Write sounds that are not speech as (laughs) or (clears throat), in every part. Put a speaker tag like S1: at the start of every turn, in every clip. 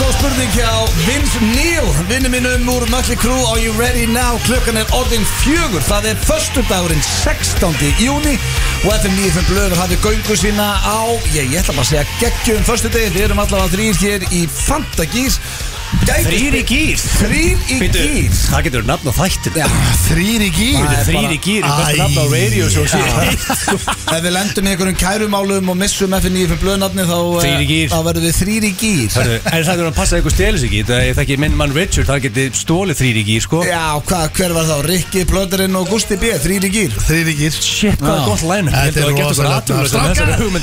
S1: góð spurning hjá Vince Neil Vinnu mínum úr Mötli Crew Are you ready now? Klukkan er orðin fjögur Það er förstundagurinn 16. júni Og FM 95 Blöður hafði göngu sína á Ég, ég ætla bara að segja geggjum förstundegi Við erum allavega þrýr hér í Fantagís
S2: Þrýr í gýr
S1: Þrýr í gýr
S2: Það getur nafn á þættin
S1: Já,
S3: Þrýr Ah, í gýr
S1: Það er
S2: Þrýr í gýr,
S3: bara-
S2: þetta er nafn á
S3: Æ,
S2: radio show
S1: Já. Ef við lendum í einhverjum kærumálum og missum FM 95 blöðnafni þá, eh,
S2: Þrír í gír.
S1: þá verðum við þrýr í gýr
S2: Hörru, En það er að passa að ykkur stelist ekki Það er ekki minn mann Richard, það geti stólið þrýr í gýr sko
S1: Já, hva, hver var þá? Rikki, Plöðurinn og Gusti B, þrýr í gýr
S3: Þrýr í gýr
S2: Shit, hvað er
S1: Já.
S2: gott lænum
S3: Þetta er rosalegt.
S2: um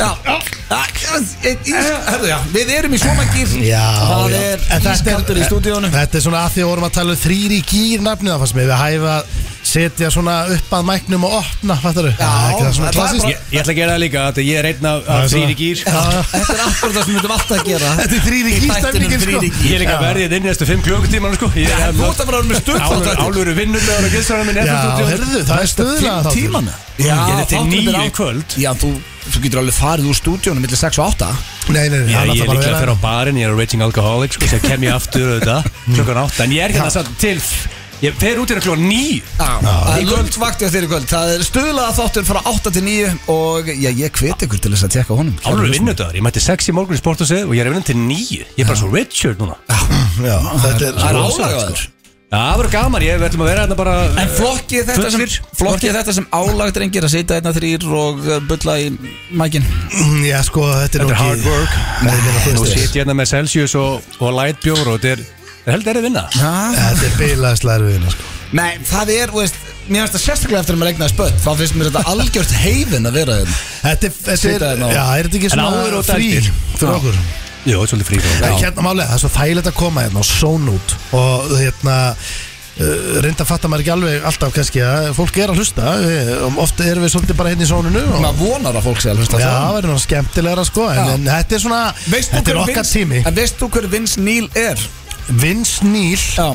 S3: Strákar!
S1: Já, eitt ís Herðu, já, við erum í svona gýr
S3: Já,
S1: Það
S3: já.
S1: er eh,
S3: En þetta
S1: ískaldur í stúdíónu
S3: Þetta er svona að því að vorum að tala um þrýr í gýr nafnið Það fannst mér við hæfa setja svona upp að mæknum og opna Fattar
S1: Já,
S3: ekki það svona
S1: það er
S3: klassist
S2: Ég ég ætla að gera það líka, þetta ég er einn af
S3: Það er
S2: þrýr í
S3: svona-
S2: gýr
S1: Þetta er akkur það sem við erum alltaf að gera
S3: Þetta er þrír í gír stemningin, sko.
S2: Ég er líka
S3: Já.
S2: verðið inn í næstu 5 klukkutíman sko Ég er
S1: Þú ert að um vera með stöð
S2: Álur, álur vinnur með ára gæstarana minn
S3: Já, herðu, það er stöðuna
S1: Fimm tímana Já,
S2: Ég er til
S1: þátturinn
S2: níu
S1: byrjar á-
S2: í kvöld.
S1: Já, þú, þú getur alveg farið úr stúdíónu millir 6 og 8
S3: Nei, nei, nei,
S2: Já,
S3: hann
S2: ég
S3: ætlar
S2: er líklega
S3: bara að
S2: að
S3: vera
S2: fyrir á barinn, ég er á Raging Alcoholic sko, sem kem ég aftur auðvitað
S3: Mm.
S2: klokkan 8 en ég er hérna samt til ég fer út hérna klokkan 9
S1: Það er löngt vaktið á þér í kvöld Það er stöðlega þáttur frá 8 til 9 og já, ég hveti ykkur til þess að tekka honum
S2: álur vinnudagur, ég mætti 6 í morgun í sportasöð og ég er að vinna til 9 ég er bara svo hérna. Richard núna Já,
S3: Já, Þetta er
S1: Það er
S3: rosalegt,
S1: álagaður
S2: það verður gaman, ég verðum að vera hérna bara
S1: En flokkið þetta sem,
S2: Fullir.
S1: flokkið þetta sem álagdrengir að sitja einna þrýr og uh, bulla í mækin
S3: sko. Já, sko, þetta
S2: Þetta
S3: er
S2: er
S3: nú
S2: hard
S3: ekki-
S2: work.
S3: Nei, ég meina, þú
S2: og
S3: veist,
S2: sitt hérna með Celsius og, og light bjór og þetta er, er heldur er að vinna
S3: Þetta er beilaðist lærfiðina, sko
S1: Nei, það er, þú veist, mér finnst það sérstaklega eftir að maður regnaði spött Þá finnst mér þetta algjört heifin að vera hérna. þeim
S3: Þetta er, þetta
S1: Sita
S3: er,
S1: hérna á-
S3: já, er þetta ekki
S2: En áður
S3: svona
S2: og
S3: frí
S2: dældir.
S3: fyrir okkur?
S2: Jú, þetta er svolítið frí
S3: Það er hérna málega, það er svo þægilegt að koma hérna og són út og hérna uh, reynda að fatta maður ekki alveg alltaf kannski að fólk er að hlusta við, um, ofta erum við svolítið bara hérna í sónunu og
S1: Maður vonar að fólk sé að
S3: Já,
S1: hlusta á
S3: það verður náttúrulega skemmtilegra sko en,
S1: Já.
S3: en þetta er svona,
S1: Veist þú
S3: þetta er
S1: hver
S3: okkar
S1: Vince-
S3: tími
S1: En veist þú hver Vince Neil er?
S3: Vince Neil,
S1: Já,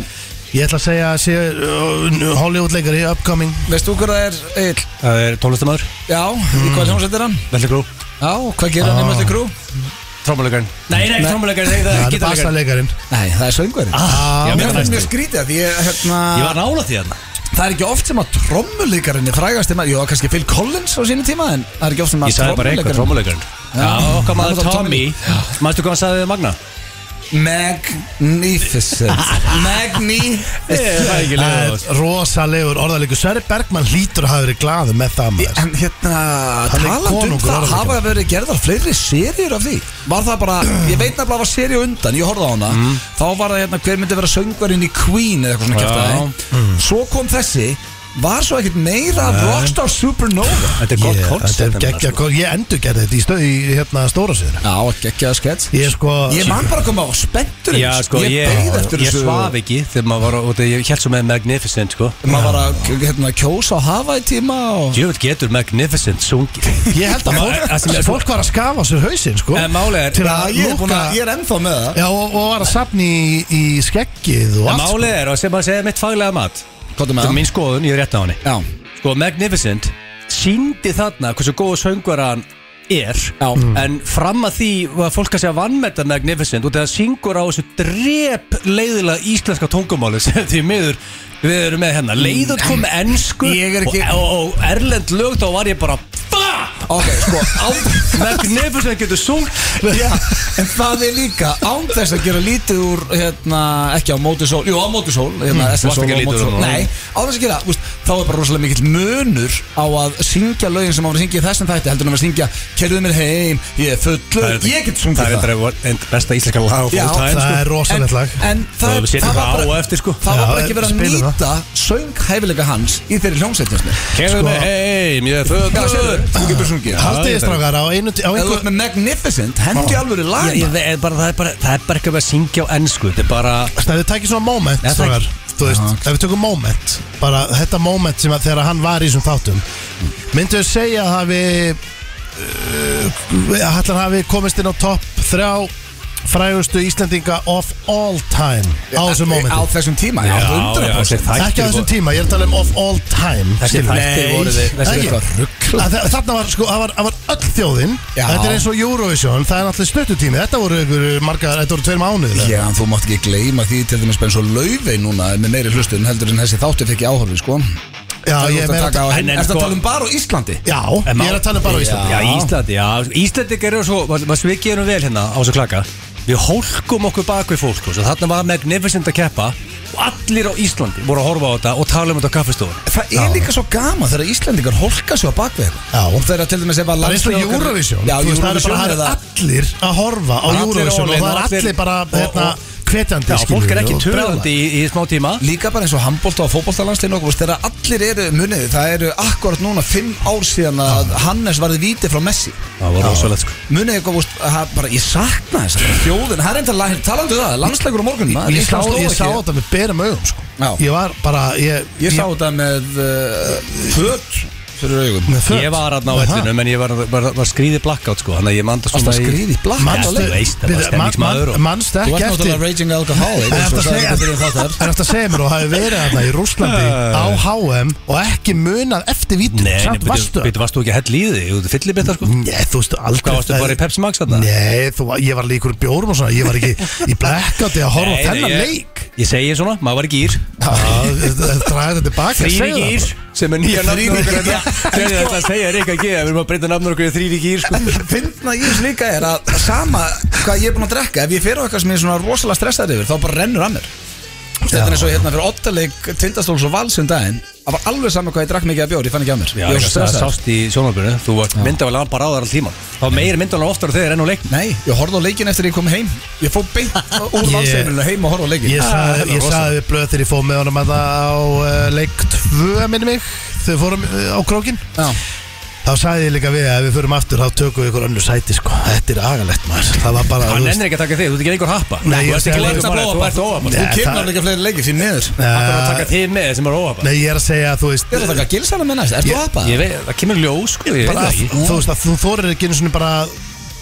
S3: ég ætla að segja að sé uh, Hollywood leikari, upcoming
S1: veist þú hver það er? Eil?
S2: það er tónlistamöður,
S1: Já, í hvað hljómsveit er hann? Ah.
S2: veldig grú
S1: Já, hvað gerir hann í möllu krú?
S2: trómulegarinn, nei, nei,
S1: Nei.
S2: trómulegarinn, það er
S3: Það er
S2: gítarlegarinn
S3: basaleikarin
S1: Nei, það er söngverðin
S2: Ah,
S3: Já,
S2: ég
S1: Mér
S2: meina
S1: finnst
S2: næstu.
S1: mjög skrítið að því ég, hérna
S2: Ég var nála því hérna
S1: Það er ekki oft sem að trommuleikarinni frægast er maður, jú, kannski Phil Collins á sínu tíma en það er ekki oft sem
S2: Ég
S1: að
S2: sagði bara eitthvað,
S1: Ah, trommuleikarinn Já.
S2: trómuleikarinn Já, okkar maður
S1: Það var
S2: Tommy
S1: Tommy.
S2: Mæstu hvað hann sagði við Magna?
S1: (laughs) Magnificent Magnificent
S2: er ekki
S3: Það er Rosalegur orðalegur Sverri Bergman hlýtur að hafa verið glaðu með það maður
S1: En hérna,
S3: Hann er
S1: talandi um
S3: konungur,
S1: það,
S3: orðalegur.
S1: hafa verið gerðar fleiri seríur af því Var það (clears throat) bara, ég veit nefnilega að var seríu undan, ég horfði á hana Þá var það hérna, hver myndi vera söngvarinn í Queen eða eitthvað svona
S2: Já.
S1: kæftið Svo kom þessi, var svo ekkert meira af Rockstar Supernova
S2: Þetta er gott
S3: Ég- Þetta
S2: koncept
S3: er geggja koncept Ég endur gerði þetta í, stöð, í hérna, stóra síður
S1: Já, ekki að skets
S3: Ég sko
S1: Ég man bara að koma á spenntur um
S2: Já, sko, ég,
S1: beið
S2: ég,
S1: eftir
S2: ég
S1: þessu
S2: svaf ekki þegar maður var, á- og þegar ég held svo með Magnificent, sko
S1: maður var að hérna, kjósa á hafa í tíma og
S2: Jöfnveld getur Magnificent
S1: (laughs)
S2: sungið
S3: Ég held að fólk,
S2: Það sem er-
S3: fólk var að skafa á sér hausinn sko
S2: En málið er
S3: Til
S1: Já,
S3: að
S1: ég, er búinn
S3: lúka
S1: að- ég er ennþá með það
S3: Já og, og var að safni í, í skeggið og
S2: En
S3: allt sko.
S2: málið er, og sem maður segja mitt faglega mat
S1: Kottum
S2: Þetta er mín skoðun, ég er rétt á henni
S1: Já,
S2: Sko, Magnificent síndi þarna hversu góð söngvar hann er Mm.
S1: Já.
S2: En fram að því var fólk að segja vannmetta Magnificent og það syngur á þessu drep leiðilega íslenska tungumáli (laughs) sem því miður við erum með hérna Leiður kom með ennsku
S1: Mm. Ég er ekki-
S2: og, og, og erlend lög þá var ég bara FAAAAAAAAAAAAAAAAAAAAAAAAAAAAAAAAAAAAAAAAAAAAAAAAAAAAAAAAAAAAAAAASK
S1: ok, sko
S2: (laughs)
S1: án,
S2: Magnificent getur sungt
S1: já, En það er líka án þess að gera lítið úr hérna, ekki á mótusól Jú, á mótusól hérna,
S2: Mm,
S1: SS
S2: varst
S1: og
S2: ekki
S1: á
S2: lítið úr
S1: mótusól.
S2: honum.
S1: Nei, á þess að gera úst, Þá er bara rosalega mikill munur á að syngja lögin sem á að syngja í þessum þætti heldur en að syngja, kerðu mér heim ég er fullur, ég get sungið
S2: Það er þetta einn besta íslenska lag of
S1: Já,
S2: all time
S3: Það
S2: sko.
S3: er
S1: En,
S3: rosalegt lag
S1: en
S2: Það
S1: það,
S2: við setjum
S1: það,
S2: það á
S1: var bara,
S2: eftir, sko.
S1: það var
S3: Já,
S1: bara ekki verið að
S3: spilum það.
S1: nýta sönghæfilega hans í þeirri hljómsveitinni
S2: Kegðu
S3: Sko-
S2: mig heim, ég er
S1: Já,
S2: fögur
S1: segðu, þú getur sungið
S2: Ha?
S1: Ef
S3: Haldið
S2: ég
S3: þið
S2: þarf-
S3: strákar á einu á
S1: þú
S3: einhver,
S1: ert með Magnificent, hendi alvöru
S2: Ég- ég
S1: lagina
S2: veit bara- Það er bara- það er bara ekki að vera að syngja á ennsku Þetta er bara
S3: Nei, þið takir svona moment
S2: Já, það-
S3: strákar Þú veist,
S1: Já, ok.
S3: ef við tökum moment Bara þetta moment sem að þegar hann var í þessum þáttum Myndu þau segja að hafi uh, að Hallar hafi komist inn á topp Þrjá frægustu Íslendinga of all time Á þessum
S1: Á
S3: momentum
S1: þessum tíma, já,
S2: Já, já, þessi
S1: 100%
S2: þættir
S3: Ekki á
S2: voru-
S3: þessum tíma, ég er að tala um of all time
S2: Þessi
S3: skilurðu.
S2: þættir
S1: Nei,
S2: voru þið
S1: þessi
S3: Það er
S1: eitthvað rugl
S3: Að þa- Þarna var, sko, það var, það var öll þjóðin
S1: Já.
S3: Þetta er eins og Eurovision, það er náttúrulega stuttutími Þetta voru ykkur margar, þetta voru tveir mánuð
S1: Já, en þú mátt ekki gleyma því til dæmis bara eins og laufey núna er með meiri hlustun heldur en þessi þáttu fikk ég áhörðu, sko
S3: Já,
S1: Það er
S3: ég
S1: oft að
S3: meira
S1: taka á
S2: En-
S1: henni.
S2: en
S1: Ertu
S2: sko-
S1: að tala um bara á Íslandi?
S3: Já,
S2: En má-
S3: ég er að tala um bara á Íslandi
S2: Já, Íslandi, já Íslandi gerir svo, maður maður svikið hennu vel hérna á þessu klaka Við hólkum okkur bak við fólk og þarna var Magnificent að keppa og allir á Íslandi voru að horfa á þetta og tala um þetta á kaffestofun
S1: Það er líka svo gaman þegar Íslandingar holka sig á bakveg
S3: Já.
S1: Og þegar til dæmis ef að
S3: Það er eins og
S1: landsliðið okkar-
S3: Eurovision
S1: Já,
S3: Þú veist, það er
S1: Eurovision
S3: bara
S1: er það
S3: það er allir að horfa á
S2: Allir
S3: Eurovision
S2: online
S3: og það
S2: og
S3: er
S2: allir-
S3: allir bara
S2: og-
S3: hérna,
S2: og-
S3: hvetjandi
S2: Já, fólk er
S3: skilurðu,
S2: ekki
S3: og brjálæði.
S2: törðandi í, í smá tíma
S1: Líka bara eins og handbólta og fótbóltalandsliðin okkur Þegar allir eru munið Það eru akkurat núna fimm ár síðan að Hannes varði víti frá Messi
S2: Það var rosalegt sko
S1: Munið eitthvað, veist, það bara, ég sakna þess bara Þjóðin, það er enda, talandu um það, landsleikur á morgun maður,
S3: Ég sá,
S1: Ísland
S3: ég sá
S1: Slóvakía.
S3: þetta með berum augum sko.
S1: Já.
S3: Ég var bara Ég,
S1: Ég sá þetta með uh, Föt Fyrir augum
S3: með föt.
S2: Ég var aðna á
S3: Með það.
S2: ellinum en ég var, var, var skrýði blackout sko Þannig að ég manda
S1: Varstu
S2: svona
S1: að skríða í blackout á
S3: Manstu-
S1: leik?
S2: Þú veist, það var
S3: Bíddu,
S2: stemningsmaður
S3: man-
S2: og-
S3: man- Manstu
S1: Þú
S3: ekki
S1: ert
S3: eftir
S1: náttúrulega raging alcoholic
S3: En
S1: eins
S3: eftir
S1: og
S3: að
S1: sagði
S3: segja-
S1: þetta byrjun þáttar.
S3: en eftir að segja mér og hafi verið þarna í Rúslandi á HM og ekki munað eftir vítum
S2: Nei,
S3: samt
S2: byrju,
S3: vastu
S2: byrju, varstu ekki að hella í þig? Þú ert fyllibetta sko
S3: Nei, þú veist aldrei
S2: Hvað varstu bara í Pepsi Max þarna?
S3: Nei, þú, ég var líkur bjórum og svona Ég var ekki í blackouti að horfa á
S2: Nei, nei,
S3: þennan
S2: ég-
S3: leik
S2: Ég segi svona, maður var ekki ír
S3: (laughs) Dræði þetta tilbaka
S2: Þrýri
S3: segðu það
S2: gýr Sem er nýja
S1: Þrír í
S2: nafnur okkur
S1: gír,
S2: hérna. Þegar ég ætla að segja er ekki að geða Við erum að breyta nafnur okkur í þrýri gýr sko.
S1: Fyndna í þessu líka er að sama hvað ég er búinn að drekka Ef ég fer á eitthvað sem ég er svona rosalega stressaður yfir Þá bara rennur að mér Þetta er eins og hérna fyrir ottaleg tindastóls og vals um daginn Það var alveg sama hvað ég drakk mikið að bjór, ég fann ekki að mér
S2: Já,
S1: Ég var
S2: ég
S1: svo
S2: það
S1: stressaður
S2: sást í sjónarbjörnu Þú vart myndavæl að bara á þar all tíman Þá
S3: Mm.
S2: meiri myndavæl oftar þegar enn á leikn
S1: Nei, ég horfði á leikin eftir ég kom heim Ég fór beint úr
S3: Ég-
S1: valsheimilinu heim og horfði á Ah, leikin
S3: Ég
S2: Ah,
S3: sagði, ég
S1: rosalegt.
S3: sagði við blöð þegar ég fóð með honum að það á uh, leik 2 minni mig þegar við fórum uh, á krókin
S1: Já.
S3: þá sagði ég líka við að ef við förum aftur þá tökum við ykkur önnu sæti sko þetta er agalegt maður það var bara
S2: Hann
S3: þú
S2: ennir ekki að taka þig, þú ert ekki lengur happa
S3: Nei, ég
S2: Þú ert
S3: segi-
S2: ekki
S3: Þú
S2: lengur
S3: ert
S2: bara,
S3: að
S2: þú ert óhappa
S3: Nei,
S1: Þú
S3: það-
S1: kemur alveg ekki fleiri leiki, því miður
S2: Það er að
S3: veist,
S2: taka þig með sem er óhappa
S3: Eh, Nei, ég er að segja að þú veist
S1: Ég er að taka gilsana með næst, ertu
S3: Ég-
S1: að apa?
S2: Ég veit, það kemur ljós sko, ég veit
S3: bara,
S2: það ekki
S3: þú veist að þú þorir ekki einu svona bara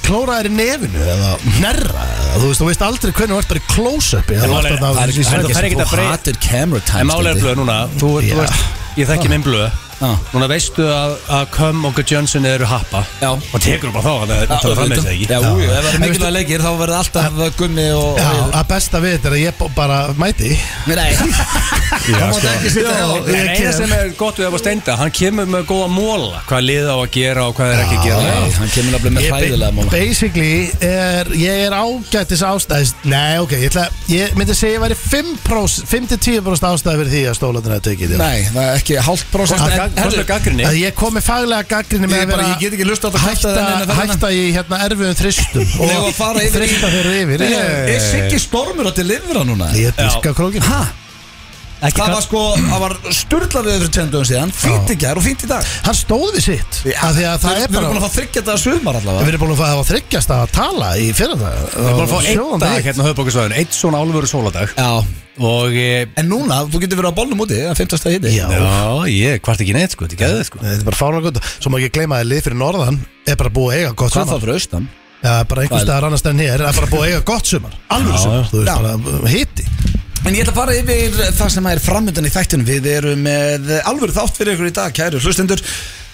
S3: klóra þér í nefinu eða nerra eða þú veist, þú veist aldrei hvernig þú ert bara í close-upi
S2: En
S3: eða þú
S2: málið-
S3: ert þarna-
S2: það er ekki-
S3: í
S2: það er
S3: svefni.
S2: ekki- fer að
S1: Þú
S2: breyta-
S1: hatir camera time
S2: En málega
S1: Steindi.
S2: blöð núna, þú, þú
S3: Já.
S2: Ah. veist, ég þekki minn blöð
S1: Já.
S2: Núna veistu að, að Köm og Johnson eru happa
S1: Já.
S2: Og tekur bara þá, þannig að
S1: Já,
S2: það er fram með
S1: auðvitað.
S2: þess ekki
S1: Já, jú, jú, ef það er
S3: En
S1: mikilvæg
S3: veistu-
S1: leikir þá verður alltaf gummi og
S3: Já, að besta við þetta er að ég b- bara mæti
S1: Nei, það mátt
S2: sko.
S1: ekki sitja hérna.
S3: Já,
S1: hjá-
S2: En
S3: Ég
S2: eina
S3: kem.
S2: sem er gott við að steinda Hann kemur með góða móla Hvað lið á að gera og hvað er ekki að
S1: Já,
S2: gera
S1: Hann kemur nefnilega með
S3: Ég
S1: hræðilega
S3: ba-
S1: móla
S3: Basically, er, ég er ágættis ástæðis Nei, ok, ég, ætla, ég myndi segja ég væri 5%, 5-10% ástæði fyrir því að stólandur hefði tekið þér
S1: Nei, það er ekki hálft prósent
S3: Kosta-
S1: en- herðu,
S2: Hvernig gaggrinni
S3: Að ég komi faglega gaggrinni
S1: Ég
S3: með að
S1: bara-
S3: vera
S1: ég get ekki hlusta á þetta kvarta þennan
S3: hætta,
S1: þennan.
S3: hætta í hérna erfiðum þristum
S1: Nei, og fara yfir í-
S3: þrista þeirra yfir
S1: Nei,
S3: Ég-
S1: Er Siggi Stormur að delivera núna?
S3: Ég diska krókin
S1: Hæ?
S2: Ekki
S1: Það
S2: kann-
S1: var sko, það var sturlað við fyrir tjönduðum síðan Fýnt í gær og fýnt í dag
S3: Hann stóð við sitt Af því að það
S1: Við
S3: er
S1: við erum
S3: bara
S1: búin að fá þryggja þetta sumar
S3: Við
S1: allavega
S3: erum búin að fá að þryggjast að tala í fyrir það Við
S2: Bara að fá einn dag hérna á höfbókasvæðinu Eitt svona álveru sóladag
S1: Já
S2: Og eh,
S1: En núna, þú getur verið á bollum úti, það er 15. hitti
S3: Já,
S2: Já, ég kvart ekki neitt sko Þetta er gæðið sko
S3: þetta er bara fárlega gott Svo má ekki gleyma að lið fyrir norðan er bara búið að eiga gott
S1: Hvað þá
S3: sumar
S1: fyrir austan?
S3: Já, bara einhvers
S1: Hvað-
S3: staðar annars stæðan hér er bara búið að eiga gott sumar Alveg
S2: Já,
S3: sumar,
S2: já.
S3: þú
S1: Já.
S3: veist bara hitti
S1: En ég ætla að fara yfir það sem er framöndan í þættunum Við erum með alvöru þátt fyrir ykkur í dag, kæru hlustendur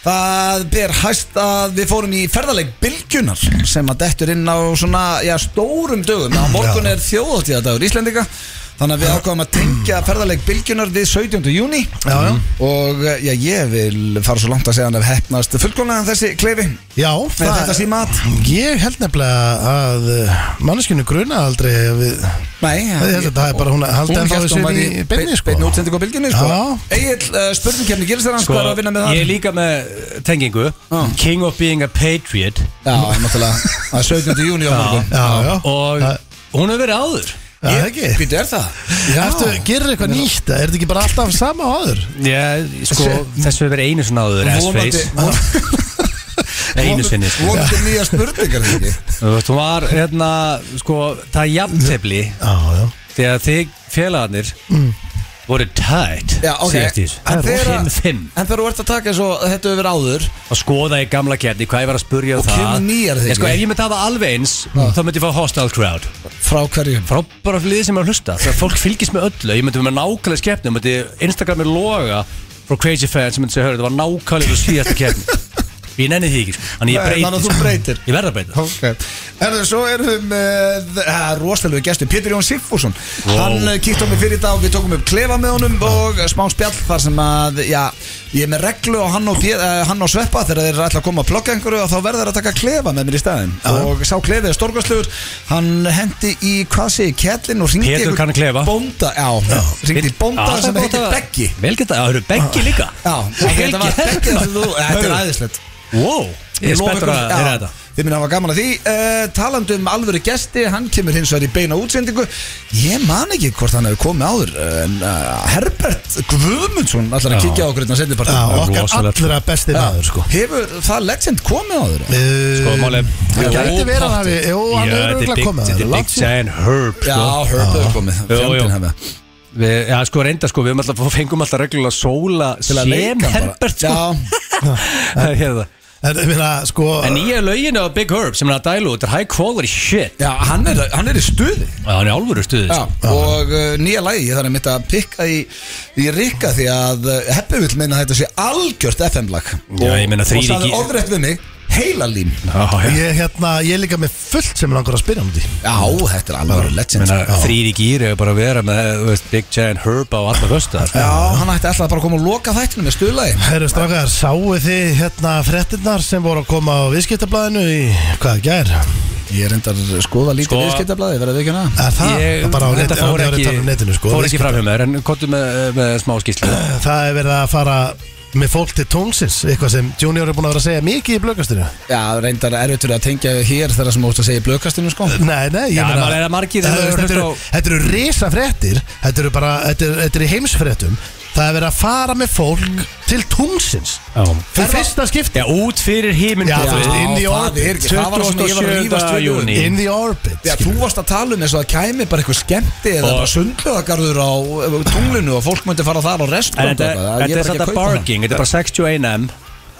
S1: Það ber hæst að við fórum í ferðarleik Bilgjunar sem að dettur inn á svona já, stórum dögum á morgun
S3: Já.
S1: er þjóðatíðadagur Íslendinga þannig að við ákváðum að tengja ferðarleik Bilgjunar við 17. júni
S3: Já, já.
S1: og já, ég vil fara svo langt að segja hann ef hefnast fullkomlega þessi kleifi
S3: Já,
S1: með þetta síma að
S3: Ég held nefnilega að manneskinu gruna aldrei við,
S1: Nei,
S3: Ég held að það er bara hún að halda ennþá
S1: hélt
S3: þessu
S1: hún væri
S3: í beinni, sko.
S1: Beinni útsendingu á bylginni sko
S3: Já.
S1: Egil, uh, spurningkefni, gilsar hans
S2: Sko,
S1: hvað er að vinna með það? Ah.
S2: ég er líka með tengingu
S1: Já.
S2: King of being a patriot
S1: Já, náttúrulega, það er 17. júni á morgun
S3: Já, já,
S2: Og
S3: Það-
S2: hún hefur verið áður
S3: Já,
S1: Ég-
S3: ekki
S1: Býtu, er það? Já
S3: Ertu, gerir eitthvað nýtt, er þetta ekki bara alltaf sama og áður?
S2: Já, sko, þessu hefur verið einu sinna áður S-Face Einu sinni sko.
S1: Vonandi nýja spurningar þegar ekki
S2: Þú veist, Hún var, hérna, sko, það er jafntefli
S3: Já, já
S2: Þegar þig félagarnir voru tætt
S1: Mm. Já, ok
S2: síðast í þessu.
S1: En
S2: Það
S1: þegar-
S2: er 5-5
S1: En þegar þú ert að taka svo þetta hefur verið áður
S2: Að skoða í gamla kjarni hvað ég var að spurja um
S1: Og
S2: það
S1: kemur nýjar þig.
S2: Ég sko, ef ég myndi hafa alveg eins Þá myndi ég fá hostile crowd
S1: Frá hverju?
S2: Frá bara liðið sem er að hlusta Þegar fólk fylgist með öllu Ég myndi vera með nákvæmlega
S1: (laughs)
S2: skefni Ég myndi Instagramið loga Frá crazy fans sem myndi segja Hörðu, þetta var nákvæmlega síðasta kjarni Ég nenni því ekki sko. Þannig ég
S1: Nei, þannig að
S2: breyti
S1: þú breytir.
S2: Ég verð að breyta
S1: Ok, Erðu, svo erum við með uh, rosalegu gestur, Pétur Jón Sigfússon
S2: Wow.
S1: Hann eh, kíkti á mig fyrir í dag, við tókum upp klefa með honum og smá spjall þar sem að, já, ég er með reglu og hann og, Pé- eh, hann og Sveppa þegar þeir eru alltaf að koma að plugga einhverju og þá verður þeir að taka klefa með mér í staðinn og sá klefið er storkastlugur, hann hendi í, hvað sé, kettlinn og ringdi
S2: Pétur kann klefa.
S1: bónda, já, já. ringdi í bónda
S2: Já,
S1: sem
S2: það er
S1: heitir Beggi
S2: gott að-
S1: Ah.
S2: Vel geta, það eru Beggi líka
S1: Já, þetta var
S2: Vel
S1: Beggi
S2: gert.
S1: þar sem þú, þetta er
S2: Hörru,
S1: æðislegt
S2: Wow, ég er spenntur að heyra þetta
S1: Þið minna hafa gaman að því uh, Talandi um alvöru gesti, hann kemur hins vegar í beina útsendingu Ég man ekki hvort hann hefur komið áður En uh, Herbert Guðmundsson ætlar
S2: Já.
S1: að kíkja á okkur hérna setni
S3: Já,
S1: partí
S3: okkar
S2: rosalegt, sko.
S3: allra besti maður sko Eh,
S1: Hefur það legend komið áður?
S2: Sko, málið
S3: Það gæti verið að hafi, jú,
S2: Já,
S3: hann hefur
S2: þetta er
S3: örugglega
S2: big-
S3: komið
S2: Þetta
S3: áður,
S2: er Big
S3: langt síðan.
S2: Giant Herb
S1: Já,
S2: sko.
S1: Herbert hefur komið
S2: Jú, jú.
S1: Fjandinn hefði
S2: Við, já, sko, reynda, sko, við höfum alltaf, (laughs) fengum alltaf reglulega sóla sem Herbert, sko
S1: Já,
S2: (laughs) Það er hérna.
S3: En ég meina, sko
S2: En nýja löginu á Big Herb sem er að dælu út er high quality shit
S1: já hann, er, hann er í stuði
S2: Já, hann er alvöru stuðið sko.
S1: Já, og uh, nýja lagi, ég þarf að mitt að pikka í, í Rikka því að uh, Heppi vill meina að þetta sé algjört FM-lag
S2: Já, ég meina, þrír
S1: Og sagði
S2: ekki-
S1: orðrétt við mig, heilalím
S2: sko.
S3: Ég, hérna, ég er líka með fullt sem langar að spyrja um því
S1: Já, þetta er alveg legend sko.
S2: Þrýri gýri er bara að vera með þú veist, Big Giant Herb á alla föstu sko.
S1: Já, hann ætti alltaf bara að koma og loka þættinu með stuðlagi
S3: Herru strákar, sáu þið hérna frettinnar sem voru að koma á viðskiptablaðinu í, hvað, gær?
S1: Ég er reyndar að skoða lítið
S2: Sko-
S1: sko, viðskiptablaði, verða við ekki hana
S3: Er það?
S2: Ég,
S3: bara á net-
S2: þetta
S3: á-
S2: fór
S3: á- á-
S2: ekki,
S3: á netinu, sko,
S2: fór ekki fram hjá mér en kontum með, með smá skýslu
S3: Það er verið að fara með fólk til tónsins Eitthvað sem Junior er búin að vera að segja mikið í blöggastinu
S1: Já, reyndar erfitt fyrir að tengja hér þar sem ótt að segja í blökastinu sko
S3: Nei, nei, ég
S2: Já,
S3: meina
S2: maður er að margir
S3: Þetta
S2: hefur
S3: eru- þetta
S2: hlustað
S3: eru-
S2: á-
S3: Þetta eru risa fréttir Þetta eru bara, þetta eru- þetta eru í heimsfréttum Það er verið að fara með fólk til tungsins
S2: Já.
S3: Fyrir fyrsta skipti
S2: Já, út fyrir híminn
S3: Já, þú veist, inn í
S1: það
S3: orbit.
S1: er ekki, það var það sem ég var að
S2: 27.
S1: rífast við
S2: júní.
S1: um.
S3: In the orbit
S1: Já, þú
S3: skilur.
S1: varst að tala um eins og það kæmi bara eitthvað skemmti eða
S2: Og-
S1: bara sundlöðagarður á eh, tunglinu og fólk myndi fara þar á
S2: En
S1: restaurant
S2: þetta þetta er satt að barging, þetta er bara 61M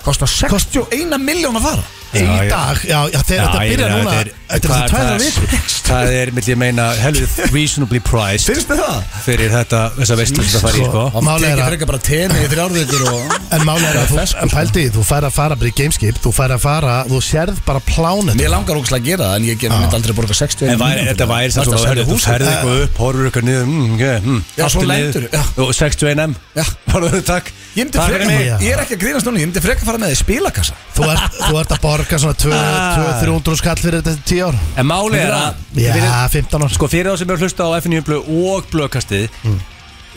S1: Kosta 61 miljón að fara
S3: Í
S2: Já, já.
S3: dag, já, já þegar þetta
S2: ég
S3: byrjar
S2: meina,
S3: núna
S2: þetta er-
S3: Þetta er
S2: hvað
S3: það tvæðra
S2: það?
S3: vikur
S2: Það er, myndi ég meina, helvið reasonably priced
S1: Finnst þið það?
S2: fyrir þetta, þess að veistu þetta farið, sko
S3: Sko, málið er
S1: Tekið
S3: að-
S1: frekar bara tenni í þrjárvíkur og (laughs)
S3: En máli er
S2: (laughs)
S3: að þú, en pældi, því, þú fær að fara bara í gameskip, þú fær að fara, þú sérð bara pláninu.
S1: Mér langar ógæslega að gera það en ég ger myndi aldrei borga 60
S2: En væri, þetta væri sem
S1: Varstu
S2: svo
S1: að
S2: herri,
S1: selja
S2: Þú
S1: húsið?
S2: ferði eitthvað upp, horfur eitthvað niður mm, okay, mm,
S1: Já, svo
S2: aftur
S1: lendur,
S2: niður.
S1: já.
S2: Og 61M
S1: Já.
S2: Bara þau takk
S1: Ég myndi
S2: Takk fyrir
S1: frekar,
S2: mig.
S3: mig.
S1: ég er ekki að grínast núna, ég myndi frekar fara með því spilakassa
S3: Þú ert, þú ert að borga svona
S2: Ah.
S3: 200-300 skall fyrir þetta til 10 ár.
S2: En máli er að
S3: Já,
S2: fyrir,
S3: 15 ár.
S2: Sko fyrir þá sem eru að hlusta á FNU Blu og blökastið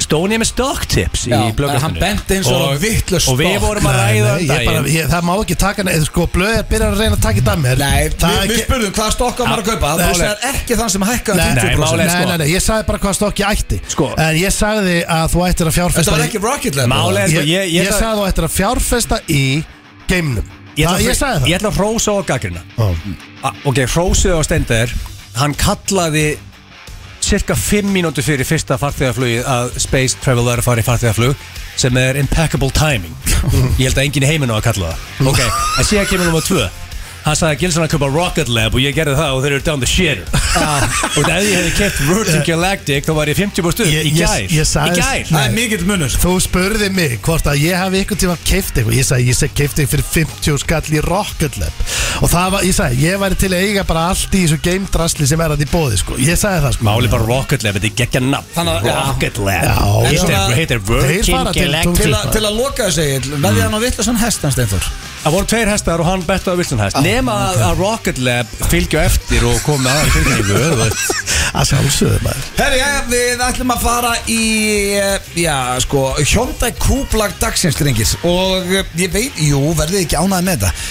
S2: Stóni er með stock tips í
S1: Mm. Já,
S2: blökastinu
S1: hann benti eins og hann var vitlaus
S2: Og við
S1: stock.
S2: vorum að ræða um
S3: ég bara,
S2: daginn
S3: ég, það má ekki taka neitt, sko, blöð er byrjað að reyna að taka í damer.
S1: Nei, við,
S3: það er
S1: við
S3: ekki-
S1: spurðum hvaða stokka maður að kaupa
S3: Nei,
S1: Þú sagðir ekki þann sem hækkaði
S3: Nei,
S1: um
S3: nei,
S1: 50%
S2: máli er
S3: nei,
S2: sko-
S3: nei, nei, ég sagði bara hvað stokk ég ætti
S2: Sko-
S3: En ég sagði að þú ættir að
S1: Þetta
S3: fjárfesta
S1: var
S3: í-
S1: ekki Rocket Lab
S2: Málið er-
S3: Ég,
S2: Sko,
S3: ég,
S2: ég- ég ætla-
S3: sagði að þú ættir að fjárfesta í geimnum
S2: Ég
S3: Það-
S2: ætla,
S3: Ég sagði
S2: að-
S3: það
S2: ég ætla að hrósa og gaggrina
S3: Ó.
S2: Ah, Ok, hrósið á Steindeir Hann kallaði cirka 5 mínútur fyrir fyrsta farþegaflug að Space Travel er að fara í farþegaflug sem er impeccable
S3: (laughs)
S2: timing ég held að enginn í heiminu á að kalla það ok, en síðan kemur nummer 2 hann sagði að Gilson að köpa Rocket Lab og ég gerði það og þeir eru down the shitter
S3: Ah.
S2: og ef ég hefði keft Virgin Galactic þá var ég 50 búr stuð
S3: Ég-
S2: í
S3: ég-
S2: gær
S3: ég
S2: í
S3: sagði-
S2: gær
S1: Það er mikill munur
S3: Þú spurði mig hvort að ég hafi einhvern tíma keift eitthvað Ég sagði, ég segi keift eitthvað fyrir 50 skall í Rocket Lab Og það var, ég sagði, ég væri til að eiga bara allt í þessu geimdrasli sem er að í bóði sko. Ég sagði það sko
S2: Máli bara Rocket Lab, þetta er geggja nafn
S1: Þannig að- já.
S2: Rocket Lab
S3: Já.
S2: Heitir-
S1: En svona-
S2: heitir
S3: Þeir
S2: Virgin
S3: fara til sko.
S2: Galactic
S1: Til, a, til að loka þessu egil, veðja hann á vittlasan hest hans Steinþór
S2: Það voru tveir hestar og hann bettaði vilsan hest Nema að, að Rocket Lab fylgja á eftir og kom með aðra tilkynningu þú veist.
S3: Að sjálfsögðu maður
S1: Herri, já, við ætlum að fara í, eh, já, sko, Hyundai Kúblag dagsins, drengir Og eh, ég veit, jú, verðið ekki ánæði með þetta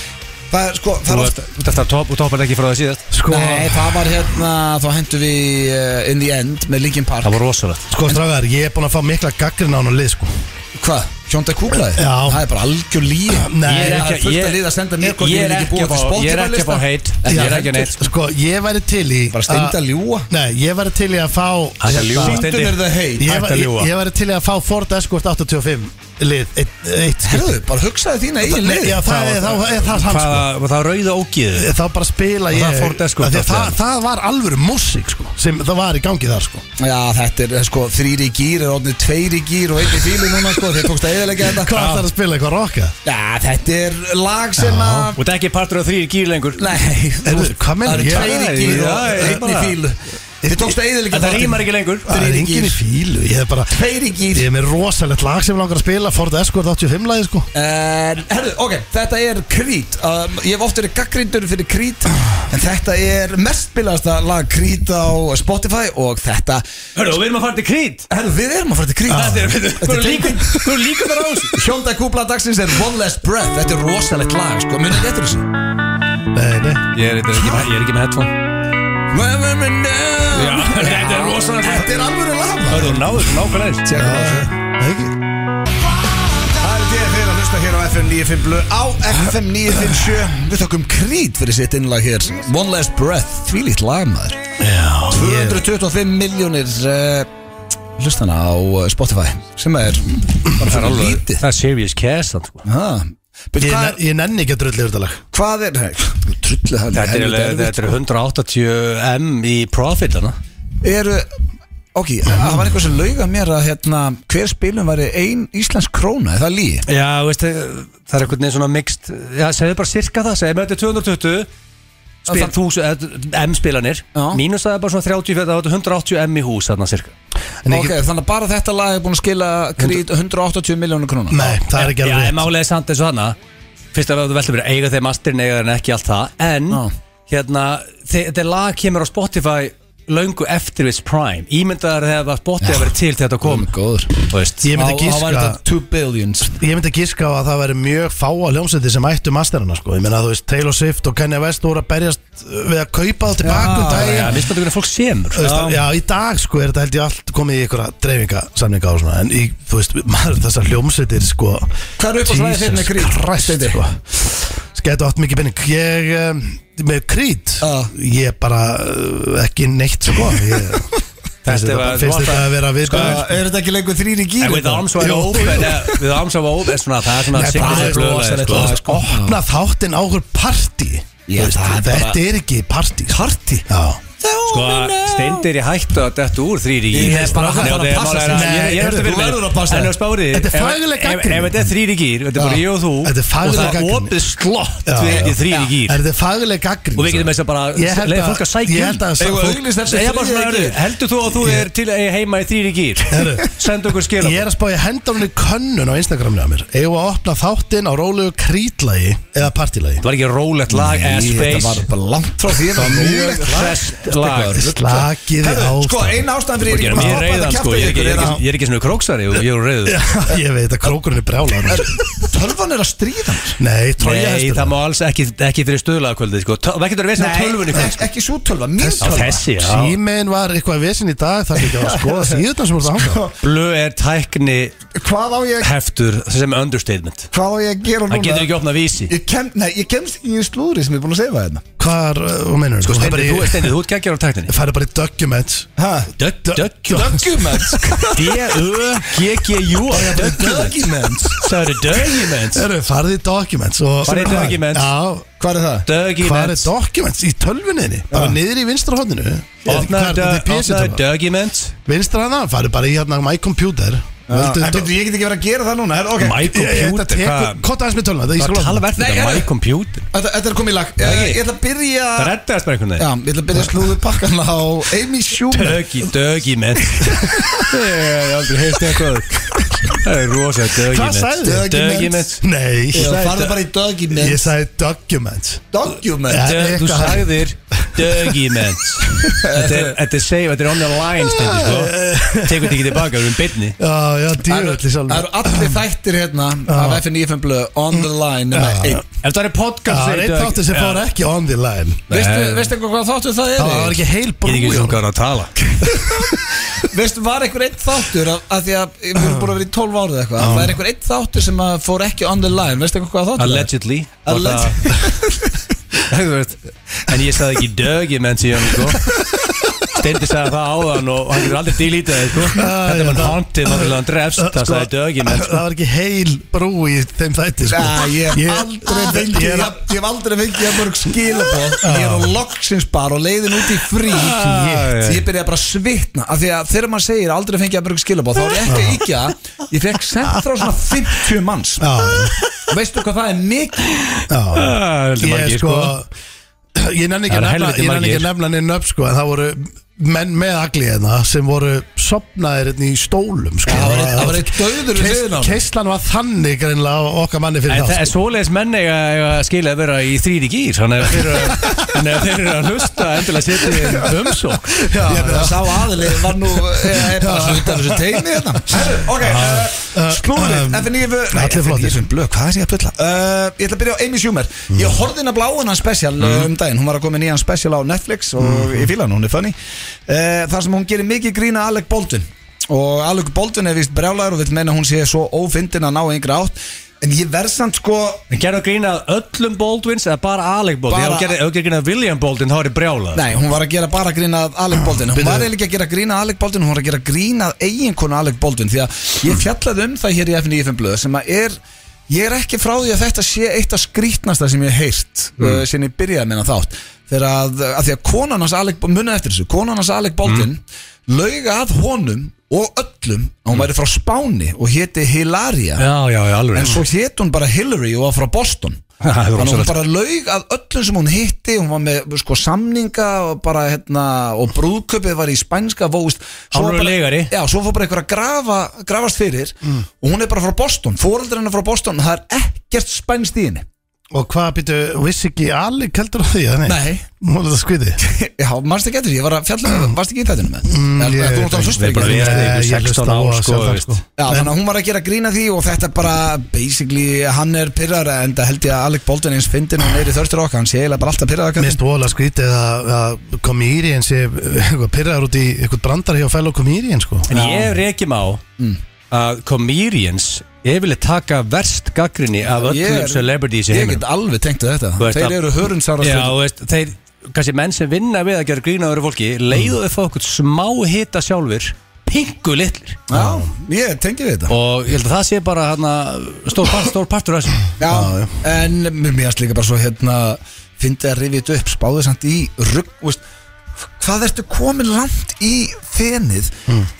S1: Það er, sko,
S2: Þú
S1: það er
S2: veist,
S1: ofta
S2: Þetta top, toppar ekki frá það síðast
S3: Sko,
S1: Nei, það var hérna, þá hendur við eh, In the End með Linkin Park
S2: Það var rosalegt
S3: sko strágar, ég er búin að fá mikla gaggrin á hann og lið sko
S1: Hvað? Hjónda kúklaði?
S3: Já.
S1: Það er bara algjör líf
S3: Nei,
S1: Ég er
S3: það
S1: ekki að Fullt að liða að senda mér hvort
S2: ég
S1: ég
S2: er
S1: vil ekki
S2: ekki
S1: búa
S2: að
S1: til
S2: fá Ég er ekki að fá
S1: Spotify-lista
S2: heit Ég er ekki að neitt
S3: Sko, ég væri til í
S1: Bara steinda
S3: að-
S1: að ljúa
S3: Nei, ég væri til í að fá
S2: Hann er ljúga.
S3: Ég
S1: Sýndu
S2: Steindi.
S1: mér það heit
S2: Hætt að
S3: væri-
S2: ljúga.
S3: ég væri til í að fá Ford Escort 85 lið Eitt, eitt skipti.
S1: Herðu, bara hugsaði þína eigin
S3: Nei,
S1: lið
S3: Já, það er þá er það hans sko
S2: Hvaða, það rauða ógið
S3: Þá bara spila ég
S2: það fór desktop
S3: af
S2: allt
S3: því að
S2: í
S3: það,
S2: einu.
S3: það var alvöru músík sko sem það var í gangi þar sko
S1: Já, þetta er sko þrýri gýr er orðinu tveiri gýr og einni fílu núna sko þeir tókst að eðilegja þetta
S3: Hvað ætlar að spila eitthvað rocka?
S1: Já, þetta er lag sem að
S2: Og þetta er ekki partur af þrýr gýr lengur
S1: Nei,
S3: Heyrðu,
S1: þú-
S3: hvað
S1: það
S3: meinar
S1: eru
S3: ég?
S1: tveiri gýr og
S2: Já, ég
S1: einni
S2: bara-
S1: fílu Þið tókst að eðilegja
S2: Þetta rýmar ekki lengur
S3: Það er
S1: Þrír í
S3: enginn í
S1: gír.
S3: fílu Ég er bara
S1: Tveiri gýr
S3: Ég er með rosalegt lag sem langar að spila Ford Escort 85 lagi sko
S1: En, herðu, ok, þetta er Creed um, Ég hef oft verið gaggrindur fyrir Creed En þetta er mest spilaðasta lag Creed á Spotify Og þetta,
S2: Hörru, og við erum að fara til krít
S1: herðu, við erum að fara til Creed
S2: Þetta er,
S1: Þetta er
S2: líka Þú er líka þar á þessu
S1: Hjónda kúpla dagsins er One Last Breath Þetta er rosalegt lag, sko, munið ekki eftir þessu
S3: Nei, nei
S2: Ég er, ég er, ekki, með, ég er ekki með headphone
S1: Já,
S2: þetta er rosalegt lag.
S1: Þetta er alvöru lag maður.
S2: Hörru, náður, nákvæmlega eins.
S1: Tjekkum á þessu.
S3: Það er
S1: Það eru
S3: ekki
S1: þér fyrir að hlusta hér á FM 95 blöð Á FM 957 Við þökkum Creed fyrir sitt innlag hér One Last Breath, þvílíkt lag maður
S3: Já
S1: 225 miljónir uh, Hlustana á eh, Spotify Sem er bara fyrir lítið
S2: Það er serious cast þannig, sko.
S1: Ha. But
S3: Ég,
S1: Hvað
S3: nenn- ég nenni ekki að drulli yfir þetta lag
S1: hvað er Trullu það
S2: Þetta er, alveg- þetta er 180M í profit hana.
S1: eru ok, það var eitthvað sem lauga mér að hérna, hver spilum væri ein íslensk króna, er það lígi?
S2: Já, veist, það er einhvern veginn svona mixt Já, segðu bara cirka það, segðu með þetta er 220
S1: Spil.
S2: Spil. Þúsu, M spilanir
S1: Já.
S2: Mínus það er bara svona 30 fyrir það er 180 M í hús þarna cirka
S3: En
S1: ok,
S3: ekki-
S1: þannig að bara þetta lag er búin að skila krít 180 miljónu króna
S3: Nei, það er ekki
S2: Já,
S3: alveg
S2: en málega samt eins og hana Fyrst að við veltum verið eiga þeir masterinn, eiga þeir ekki allt það En,
S1: Já.
S2: hérna, þe- þetta lag kemur á Spotify löngu eftir við Prime Ímyndaðar þegar það Spotify verið til þegar þetta kom
S1: góður
S2: Þú veist,
S3: Mm. Ég
S1: Þá- þá
S3: myndi
S1: væri
S3: giska-
S1: þetta 2 billions
S3: Ég myndi að gíska á að það væri mjög fáa hljómsveiti sem ættu masterina sko Ég meina þú veist Taylor Swift og Kanye West voru að berjast uh, við að kaupa það tilbaka um
S2: já,
S3: daginn
S2: já, mismunandi hvernig fólk semur
S3: Þú veist, já. já, í dag sko er þetta held ég allt komið í einhverja dreifingasamninga og svona En í, þú veist, maður þessar hljómsveitir sko
S1: Hvað er uppáhaldslæðið þitt með Creed,
S3: Christ,
S1: Steindi?
S3: sko Skættu átt mikið penning Ég, um, með Creed
S1: Já.
S3: Ég bara, uh, ekki neitt sko
S2: (laughs)
S3: Ég finnst þetta
S2: var-
S3: finnst þetta að vera við
S1: Uh, er þetta ekki lengur þrýri
S2: En við arms wide
S3: Jú.
S2: open eh, Við arms wide open er svona Það er svona
S3: Nei, bara
S2: signature
S3: aðeins
S2: blöð,
S1: rosalegt
S2: sko.
S1: lag, sko.
S3: Opna þáttinn á okkur partí
S1: Já,
S3: Þú veist,
S1: það er
S3: Þetta
S1: bara-
S3: er ekki partí Partí? Já
S2: Sko, steindir í hættu að detta úr þrýri gýr
S3: Ég er bara-
S2: Nei,
S3: bara að
S2: það er
S3: passa
S2: bara-
S3: sig.
S2: Nei, ég- ég er
S3: heyrðu,
S2: eftir fyrir
S3: þú
S2: mér.
S3: verður að passa
S2: En
S3: þig.
S2: á spári
S3: Þetta er
S2: ef-
S3: fagleg
S2: ef-
S3: gagnrýni.
S2: Ef þetta er þrýri gýr, þetta er bara
S3: Já.
S2: ég og þú
S3: Þetta er fagleg
S2: Og það er
S3: gagnrýni.
S2: opið slott
S3: Já, já.
S2: Við þrýri
S3: Er
S2: gýr
S3: þetta fagleg gaggrín?
S2: Og við getum þess að bara
S3: Ég held
S2: Leða
S3: að-
S2: fólk að sækja
S3: ég held að-
S2: um.
S1: Eigum við auglýst eftir
S2: Ég er bara svona,
S1: þriðja
S2: hörðu,
S1: gír?
S2: Heldur þú að þú er til eh, heima í þrýri gýr
S3: Heyrðu.
S2: Send okkur skilum
S3: Ég er að spá ég henda henni könnun á Instagramni að mér Eigum við að opna þáttinn á rólegu krítlagi eða partilagi
S2: Það var ekki rólegt lag eh,
S1: Þetta var
S2: Space
S1: bara langt frá því Það var
S2: Mjög hrest lag
S3: Slakið á
S1: Herru, sko,
S3: (laughs)
S1: eina ástæðan fyrir
S2: Ég er
S1: ég
S2: mér reyðan sko, ég er ekki- ég er ekki-
S1: að
S2: ég er ekki svona króksari og ég er reyður
S3: Ég veit að krókurinn er brjálaður
S1: Tölvan er að stríða mér.
S3: Nei, trója
S2: Nei, það má alls ekki, ekki fyrir stöðlagakvöldið sko. Það getur verið sem tölvunni
S1: Nei,
S2: kvöld
S1: ekki svo tölva, mín
S2: Á
S1: tölva
S2: þessi, já
S3: Símein var eitthvað vesinn í dag Það er ekki að
S2: (laughs)
S3: skoða síðan sem voru það hanga
S2: Blö er tækni
S1: Hvað á ég
S2: heftur sem understatement
S1: Hvað á ég að gera núna?
S2: Hann getur ekki opnað vísi
S1: Ég, kem, nei, ég kemst í slúðri sem ég er búin að segja hérna
S3: Hvað er, uh, hvað meinar þú?
S2: Steindi, Sko, þú er steindið, þú ert geggjör á tækninni
S3: Færi bara í documents
S1: Hæ?
S2: Döggjumens
S1: Döggumens
S2: D-U-G-G-U
S1: Döggumens
S2: Sæður döggjumens
S3: Eru, farið í documents og-
S2: Farið í documents.
S3: Já,
S1: Hvað er það?
S3: hvað er
S2: Döggjumens
S3: documents? Í tölvuninni Bara niður í vinstra hodninu
S2: Opnaður döggjumens
S3: Vinstra hana, farið bara í hérna My Computer Veldu
S1: En byrju, ég get ekki verið að gera það núna her, okay.
S2: My
S3: Þetta
S2: computer
S3: tekur,
S2: Hvað
S3: kota aðeins með töluna
S2: hvað
S3: Það
S2: tala verður
S1: Nei,
S2: þetta?
S1: er-
S2: My computer
S1: þetta, þetta er komið í lag
S2: Það
S1: Ég,
S2: ekki.
S1: ég ætla að byrja
S2: Það rettaðist bara einhvern
S1: Já,
S2: veginn
S1: ég ætla að byrja slúðu pakkan á Amy Schumer
S2: Döggi, döggjumens Ég hef aldrei heilt eitthvað Það er rosa
S3: Hvað
S2: döggjumens
S3: sagði þið?
S2: Döggjumens
S3: Nei, ég
S1: Ég
S3: sagði-
S1: farði bara í
S3: ég
S1: döggumens
S3: sagði documents
S1: Döggumens
S3: Já.
S2: Dö- Þú
S3: Eitthvað.
S2: sagðir Dögimens Þetta er- þetta er save, þetta er on the line stendi, sko. Tekur þetta ekki tilbaka, við erum byrni
S3: Já,
S1: Það
S3: já,
S1: eru-
S3: djúvöld í
S1: það
S3: sjálfum
S1: eru allir þættir hérna af FNIFM blöð um on the line nema einn.
S2: Ef það er podcast
S3: Það er einn þáttur sem fór ekki on the line
S1: Veistu veistu eitthvað hvað þáttur það er?
S3: Það var
S1: Egill?
S3: ekki heil
S2: Ég
S3: brú
S2: er
S3: í
S2: ekki svo
S3: honum.
S2: hvað hann að tala
S1: Veistu var einhver einn þáttur af, af því að við erum búin að vera í 12 árið eitthvað Það er einhver einn þáttur sem að fór ekki on the line Veistu eitthvað hvað þáttur það er?
S2: Allegedly var það- (laughs)
S1: Alleged-
S2: Þú veist, En ég sagði ekki dög, ég menn síðan sko. Steindi sagði það áðan og hann getur aldrei dílítið það sko. Þetta er mann hauntið, maður vil hann drefst Það
S3: Sko,
S2: sagði dög, ég menn
S3: Það var ekki heil brú í þeim þætti sko.
S1: Já, ég hef aldrei fengið
S3: ég er-
S1: jafn- Ég hef aldrei fengið að mörg skilabóð Ég er á loksins bar og leiðin út í frí
S2: Ah,
S1: Ég byrjaði bara að svitna af Því að þegar maður segir aldrei fengið að mörg skilabóð Þá er ég ekki ekki að Ég fekk sent frá svona 50 manns
S3: Já,
S1: Veistu hvað það er mikið?
S3: já
S2: Heldur
S3: Ég
S2: margir
S3: sko
S2: sko
S3: (clears throat) Ég nenni ekki
S2: Það
S3: að
S2: eru
S3: nefna-
S2: helviti
S3: ég nenni ekki
S2: margir.
S3: að nefna neinn upp sko En það voru menn með aglið hérna Sem voru sopnaðir hérna í stólum sko.
S1: Það var eitt- það var eitt döður við hliðin á honum.
S3: Keislan var þannig greinlega okkar manni
S2: En
S3: fyrir
S2: það
S3: þá
S2: er
S3: sko.
S2: svoleiðis menn eiga eiga að skilja að vera í þrýri gýr Þannig að þeir eru að- þannig að þeir eru að hlusta Endilega setja þeir umsók
S1: Ég hef bara sá aðli var nú eh, er bara svo utan þessu teimi hérna Herru, ok,
S3: sko.
S1: uh,
S3: Um,
S1: slúrið FNF, nei,
S3: Allir flottir.
S1: FNF blöð, hvað er ég að bylla? Uh, ég ætla að byrja á Amy Schumer Ég horfði hennar bláuna special mm. Mm-hmm. um daginn Hún var að koma með nýjan special á Netflix og ég fíla hann, hún er funny uh, Þar sem hún gerir mikið grína Alec Baldwin og Alec Baldwin er vist brjálæður og vil meina að hún sé svo ófindin að ná einhver átt En ég verð samt sko
S2: Gerðu grínað öllum Baldwins eða bara Alec Baldwin
S1: Bara-
S2: Ef þú gerðir- ef þú gerðu grínað William Baldwin þá er ég brjálað
S1: Nei, hún var að gera bara grína að Alec Baldwin Hún
S3: Bíddu.
S1: var eiginlega ekki að gera grína að Alec Baldwin Hún var að gera grína að eiginkonu Alec Baldwin Því að ég fjallaði um það hér í FNIFM blöð Sem að er, ég er ekki frá því að þetta sé eitt af skrítnasta sem ég hef heyrt uh, Sem ég byrjaði meina þátt Þegar að, að því að konan hans Alec, munið eftir þessu Konan hans Alec Baldwin Lauga að honum og öllum Að hún væri frá Spáni og héti Hilaria
S2: Já, já, já, alveg
S1: En svo hétt hún bara Hillary og var frá Boston
S2: Ha, (laughs) það er
S1: Þannig að hún
S2: rosalegt.
S1: bara laug að öllum sem hún hitti Hún var með sko samninga og bara hérna Og brúðköpið var í spænska vóst
S2: Hálfur leigari. Mm.
S1: Já, svo fór bara einhver að grafa, grafast fyrir Og hún er bara frá Boston, foreldrar hennar frá Boston Það er ekkert spænst í henni
S3: Og hvað býttu, vissi ekki allir keldur á því eða nei?
S1: Nei. (laughs)
S3: Nú er þetta skviði
S1: Já, mannst ekki eftir, því? ég var að fjalla Varst ekki í þættinu með
S3: Mm,
S1: Eða-
S3: ég-
S1: eða Þú náttúrulega
S2: Við
S1: hlustir
S2: erum bara
S1: ekki
S2: við erum
S3: Nei,
S2: yfir 16
S3: ég hlusta á
S2: ár
S3: það
S2: sko
S3: sjálfan,
S2: veist.
S3: sko.
S1: Já,
S3: En-
S1: þannig að hún var að gera grína því og þetta bara, basically, hann er pyrrar en það held ég að Alec Baldwin eins fyndin og neyri þörftur okkar, hann sé eiginlega bara alltaf pyrrar
S3: Mér stóla skrítið að, að komýrien sé (laughs) eitthvað pyrraður út í eitthvað brandar hjá fellow komýrien sko
S2: En ég reykjum á að comedians yfirleitt taka verst gaggrinni af
S1: Ég
S2: öllum
S1: er-
S2: celebrities í
S1: Ég
S2: heiminum
S1: get alveg tengt við
S2: Þú
S1: þetta
S2: veist
S1: Þeir
S2: að-
S1: eru hörunsára
S2: Já, þú veist, þeir, kannski menn sem vinna við að gera grín að öðru fólki leiðu þau fólk smá hita sjálfur pingu litlir
S1: Já, ég tengi við þetta
S2: og ég held að það sé bara hana, stór, part, stór partur af þessu
S1: Já, en mér finnst líka bara svo hérna Fyndi að rifið upp, spáðu samt í rugg þú veist, Hvað ertu komin langt í fenið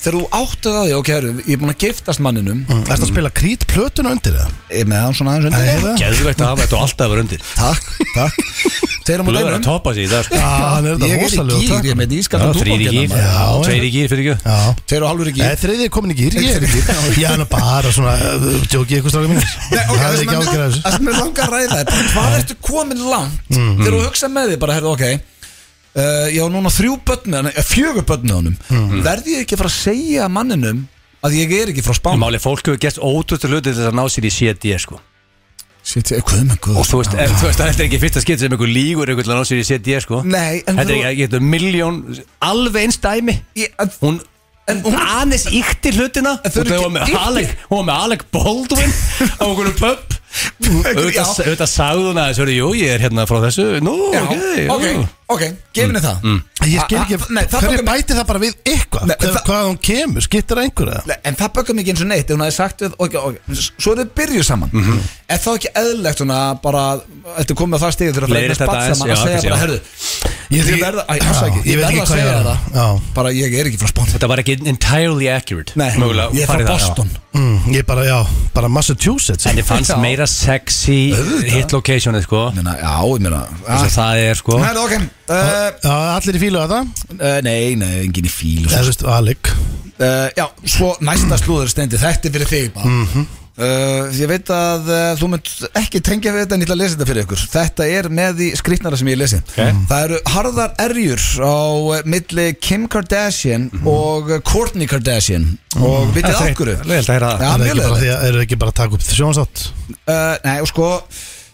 S1: Þegar þú áttuð að því, ok, heru, ég er búin að giftast manninum mm.
S3: Ertu að spila krít plötuna undir það?
S1: Með hann svona aðeins undir
S3: Eða?
S2: Geðvægt að hafa þetta og alltaf að vera undir
S1: Takk, takk Þeir eru
S2: Þú
S1: múið
S2: verður að
S1: einum
S2: topa sig í dag sko.
S3: Já, hann er
S1: Ég er
S3: þetta
S1: í
S3: rosalega
S1: gýr, ég meðin ískaldan
S2: Þrýri gýr,
S1: dúbókina
S3: já.
S2: tveiri gýr fyrir ekki
S3: Já
S1: Þeir eru halvur í
S3: Nei,
S1: gýr
S3: þriðið er komin í gýr, ég er í
S1: Þriðji
S3: gýr (laughs) Já, hann er bara svona, uh, djóki eitthvað stráka mínir
S1: Nei, ok,
S3: Það er
S1: það sem
S3: ekki
S1: er
S3: ágjörð
S1: lang-
S3: af þessu
S1: það sem er langa að ræða þetta Hvað ertu komin langt Þegar þú hugsa með þig bara, herrðu, ok uh, Ég á núna þrjú börn með hann eh, Fjögur börn með honum Verði ég ekki að fara að segja manninum Að ég er ekki frá Spán
S2: Máli, fólk hefur gert ótrústu hluti til þess að ná sér í CD sko.
S1: Sitt, eh, Guð með
S2: og
S1: guð
S2: þú veist, ef- þú veist, þetta er ekki fyrsta skipt sem einhver lígur einhver til að ná sér í CD sko.
S1: Nei, en
S2: þetta er
S1: þú-
S2: ekki, þetta er miljón alveg eins dæmi
S1: Ég- en-
S2: hún
S1: En hún-
S2: aðeins ykti hlutina
S1: En þau eru
S2: og það
S1: ekki
S2: var með
S1: ýktir.
S2: Alec, hún var með Alec Baldwin á einhverju pub
S1: Já.
S2: auðvitað auðvitað sagði hún aðeins hörðu, jú, ég er hérna frá þessu nú,
S1: Já,
S2: ok,
S1: ok,
S2: jú.
S1: ok, gefinni það
S3: Ég skil ekki,
S1: Ah, ah, nei, það
S3: hverju
S1: tókum-
S3: bæti það bara við eitthvað
S1: Nei, það-
S3: Hvað hún kemur, skiptir einhverja
S1: Nei, En það bökkum ekki eins og neitt ef hún hefði sagt við, ok, ok, svo er þið byrjuð saman Er það ekki eðlilegt svona bara Þetta er komið á það stigið þegar það er með
S2: Leiðir þetta
S1: spatt
S2: aðeins,
S1: saman
S2: já,
S1: að segja
S2: kannski,
S1: bara,
S2: já.
S1: herðu
S3: Ég
S1: Ég
S3: veit ekki-
S1: verða, æ, afsakið, ég
S3: Já, ég veit
S1: verða
S3: ekki
S1: að
S3: hvað
S1: segja
S3: ég er. Já.
S1: það Bara ég er ekki frá Spán
S2: þetta var ekki entirely accurate
S1: Nei,
S2: Mögulega
S1: ég er frá
S2: farið það, já.
S1: Boston
S3: Mm, Ég bara, já, bara Massachusetts
S2: en þið fannst
S1: Já.
S2: meira sexy hit locationið sko
S1: Ég meina, Já, ég meina
S2: þess að
S1: ah,
S2: það er sko
S1: Nei, ok uh,
S3: Já, allir í fílu að það
S1: uh, Nei, nei, engin í fíl
S3: Það veist, Alec
S1: uh, Já, svo næsta slúður stendi Þetta er fyrir þig bara
S2: Mhm.
S1: Uh, ég veit að uh, þú mynd ekki tengja við þetta en ég ætla að lesa þetta fyrir ykkur Þetta er með því skrýtnara sem ég lesi Það eru harðar erjur á uh, milli Kim Kardashian og uh, Kourtney Kardashian og vitið
S2: Mhm. Mm. Það er-
S1: okkur
S2: það er leiðilegt að heyra
S1: Já, mjög
S2: það.
S3: Er ekki bara
S1: leiðilegt.
S3: því að- eru ekki bara að taka upp sjónsátt
S1: Uh, nei, og sko,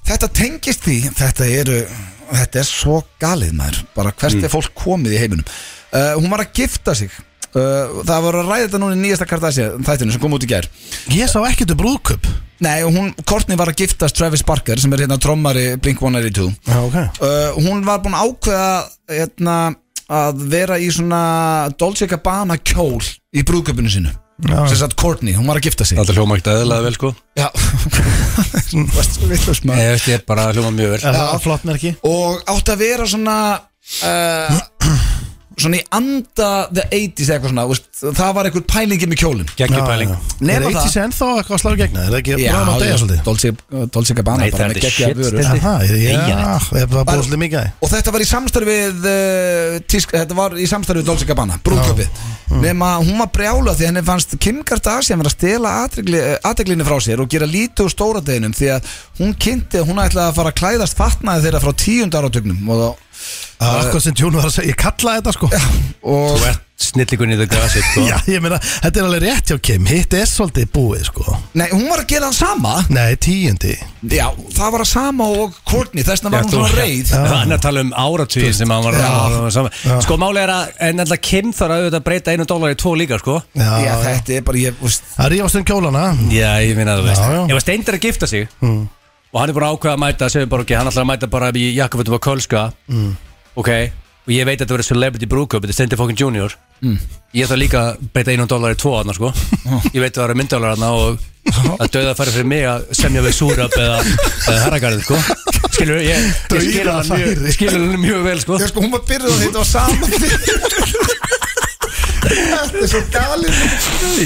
S1: þetta tengist því, þetta eru, þetta er svo galið maður, bara hvert er fólk komið í heiminum. Uh, hún var að gifta sig, uh, það var að ræða þetta núna í nýjasta Kardashian þættinu sem kom út í gær.
S3: Ég sá ekkert um brúðköp
S1: Nei, og hún, Courtney var að giftast Travis Barker sem er hérna trommari Blink-182
S3: Já, ok
S1: uh, Hún var búin að ákveða hérna, að vera í svona Dolce Gabbana kjól í brúðköpunni sinu
S3: Já.
S1: sem sagt Courtey, hún var að gifta sig
S2: Þetta hljóma ekkert eðlaði vel sko
S1: Já, (laughs) þú varst svo villus
S2: Nei,
S1: maður
S2: Ég veist ég bara hljóma mjög vel
S3: Það er flott merki
S1: Og átti að vera svona uh, Svona í anda The 80s eða eitthvað svona þú veist, Það var einhver pælingi með kjólin
S2: Gengjur pæling
S1: Nema það.
S3: Er eitthvað sem ennþá eitthvað að slá í gegna? Er það ekki
S1: Já,
S3: bráðum að
S1: já,
S3: deyja svolítið?
S1: Dolce, uh, Dolce Gabbana
S2: Nei, það er þetta shit,
S1: vörur
S2: þetta
S3: Aha, ég- já,
S2: Deyja
S3: ég er bara búið svolítið mikið að því.
S1: Og þetta var í samstarfið uh, tísk, Þetta var í samstarfið Dolce Gabbana Brúðköpið
S2: Mm.
S1: Nefna hún var brjála því henni fannst Kim Kardashian vera að stela aðteglinni frá sér og gera lítið úr stóra deginum því að hún kynnti að hún ætlaði að fara að klæðast fatnaði þeirra frá tíund áratögnum og,
S3: Það er Akkur Ah, sem Tjón var að segja, ég kallaði þetta sko
S1: og
S2: Þú ert snillingunni í the grassi sko
S3: (laughs) Já, ég meina, þetta er alveg rétt hjá Kim Hitt er svolítið búið sko
S1: Nei, hún var að gera það sama
S3: Nei, tíundi
S1: Já, það var að sama og Courtney þess vegna
S2: Já,
S1: var hún
S2: þú-
S1: svona reið
S2: Já. Hann er að tala um áratvíð sem hann var að saman Sko máli er að en alltaf Kim þarf að auðvitað að breyta einu dólar í tvo líka sko
S3: Já,
S1: Já,
S3: já.
S1: þetta er bara, ég, veist
S3: Það rífast um kjólana
S2: Já, ég minna það veist
S3: Já, Mm. já.
S2: Ég var steindir að gifta sig og hann er búin að ákveða að mæta að Sjöfuborgi, hann ætlar að mæta bara í jakkafötum á Kölska
S3: Mm.
S2: ok, og ég veit að þetta verður celebrity brúkup, þetta er Stendur Fokkin Junior ég þarf líka að breyta einum dólar í tvo hann sko, ég veit að það eru mynddólar hann og að döða að fara fyrir mig að semja við Súrab eða, eða Herragarðin sko, skilur ég, ég skilur hann mjög, skilur hann mjög vel sko
S1: Já, sko, hún var byrjuð að þetta var sama Þetta er svo galið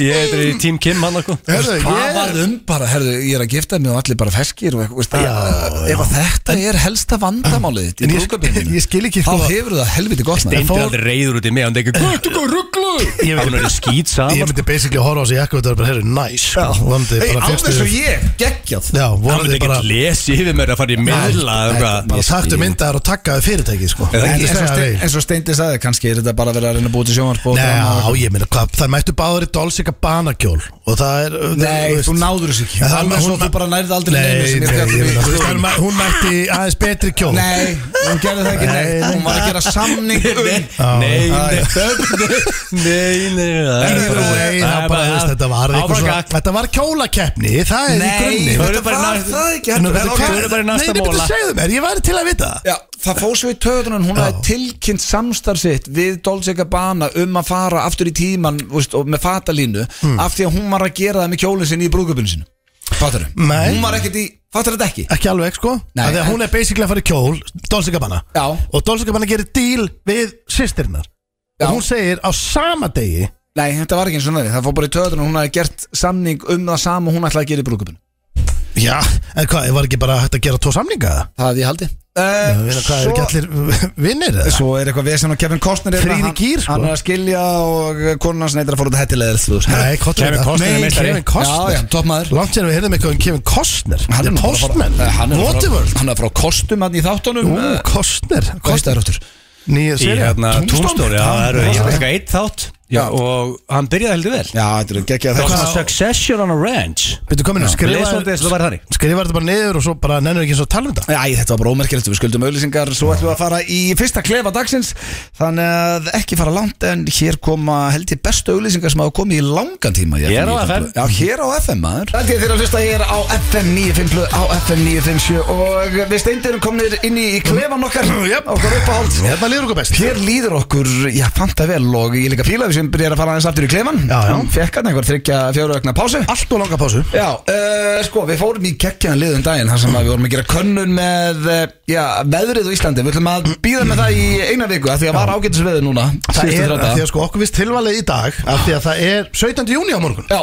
S2: ég er í Team Kim hann sko
S3: Herðu,
S1: Hvað
S3: ég-
S1: var um bara, herðu, ég er að gifta mig og allir bara feskir og eitthvað, veist það Ef að þetta er helsta vandamálið þitt í
S3: En ég-
S1: brúðköpunum
S3: (laughs) ég skil ekki
S1: Þá
S3: þú-
S1: hefur það helviti gott maður.
S2: Steindir aldrei reyður út í mig, hann tekur Hvað ertu hvað rugglu? Hann er skýt
S3: sko Ég
S2: saman
S3: myndi basically horfa á þessi jakku Þetta er bara, herru, næs sko. Vonandi
S1: Hey,
S3: bara
S1: alveg
S3: fékkstu-
S1: svo ég, geggjað
S3: Já,
S2: Hann myndi
S3: vonandi bara
S2: ekkert lesi yfir mér að fara í miðla eða eitthvað.
S3: Bara taktu myndaðar og takkaðu fyrirtæki sko
S2: Eða
S1: En
S2: ekki.
S1: eins og
S3: Þetta
S1: Stein-
S3: er-
S1: eins og Steindi sagði, kannski er þetta bara að vera að reyna að búa til sjónvarp og
S3: Nei,
S1: drama
S3: já,
S1: og-
S3: ég meina, hvað, það mættu báður í Dolce Gabbana kjól Og það er
S1: Nei, þú náður þessu ekki
S3: En það-
S1: Alveg svo
S3: hún-
S1: þú bara nærði aldrei neinu
S3: Nei,
S1: sem ég
S3: nei,
S1: fjallar
S3: ég meina,
S1: við.
S3: þú veist, hann mæ- hún mætti aðeins betri kjól
S1: sko. Nei, hún gerði það ekki
S3: Nei,
S1: Nei, hún var að gera samning um
S2: Nei,
S1: Já, já.
S2: nei, nei, nei það er
S3: Nei,
S2: bara- það
S3: nei,
S2: er
S3: það bara, þú veist, þetta var
S2: Áfram
S3: eitthvað svona
S2: gakk.
S3: Þetta var kjólakeppni, það er í
S1: Nei,
S3: grunni
S2: Förum
S1: þetta
S2: bara í
S1: var
S2: næstu-
S1: það ekki
S3: Nú,
S1: heldur.
S3: veitu
S1: En ok.
S3: hvað-
S2: förum bara í næsta
S3: Nei, nei,
S2: móla.
S3: betur segðu mér, ég væri til að vita það.
S1: Já, það fór svo í töðunum, hún hafði tilkynnt samstarf sitt við Dolce Gabbana um að fara aftur í tíman veist, og með fatalínu af því að hún var að gera það með kjólinn sinni í brúðgöpunum sinu Fattar þú?
S3: Nei.
S1: Hún var ekkert í, fattar þetta ekki?
S3: Ekki alveg, sko
S1: Nei,
S3: Af því að
S1: en-
S3: hún er basically að fara í kjól, Dolce Gabbana
S1: Já.
S3: Og Dolce Gabbana gerir díl við sýstirinnar
S1: Já.
S3: Og hún segir á sama degi
S1: Nei, þetta var ekki eins og næri, það fór bara í töðunum, hún hafði gert samning um það sama og hún ætlaði að gera í brúðgöpunum
S3: Já, en hvað, var ekki bara hægt að gera tvo samninga?
S1: Það hafði ég haldið
S3: Já, ég meina, Hvað, er ekki allir vinnir eða?
S1: Eh, Svo er eitthvað vesen og Kevin Costner er
S3: Þrír í
S1: hann-
S3: gýr, sko.
S1: Hann er að skilja og konan hans neytir að fór út að hættilega
S3: Nei, Kotler,
S2: Kevin Costner er meistari.
S1: Já,
S3: Kevin
S1: já,
S3: Costner
S1: toppmaður
S3: Langt sér að við heyrðum eitthvað um Kevin Costner
S1: Hann er
S3: The
S1: nú bara að fara-
S3: Postman,
S1: Eh, hann er nú bara- Eh,
S3: Waterworld
S1: Hann er frá kostum hann í þáttunum
S3: Ú, Costner
S1: Kostar áttur
S3: Nýja
S2: Í
S3: séri
S2: hérna Tombstone, já, það eru- ég var eitthvað eitt þátt
S1: Já.
S2: og hann byrjaði heldur vel
S1: Já, þetta er geggja
S2: Það var svona
S1: þetta
S2: Succession on a Ranch
S3: Býttu komin að
S2: Leið svolítið eins og það væri þannig.
S3: Skrifa þetta bara niður og svo bara nennur ekki eins og tala um þetta
S1: Æ, þetta var bara ómerkilegt, við skuldum auðlýsingar Svo ætlum við að fara í fyrsta klefa dagsins Þannig að ekki fara langt En hér koma held ég bestu auðlýsingar sem hafa komið í langan tíma í
S2: Hér á
S1: 95.
S2: FM.
S1: Já, hér á FM maður Þetta er þeirra að hlusta hér á FM 957 Á FM 957 Og við steindirum komnir inn í klefan okkar
S3: Jöp.
S1: Okkar uppáhalds
S3: Hérna líður okkur best
S1: Hér líður okkur, já, fanta vel og ég líka fíla við sem byrjar að fara aðeins aftur í klefan
S3: Já, já.
S1: Fekk hann einhver þryggja fjóru vegna pásu
S3: Allt og langa pásu
S1: Já, uh, sko, við fórum í geggjaðan liðum daginn þar sem að við vorum að gera könnun með uh, já, veðrið á Íslandi Við ætlum að býða með það í eina viku af því að var ágætis veður núna
S3: Það
S1: síðustu
S3: er
S1: þrjá
S3: að því
S1: daga.
S3: að sko okkur vist tilvalið í dag að því að það er 17. júni á morgun
S1: Já,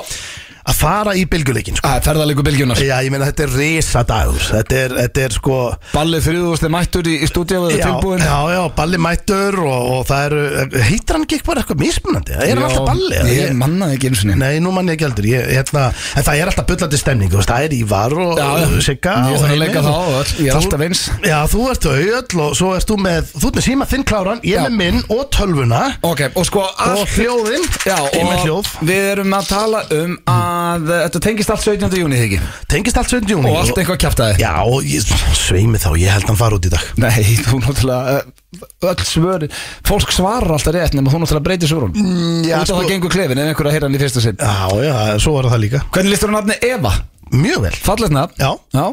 S1: Ah,
S3: að fara í bylguleikin sko.
S1: það er ferðalegu bylgjunar
S3: Já, ég meina þetta er risa dagur þetta er, þetta er sko
S1: Ballið þriðústi mættur í, í stúdíu og
S3: já,
S1: tilbúin
S3: já, já, balli mættur og, og það eru, heitir hann ekki eitthvað eitthvað mismunandi, það er hann alltaf balli eða?
S1: Ég mannaði ekki eins og
S3: Nei, nú mann ég ekki heldur ég, hérna, En það er alltaf bullandi stemning þú veist, Það er Ívar og
S1: Já, já.
S3: og Sigga
S1: Ég þarf
S3: og
S1: að
S3: Heimir
S1: leika
S3: og-
S1: þá og öll, ég er
S3: Þú-
S1: alltaf eins.
S3: Já, þú ert auðvöld og svo ert þú með Þú ert með síma þinn kláran, ég
S1: Já.
S3: með minn og tölvuna
S1: Ok, og sko
S3: Og
S1: allt
S3: hljóðin
S1: Já,
S3: Ég með
S1: og
S3: hljóð
S1: við erum að tala um að eh, þetta tengist allt 17. júni þig ekki
S3: Tengist allt 7. júni
S1: og allt eitthvað kjæftaði
S3: Já, og ég, sveimi þá, ég held hann fara út í dag
S1: Nei, (laughs) þú náttúrulega eh, öll svörin, fólk svarar alltaf rétt nema þú náttúrulega breytir svörun mm,
S3: já,
S1: út af
S3: sko-
S1: það gengur klefin ef einhver að heyra hann í fyrsta sinn
S3: Já, já, svo var það líka
S1: Hvernig listur hún nafni Eva?
S3: mjög vel
S1: Fallegt nafn
S3: Já,
S1: Já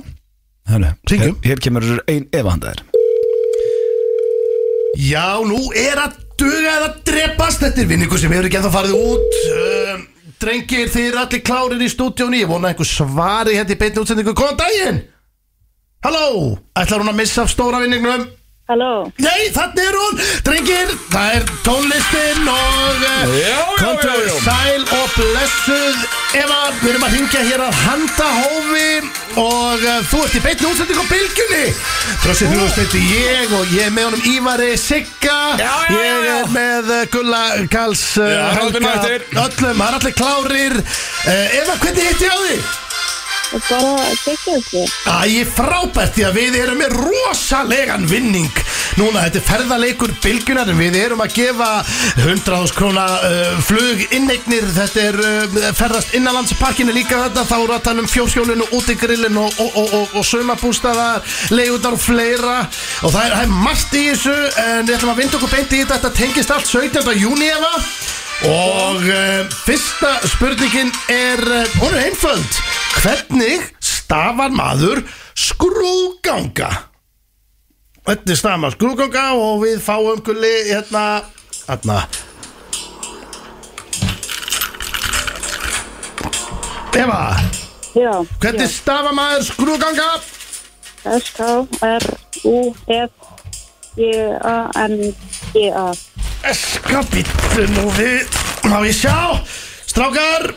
S1: Hörru,
S3: Hringjum.
S1: Hér, hér kemur ein ef handa þér
S3: já, nú er að duga eða drepast Þetta er vinningu sem hefur ekki ennþá farið út um, Drengir, þið eru allir klárir í stúdíónu Ég vona að einhver svari hérna í beinni útsendingu Góðan daginn Halló, ætlar hún að missa af stóra vinningnum?
S4: Halló,
S3: Nei, þannig er hún Drengir, það er tónlistin og
S1: Já, já,
S3: Kontra
S1: já, já.
S3: sæl og blessuð Eva, við erum að hringja hér að handa hófi Og uh, þú ert í beinni útsendingu á bylgjunni Trósið þú veist þetta ég og ég er með honum Ívari Sigga
S1: Já, já, já,
S3: Ég
S1: já.
S3: er með uh, Gulla Kals uh,
S1: Já, höldum
S3: Helga,
S1: eftir.
S3: Öllum, það er allir klárir uh, Eva, hvernig hitti ég á því?
S4: og bara tekja þessu.
S3: Æ, frábært því að við erum með rosalegan vinning Núna, þetta er ferðaleikur bylgjunar en Við erum að gefa 100.000 króna uh, flug innegnir Þetta er uh, ferðast innanlandsparkinu líka þetta Þá eru að tala um fjóskjólinu, útigrillin og, og, og, og, og sömabústaðar Leigundar og fleira Og það er, það er margt í þessu En við ætlum að vinda okkur beint í þetta Þetta tengist allt 17. júni efa Og uh, fyrsta spurningin er, uh, hún er einföld Hvernig stafar maður skrúganga? Hvernig stafar maður skrúganga og við fáum gulli hérna Hérna Eva,
S4: Já.
S3: hvernig stafar maður skrúganga?
S4: S-K-R-U-F-G-A-N-G-A.
S3: Skapittu nú við, má ég sjá Strákar,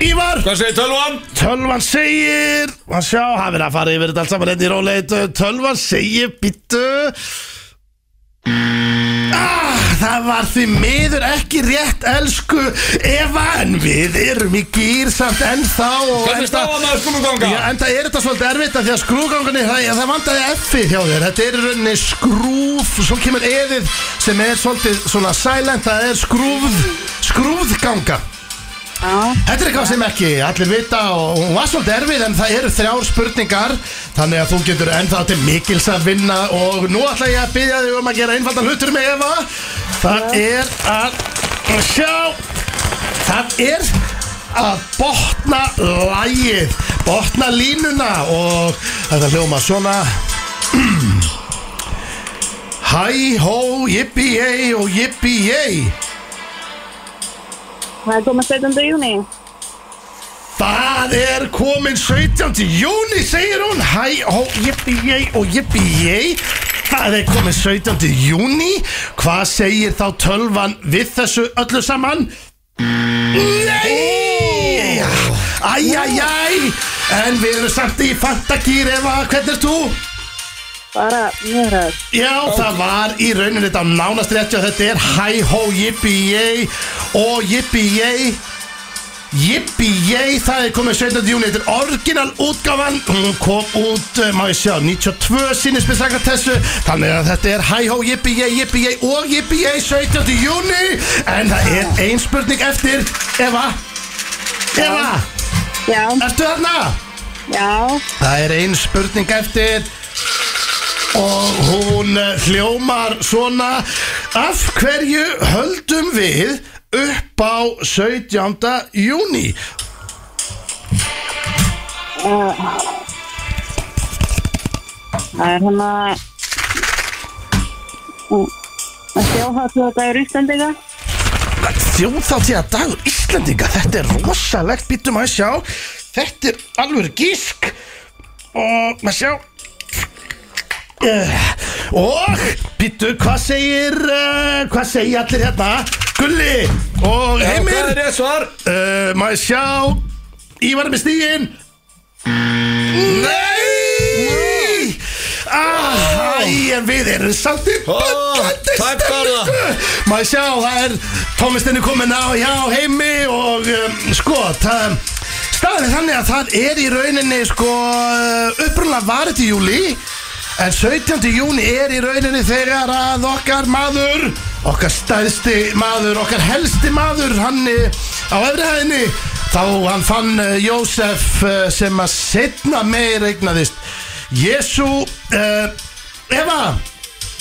S3: Ívar
S1: Hvað segir tölvan?
S3: Tölvan segir Að sjá, hann verður að fara yfir þetta allt saman enn í róleit Tölvan segir, býttu ah, Það var því miður ekki rétt Elsku Eva En við erum í gýr samt ennþá og
S1: Hvernig
S3: enda-
S1: stafa maður skrúðganga?
S3: Já, en það er þetta svolítið erfitt af því að skrúgangunni, það, það vandaði F-ið hjá þér, þetta er í rauninni skrúf, svo kemur eðið sem er svolítið svona silent, það er skrúð, skrúðganga.
S4: Já,
S3: Þetta er eitthvað sem ekki allir vita og hún var svolítið erfið en það eru þrjár spurningar þannig að þú getur ennþá til mikils að vinna og nú ætla ég að byggja þig um að gera einfaldan hlutur með Eva Það er að sjá Það er að botna lægið botna línuna og þetta hljóma svona (clears throat) Hæ, hó, jippi, ei og jippi, ei
S4: það er komið 17. júni.
S3: Það er komin 17. júni, segir hún Hæ, ó, jippi, ég og jippi, ég Það er komin 17. júni Hvað segir þá tölvan við þessu öllu saman? Nei! Æjæjæj! En við erum samt í fantagýr, Eva, hvernig er þú?
S4: Bara mjög ræð.
S3: Já, það var í rauninu þetta á nánast rétti og þetta er hæ hó jippi ég og jippi ég Jippi ég, það er komið 17. júni, þetta er orginal útgáfan Hún kom út, eh, má ég sjá, 92 sinni spilsakar þessu Þannig að þetta er hæ hó jippi ég, jippi ég og jippi ég 17. júni En það er ein spurning eftir, Eva Eva,
S4: Já,
S3: ertu þarna?
S4: já,
S3: Það er ein spurning eftir og hún eh, hljómar svona Af hverju höldum við upp á 17. júni?
S4: það er hérna, hann að... Það sjóháttu að það er Íslandega.
S3: Þjóðhátíða dagur Íslendinga Þetta er rosalegt, býtum að sjá Þetta er alveg gísk Og maður sjá Eh, Og býtu, hvað segir uh, Hvað segir allir hérna Gulli og Heimir
S1: Hvað er rétt svar?
S3: Uh, Má ég sjá Ívar er með stígin Nei ah, Æ, en við erum samt í
S1: Ó,
S3: böndandi
S1: tæpt var það.
S3: stemningu Má ég sjá, það er tónlistinni komin á Já, heimi og um, sko það, Staðan er þannig að það er í rauninni sko upprunlega var þetta í júli En 17. júni er í rauninni þegar að okkar maður Okkar stæðsti maður, okkar helsti maður Hann eh, á öðrihæðinni Þá hann fann uh, Jósef uh, sem að setna meir eignaðist Jésu uh, Eva,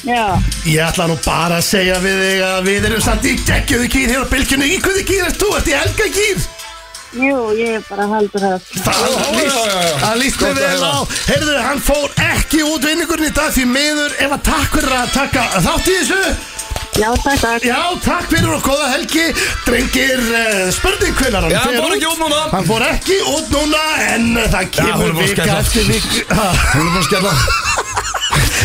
S4: Já,
S3: ég ætla nú bara að segja við þig að við erum samt í geggjöðu kýr hér á bylgjunni Í hvernig kýr ert þú? Ert í helga kýr?
S4: Jú, ég er bara heldur það
S1: Já, já, já, já.
S3: Það líst
S1: Gott
S3: mér
S1: að
S3: vel
S1: heyra.
S3: á Heyrðu, hann fór ekki út vinningurinn í dag Því miður, ef að takk fyrir að taka þátt í þessu
S4: Já, takk, takk
S3: Já, takk fyrir og góða helgi Drengir, uh, spurning hvenar hann
S1: Já, hann
S3: fer
S1: fór ekki út núna.
S3: Hann fór ekki út núna En það
S1: hún er
S3: kemur
S1: búin að
S3: vika
S1: skella.
S3: eftir
S1: (laughs)
S3: vika Ha,
S1: Hún er búin að skella
S3: (laughs)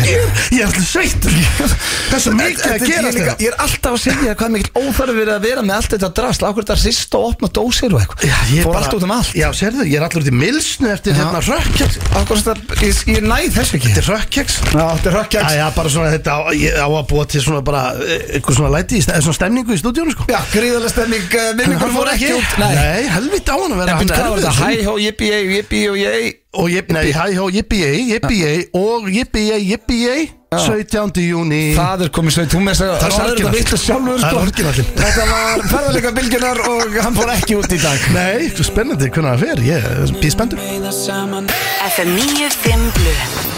S3: Ég ég er alltaf
S1: (laughs)
S3: sveittur Það er svo mikið að
S1: Þetta- ég,
S3: gera
S1: er líka,
S3: þetta
S1: ég er alltaf að segja hvað mikil óþarfi verið að vera með allt þetta drasl Ákveður þetta sýst og opna dósir og eitthvað
S3: Já, ég er
S1: Fór
S3: bara-
S1: allt út um allt
S3: Já, sérðu, ég er allur út í milsnu eftir hérna rökkjaks
S1: Ákveður þetta, ég, ég næ þessu ekki
S3: Þetta er rökkjaks
S1: Já, þetta er rökkja
S3: Já, já, bara svona þetta á, ég á að búa til svona bara eh, Eitthvað svona læti, í sta- svona stemningu í stúdíónu sko
S1: Já, gríðarlega stemming uh,
S3: En
S1: Minningur fór ekki út
S3: Nei, Nei helviti á hann að vera
S1: En
S3: hann
S1: býtt hvað var
S3: erfiður
S1: þetta?
S3: sinn.
S1: Hæ, hó, jippi, jæ, jippi, og jæ
S3: Og jip, nei, hæ, hó, jippi, jæ, jippi, jæ Og jippi, jæ, jippi, jæ 17. júni
S1: Það er komið sveit, hún með þess að
S3: Það er
S1: Ráður þetta
S3: orginallinn.
S1: vitlaust sjálfur
S3: Það er
S1: sko.
S3: orginallinn.
S1: Þetta var ferðarleika bylgjunar og hann fór ekki út í dag
S3: Nei, svo spennandi hvernig það fer Ég er býð spenntur
S5: FM 95 Blu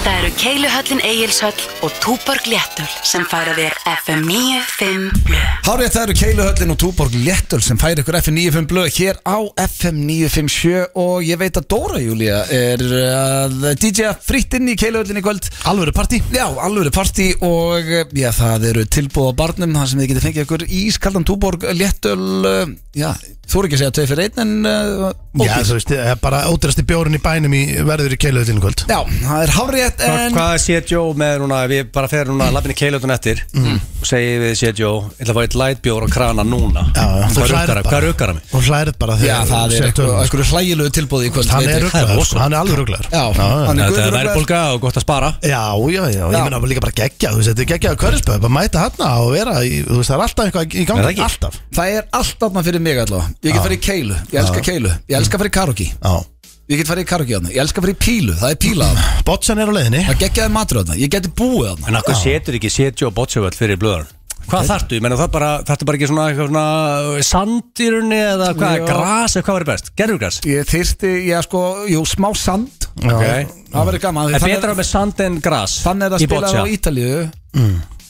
S5: Það eru Keiluhöllin Egilshöll og Túborg Léttul sem færa þér FM 95 Blu
S1: Hárið það eru Keiluhöllin og Túborg Léttöl sem færi ykkur FM 95 blöð hér á FM 957 og ég veit að Dóra Júlia er uh, að DJ fritt inn í Keiluhöllin í kvöld
S3: Alvöru partí
S1: Já, alvöru partí og eh, já, það eru tilbúð á barnum þar sem þið getið fengið ykkur ískaldan túborg léttöl, eh, já, þú eru ekki að segja tvei fyrir einn en uh,
S3: Já, þú veist, það er bara ódýrasti bjórun í bænum í verður í keiluðutinu kvöld
S1: já, það er hárið
S2: En...
S1: en
S2: Hvað sé Joe með núna, við bara fer núna lappinni keilutun eftir
S3: Mm.
S2: og segi við sé Joe, ég ætla að fá eitt lightbjór og krana núna
S3: Já, já. Þú
S2: Hvað
S3: hlærir
S2: ruggar-
S3: bara.
S2: hvað ruggar hann mig?
S3: Og hlærið bara
S1: Já,
S3: þegar
S1: það er
S3: þú sért
S1: eitthvað,
S3: töluna, sko.
S1: eitthvað hlægilegu tilbúð í kvöld
S3: Hann
S1: veit ég.
S3: er
S2: Það er
S3: rugglaður, sko.
S2: rosalegt.
S3: hann er alveg rugglaður
S1: Já, hann er
S2: Þetta
S1: guður
S2: er verðbólga og gott að spara
S3: Já, já, já, ég
S1: Já.
S3: meina bara líka bara geggja þú veist, þetta er geggja að körðspöðu, bara mæta hana og vera, í, þú veist, það er alltaf eitthvað í
S2: Er
S3: gangi
S2: það ekki?
S3: Alltaf
S1: Það er allt átna fyrir mig allavega Ég get farið í keilu, ég elska keilu Ég elska farið í karaoke,
S3: Já,
S1: ég get farið í karaoke átna Ég elska farið í pílu, það er píla átna
S3: botsan er á leiðinni
S1: Það geggjaði matur átna, ég geti búið átna
S2: En okkur setur ekki sé Joe Botchevöld fyrir blöðar Hvað þartu? Ég meina það bara, þartu bara ekki svona, eh, eitthvað svona sandirunni eða hvað,
S1: Já.
S2: gras eða hvað var best? Gerðurgras?
S1: Ég þyrsti, ég sko, jú, smá sand
S2: Okay.
S1: Það verður gaman
S2: Það er
S1: þannig-
S2: betra með sand en gras
S1: Þannig er það
S2: í
S1: spilað
S2: boccia.
S1: á Ítalíu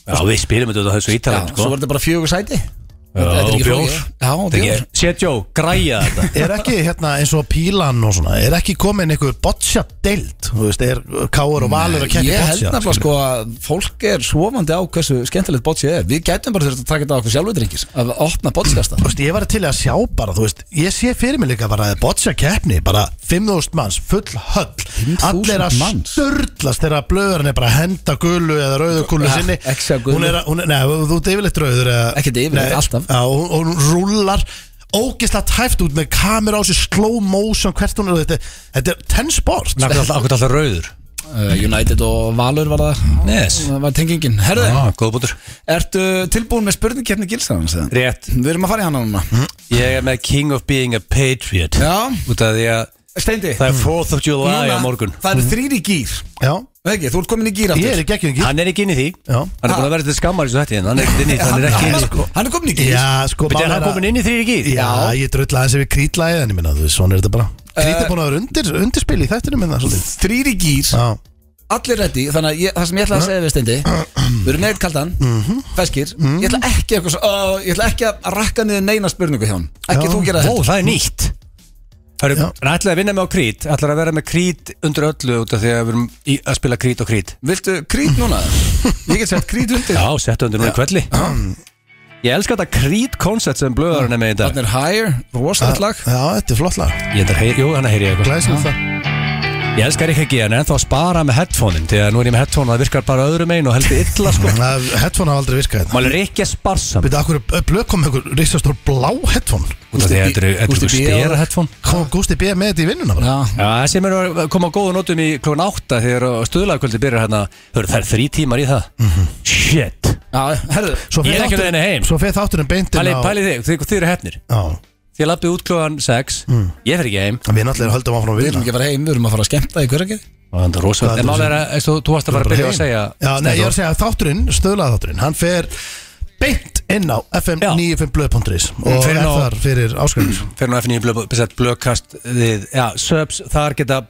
S2: Já, við spilum þetta þessu
S1: Já,
S2: ítalið
S1: svo var þetta bara fjögur sæti Þetta er
S2: sko. Já,
S1: ekki
S2: bjór
S1: flókið. Já, og bjór
S2: Sétjó, græja þetta
S1: (laughs)
S3: Er ekki, hérna, eins og pílan og svona Er ekki komin einhver botsa deild Þú veist, er káur og valur að keppa í
S1: Ég held
S3: botsa
S1: nefnilega sko að fólk er svofandi á hversu skemmtilegt bótsið er Við gætum bara þurft að taka þetta á okkur sjálfutringis að opna bótskasta
S3: Þú veist, ég var til í að sjá bara, þú veist, ég sé fyrir mig líka bara að botja keppni, bara 5.000 manns, full höll,
S1: 5.000
S3: allir að
S1: manns?
S3: störtlast þegar blöðurinn er bara að henda gullu eða rauðu gullu
S1: Ja,
S3: sinni.
S1: ekki segja gulu.
S3: Hún er að, hún er, nei, þú ert yfirleitt rauður eða...
S1: Ekkert yfirleitt,
S3: Nei,
S1: alltaf.
S3: Já, og, og hún rúlar ógeðslega tæft út með kamera á sér, slow motion, hvert hún er, þetta, þetta er ten sport.
S2: Akkur alltaf rauður
S1: Uh, United og Valur var það
S2: Yes.
S1: Það var tengingin Herðu,
S2: ah, Góð bútur
S1: ertu tilbúin með spurningkeppni gilsarans eða?
S2: Rétt
S1: Við erum að fara í hana núna
S2: Ég er með King of Being a Patriot
S1: Já.
S2: Út af því að
S1: Steindi
S2: það er 4th of July
S1: núna,
S2: á morgun
S1: Það eru þrýri gýr
S3: Já,
S1: Ekki, þú ert komin í gýr
S3: ég
S1: aftur
S3: er ekki ekki.
S2: Hann er ekki inn í því
S3: Já.
S2: Hann er búin að vera til skammar í svo hætti Hann er ekki inn í því Hann er ekki inn í því
S1: Hann er komin í gýr
S3: Já, sko,
S2: Bíddu, Er
S3: mál
S2: hann
S3: að-
S2: komin inn í því ekki?
S3: Já, ég drölla aðeins yfir krítlæði en ég minna, þú veist, svona er þetta bara Krít
S1: Eh,
S3: er búin að vera undir, undirspil í þættinu minna svolítið
S1: Þrýri gýr
S3: Já,
S1: allir reddi þannig að ég, það sem ég ætla að segja við steindi við erum neitt kaldan, feskir ég ætla ekki, eitthvað, svo- ó, ég ætla ekki að rakka niður neina spurningu hjá hann ekki
S3: Já.
S1: þú gera
S2: Ó,
S1: þetta
S2: það er nýtt Það eru,
S3: Já.
S2: hann ætlaði að vinna með á krít ætlaði að vera með krít undir öllu út af því að við erum í, að spila krít og krít
S1: viltu krít núna? ég get sett krít undir
S2: Já, settu undir núna í kvelli Ég elska þetta krít koncept sem blöðarinn er með í dag
S1: þannig er higher, rosalegt lag
S3: já, þetta er flott lag
S2: Ég ætla að heyri, jú, hann heyri ég eitthvað
S3: Glæsum það
S2: Ég elskar ekki ekki, en ennþá að spara með headphone-in Þegar nú er ég með headphone og það virkar bara öðrum einn og heldur illa
S3: (laughs)
S2: sko
S3: Það- Headphone hafa aldrei virkað þetta
S2: Mál er ekki að sparsam
S3: Býta, akkur blöð kom einhver risastór blá headphone
S2: Út af því að þetta eru- þetta
S1: Gústi
S2: eru
S1: B-
S2: stera headphone
S3: Kom Gústi B með þetta í vinnuna bara
S1: já,
S2: Já, þessi mér er að koma á góða nótum í klokkan átta Þegar stöðlagkvöldi byrjar hérna Hörru, það er þrý tímar í það Shit
S1: já, herðu
S3: Mhm. Svo
S2: Ég
S3: fer
S2: er ekki á
S3: þátturinn-
S2: leiðinni heim.
S3: Svo feð þátturinn beint inn
S2: Pæli,
S3: á
S2: pæli þig, þið, þið eru hefnir
S3: Já,
S2: Þið lappið út klokkan 6
S3: Mm.
S2: Ég fer ekki heim
S3: en við náttúrulega höldum áfram að
S1: við erum
S3: vinna
S1: ekki að fara heim, við erum að fara að skemmta í hverja
S2: Og það er
S3: Hvað
S2: rosalegt En
S3: heldur
S2: mál
S3: þú
S2: er að, veist þú, þú varst að fara að byrja að segja
S3: Já, nei, ég er að
S2: Steindór.
S3: segja að þátturinn, stöðlað þátturinn Hann fer beint inn á
S2: Já.
S3: fm95blöð.is
S2: Mm,
S3: Og
S2: fer
S3: er
S2: inn á-
S3: þar fyrir áskrifnir
S2: fyrir nú FNÍ blöð- besett blökkast við, já, subs, þar geta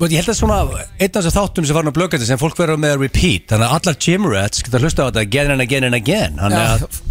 S2: Þú veit, Ég held að svona, einn af þessu þáttum sem var nú blökkast sem fólk verður með að repeat, þannig að allar gym rats geta hlusta á þetta again and again and again þannig að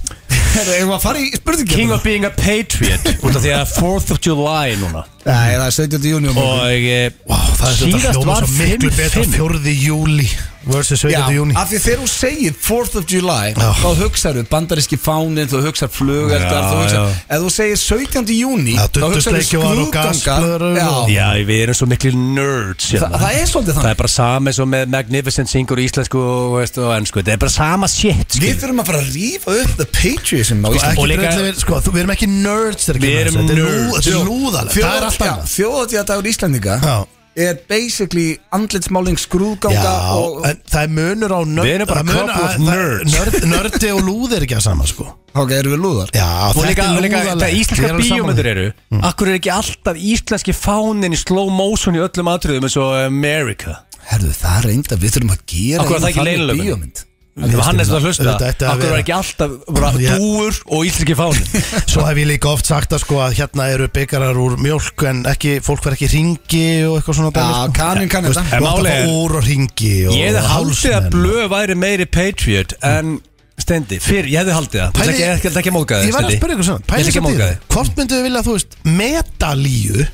S1: Herru, erum við að fara í spurningi?
S2: King of being a
S3: (laughs)
S2: patriot Út af því að 4th of July núna
S1: Nei, það er 17. júni
S2: Og eh,
S3: Það er þetta
S2: síðast
S3: hljóma
S2: var
S3: svo miklu betra
S2: 5-5
S3: 4. júli versus
S1: Já,
S3: 17. júni
S1: af því þegar þú segir 4th of July
S3: Já.
S1: þá hugsaðu bandaríski fánin þú hugsaðu flugeldar
S2: Já,
S1: þú hugsaðu,
S2: já.
S1: ef þú segir 17. júni
S3: Já,
S1: þá hugsaðu
S3: duttustreykjóar og gasblöðrur og-
S1: Já,
S2: Já, við erum svo miklu nerds
S1: Þa,
S2: hérna.
S1: það er svolítið
S2: Það
S1: þannig
S2: er bara sama eins og með Magnificent Singer í íslensku og, veist, og ennsku Það er bara sama shit sko.
S1: Við
S2: skilur.
S1: þurfum að fara að rífa upp the patriotism á
S3: Sko, Ekki
S1: Íslandi
S2: og líka-
S3: breytla við, sko, þú- við erum ekki nerds þegar
S2: Við
S3: kemur
S2: erum
S3: að þessu.
S2: nerds.
S3: Þetta er lú- Þetta er lúðalega, það er allt annað
S1: Þjóðatíðadagur Íslandinga
S3: Já.
S1: er basically andlitsmáling skrúðganga
S3: Já,
S1: og
S3: en það er munur á nörd
S2: Við erum bara
S3: það munur-
S2: couple of
S3: að- það-
S2: nerds.
S3: nörd- Nördi og lúð er ekki að sama sko
S1: ok, erum við lúðar
S3: Já,
S2: Og líka,
S3: þetta er
S2: og líka
S3: lúðalegt.
S2: það
S3: Ég er
S2: íslenska
S3: alveg sammála Mm.
S2: bíómyndur
S3: því.
S2: eru Akkur er ekki alltaf íslenski fánin í slow motion í öllum atriðum eins og America
S1: Herðu, það er reynda, við þurfum að gera
S2: Akkur er það ekki
S1: eina þannig
S2: leynilegur?
S1: bíómynd
S2: Það var hann eftir að hlusta
S3: Auðvitað ætti að
S2: Akkur
S3: vera.
S2: er ekki alltaf bara
S3: Já.
S2: dúur og íslenski
S3: (laughs)
S2: fánin
S3: Svo hef ég líka oft sagt að sko að hérna eru byggarar úr mjólk en ekki, fólk verð ekki í ringi og eitthvað svona dæmi,
S1: Já,
S3: sko.
S1: kaninn kann
S3: Þú veist,
S1: þetta.
S2: En
S3: Þú átt að
S2: málið er-
S3: fá úr og ringi og
S2: Ég hefði haldið að
S3: hálsmenn.
S2: blöð væri meiri patriot en Stendi, fyrr, ég hefði haldið það Það
S3: Pæli-
S2: er ekki- ég ætla ekki að móka
S3: Ég
S2: þig,
S3: var að
S2: Stendi
S3: spyrja ykkur svona,
S2: Ég ætla
S3: pæli
S2: ekki að
S3: samt í
S2: móka
S3: þið
S2: þig
S3: Hvort mynduðu vilja, þú veist, metalíu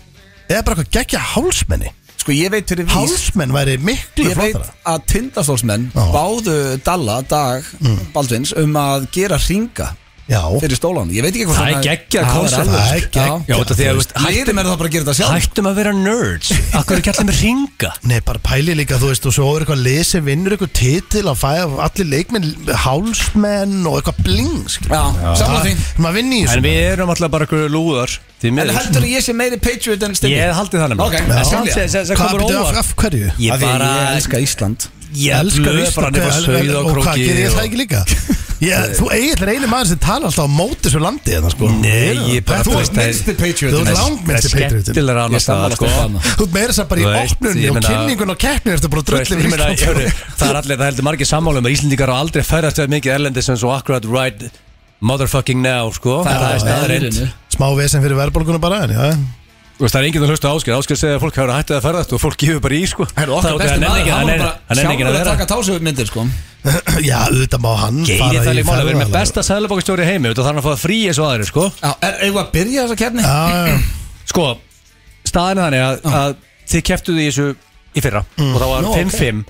S3: eða bara eitthvað geggja hálsmenni
S1: Sko, ég veit fyrir vís
S3: Hálsmenn væri miklu
S1: Ég veit
S3: flottara
S1: að tindastólsmenn
S3: Já. Mm.
S1: báðu Dalla, Dag, Baldvins um að gera ringa
S3: Já,
S1: fyrir stólan Ég veit ekki hvað
S2: Það er geggjað koncept.
S3: Það er
S2: Já,
S1: Já,
S2: út af því að, veist,
S1: hættum er það bara að gera þetta sjálf
S2: Hættum að vera nerds Akkur er ekki allir með ringa
S3: Nei, bara pæli líka, þú veist, og svo er eitthvað lesi, vinnur eitthvað titil að fæða allir leikmenn, hálsmenn og eitthvað bling, skilur.
S1: Já, samla því
S3: Maður vinn í
S2: En
S3: þessu.
S2: við erum alltaf bara okkur lúðar Því
S1: En
S2: miður
S1: heldur að ég sé meiri patriot en
S2: Ég
S1: Stendi?
S2: hefði haldið það
S1: Ok,
S2: nefnilega
S1: já.
S2: En samt sem- sem sem
S3: Hvað
S2: komur
S3: byrjuðu af,
S2: óvart
S3: af hverju?
S2: Ég
S1: Af því
S2: bara
S1: Ég elska Ísland
S2: Ég
S3: Elskar
S2: blöð
S3: Ísland,
S2: bara nefnilega
S3: hver-
S2: Sauð á
S3: Og hvað
S2: króki
S3: gerir ég
S2: og-
S3: það ekki
S2: (laughs)
S3: líka? Ég, þú eigið er einu maður sem tala alltaf á móti svo landi þetta sko
S2: Nei, ég bara
S3: Þú ert
S2: veist, það er-
S1: minnsti patriot
S3: Þú ert
S1: Nei,
S3: langmennsti
S2: Það er
S3: patriotin
S2: skemmtilega
S1: Ég
S2: annars
S1: sammála
S2: það sko
S1: Stefán.
S3: Þú ert meira þess að bara í
S2: Þú veist,
S3: opnunni
S2: ég
S3: og
S2: meina-
S3: kynningun og keppnir Þetta er bara
S2: Þú veist,
S3: dröllin
S2: ég meina, ég meina, Það er allir, það heldur margir sammála um að Íslendingar á aldrei ferðast eða mikið erlendis en svo akkurat right motherfucking now sko
S1: Það er
S2: Það er staðreind
S1: staðreynd.
S3: Smá vesen fyrir verðbólguna bara en já
S2: Þú veist, Það er enginn að hlusta áskil Áskil segja að fólk hefur hættið að ferðast og fólk gefur bara í sko
S1: Herru, okkar
S2: Það-
S1: besti
S2: hann er
S1: maður,
S2: ekki-
S1: hann
S2: hann
S1: var
S2: er-
S1: bara
S2: hann er enginn
S1: sjálfur
S2: að
S1: að
S2: vera
S1: taka tásöfmyndir sko
S3: (clears throat) Já, auðvitað má hann
S2: Geiri
S3: fara
S2: það
S3: í
S2: líka mála, við erum með
S3: ferðalag.
S2: besta sæðlabókastjóri heimi Þú þarf hann að fá það frí eins og aðrir, sko
S1: Já, er eigum við að byrja þessa kefni?
S3: Já, já.
S2: Sko, staðan er þannig að, að þið keftuðu í þessu í fyrra Og það var
S3: Nú,
S2: 5-5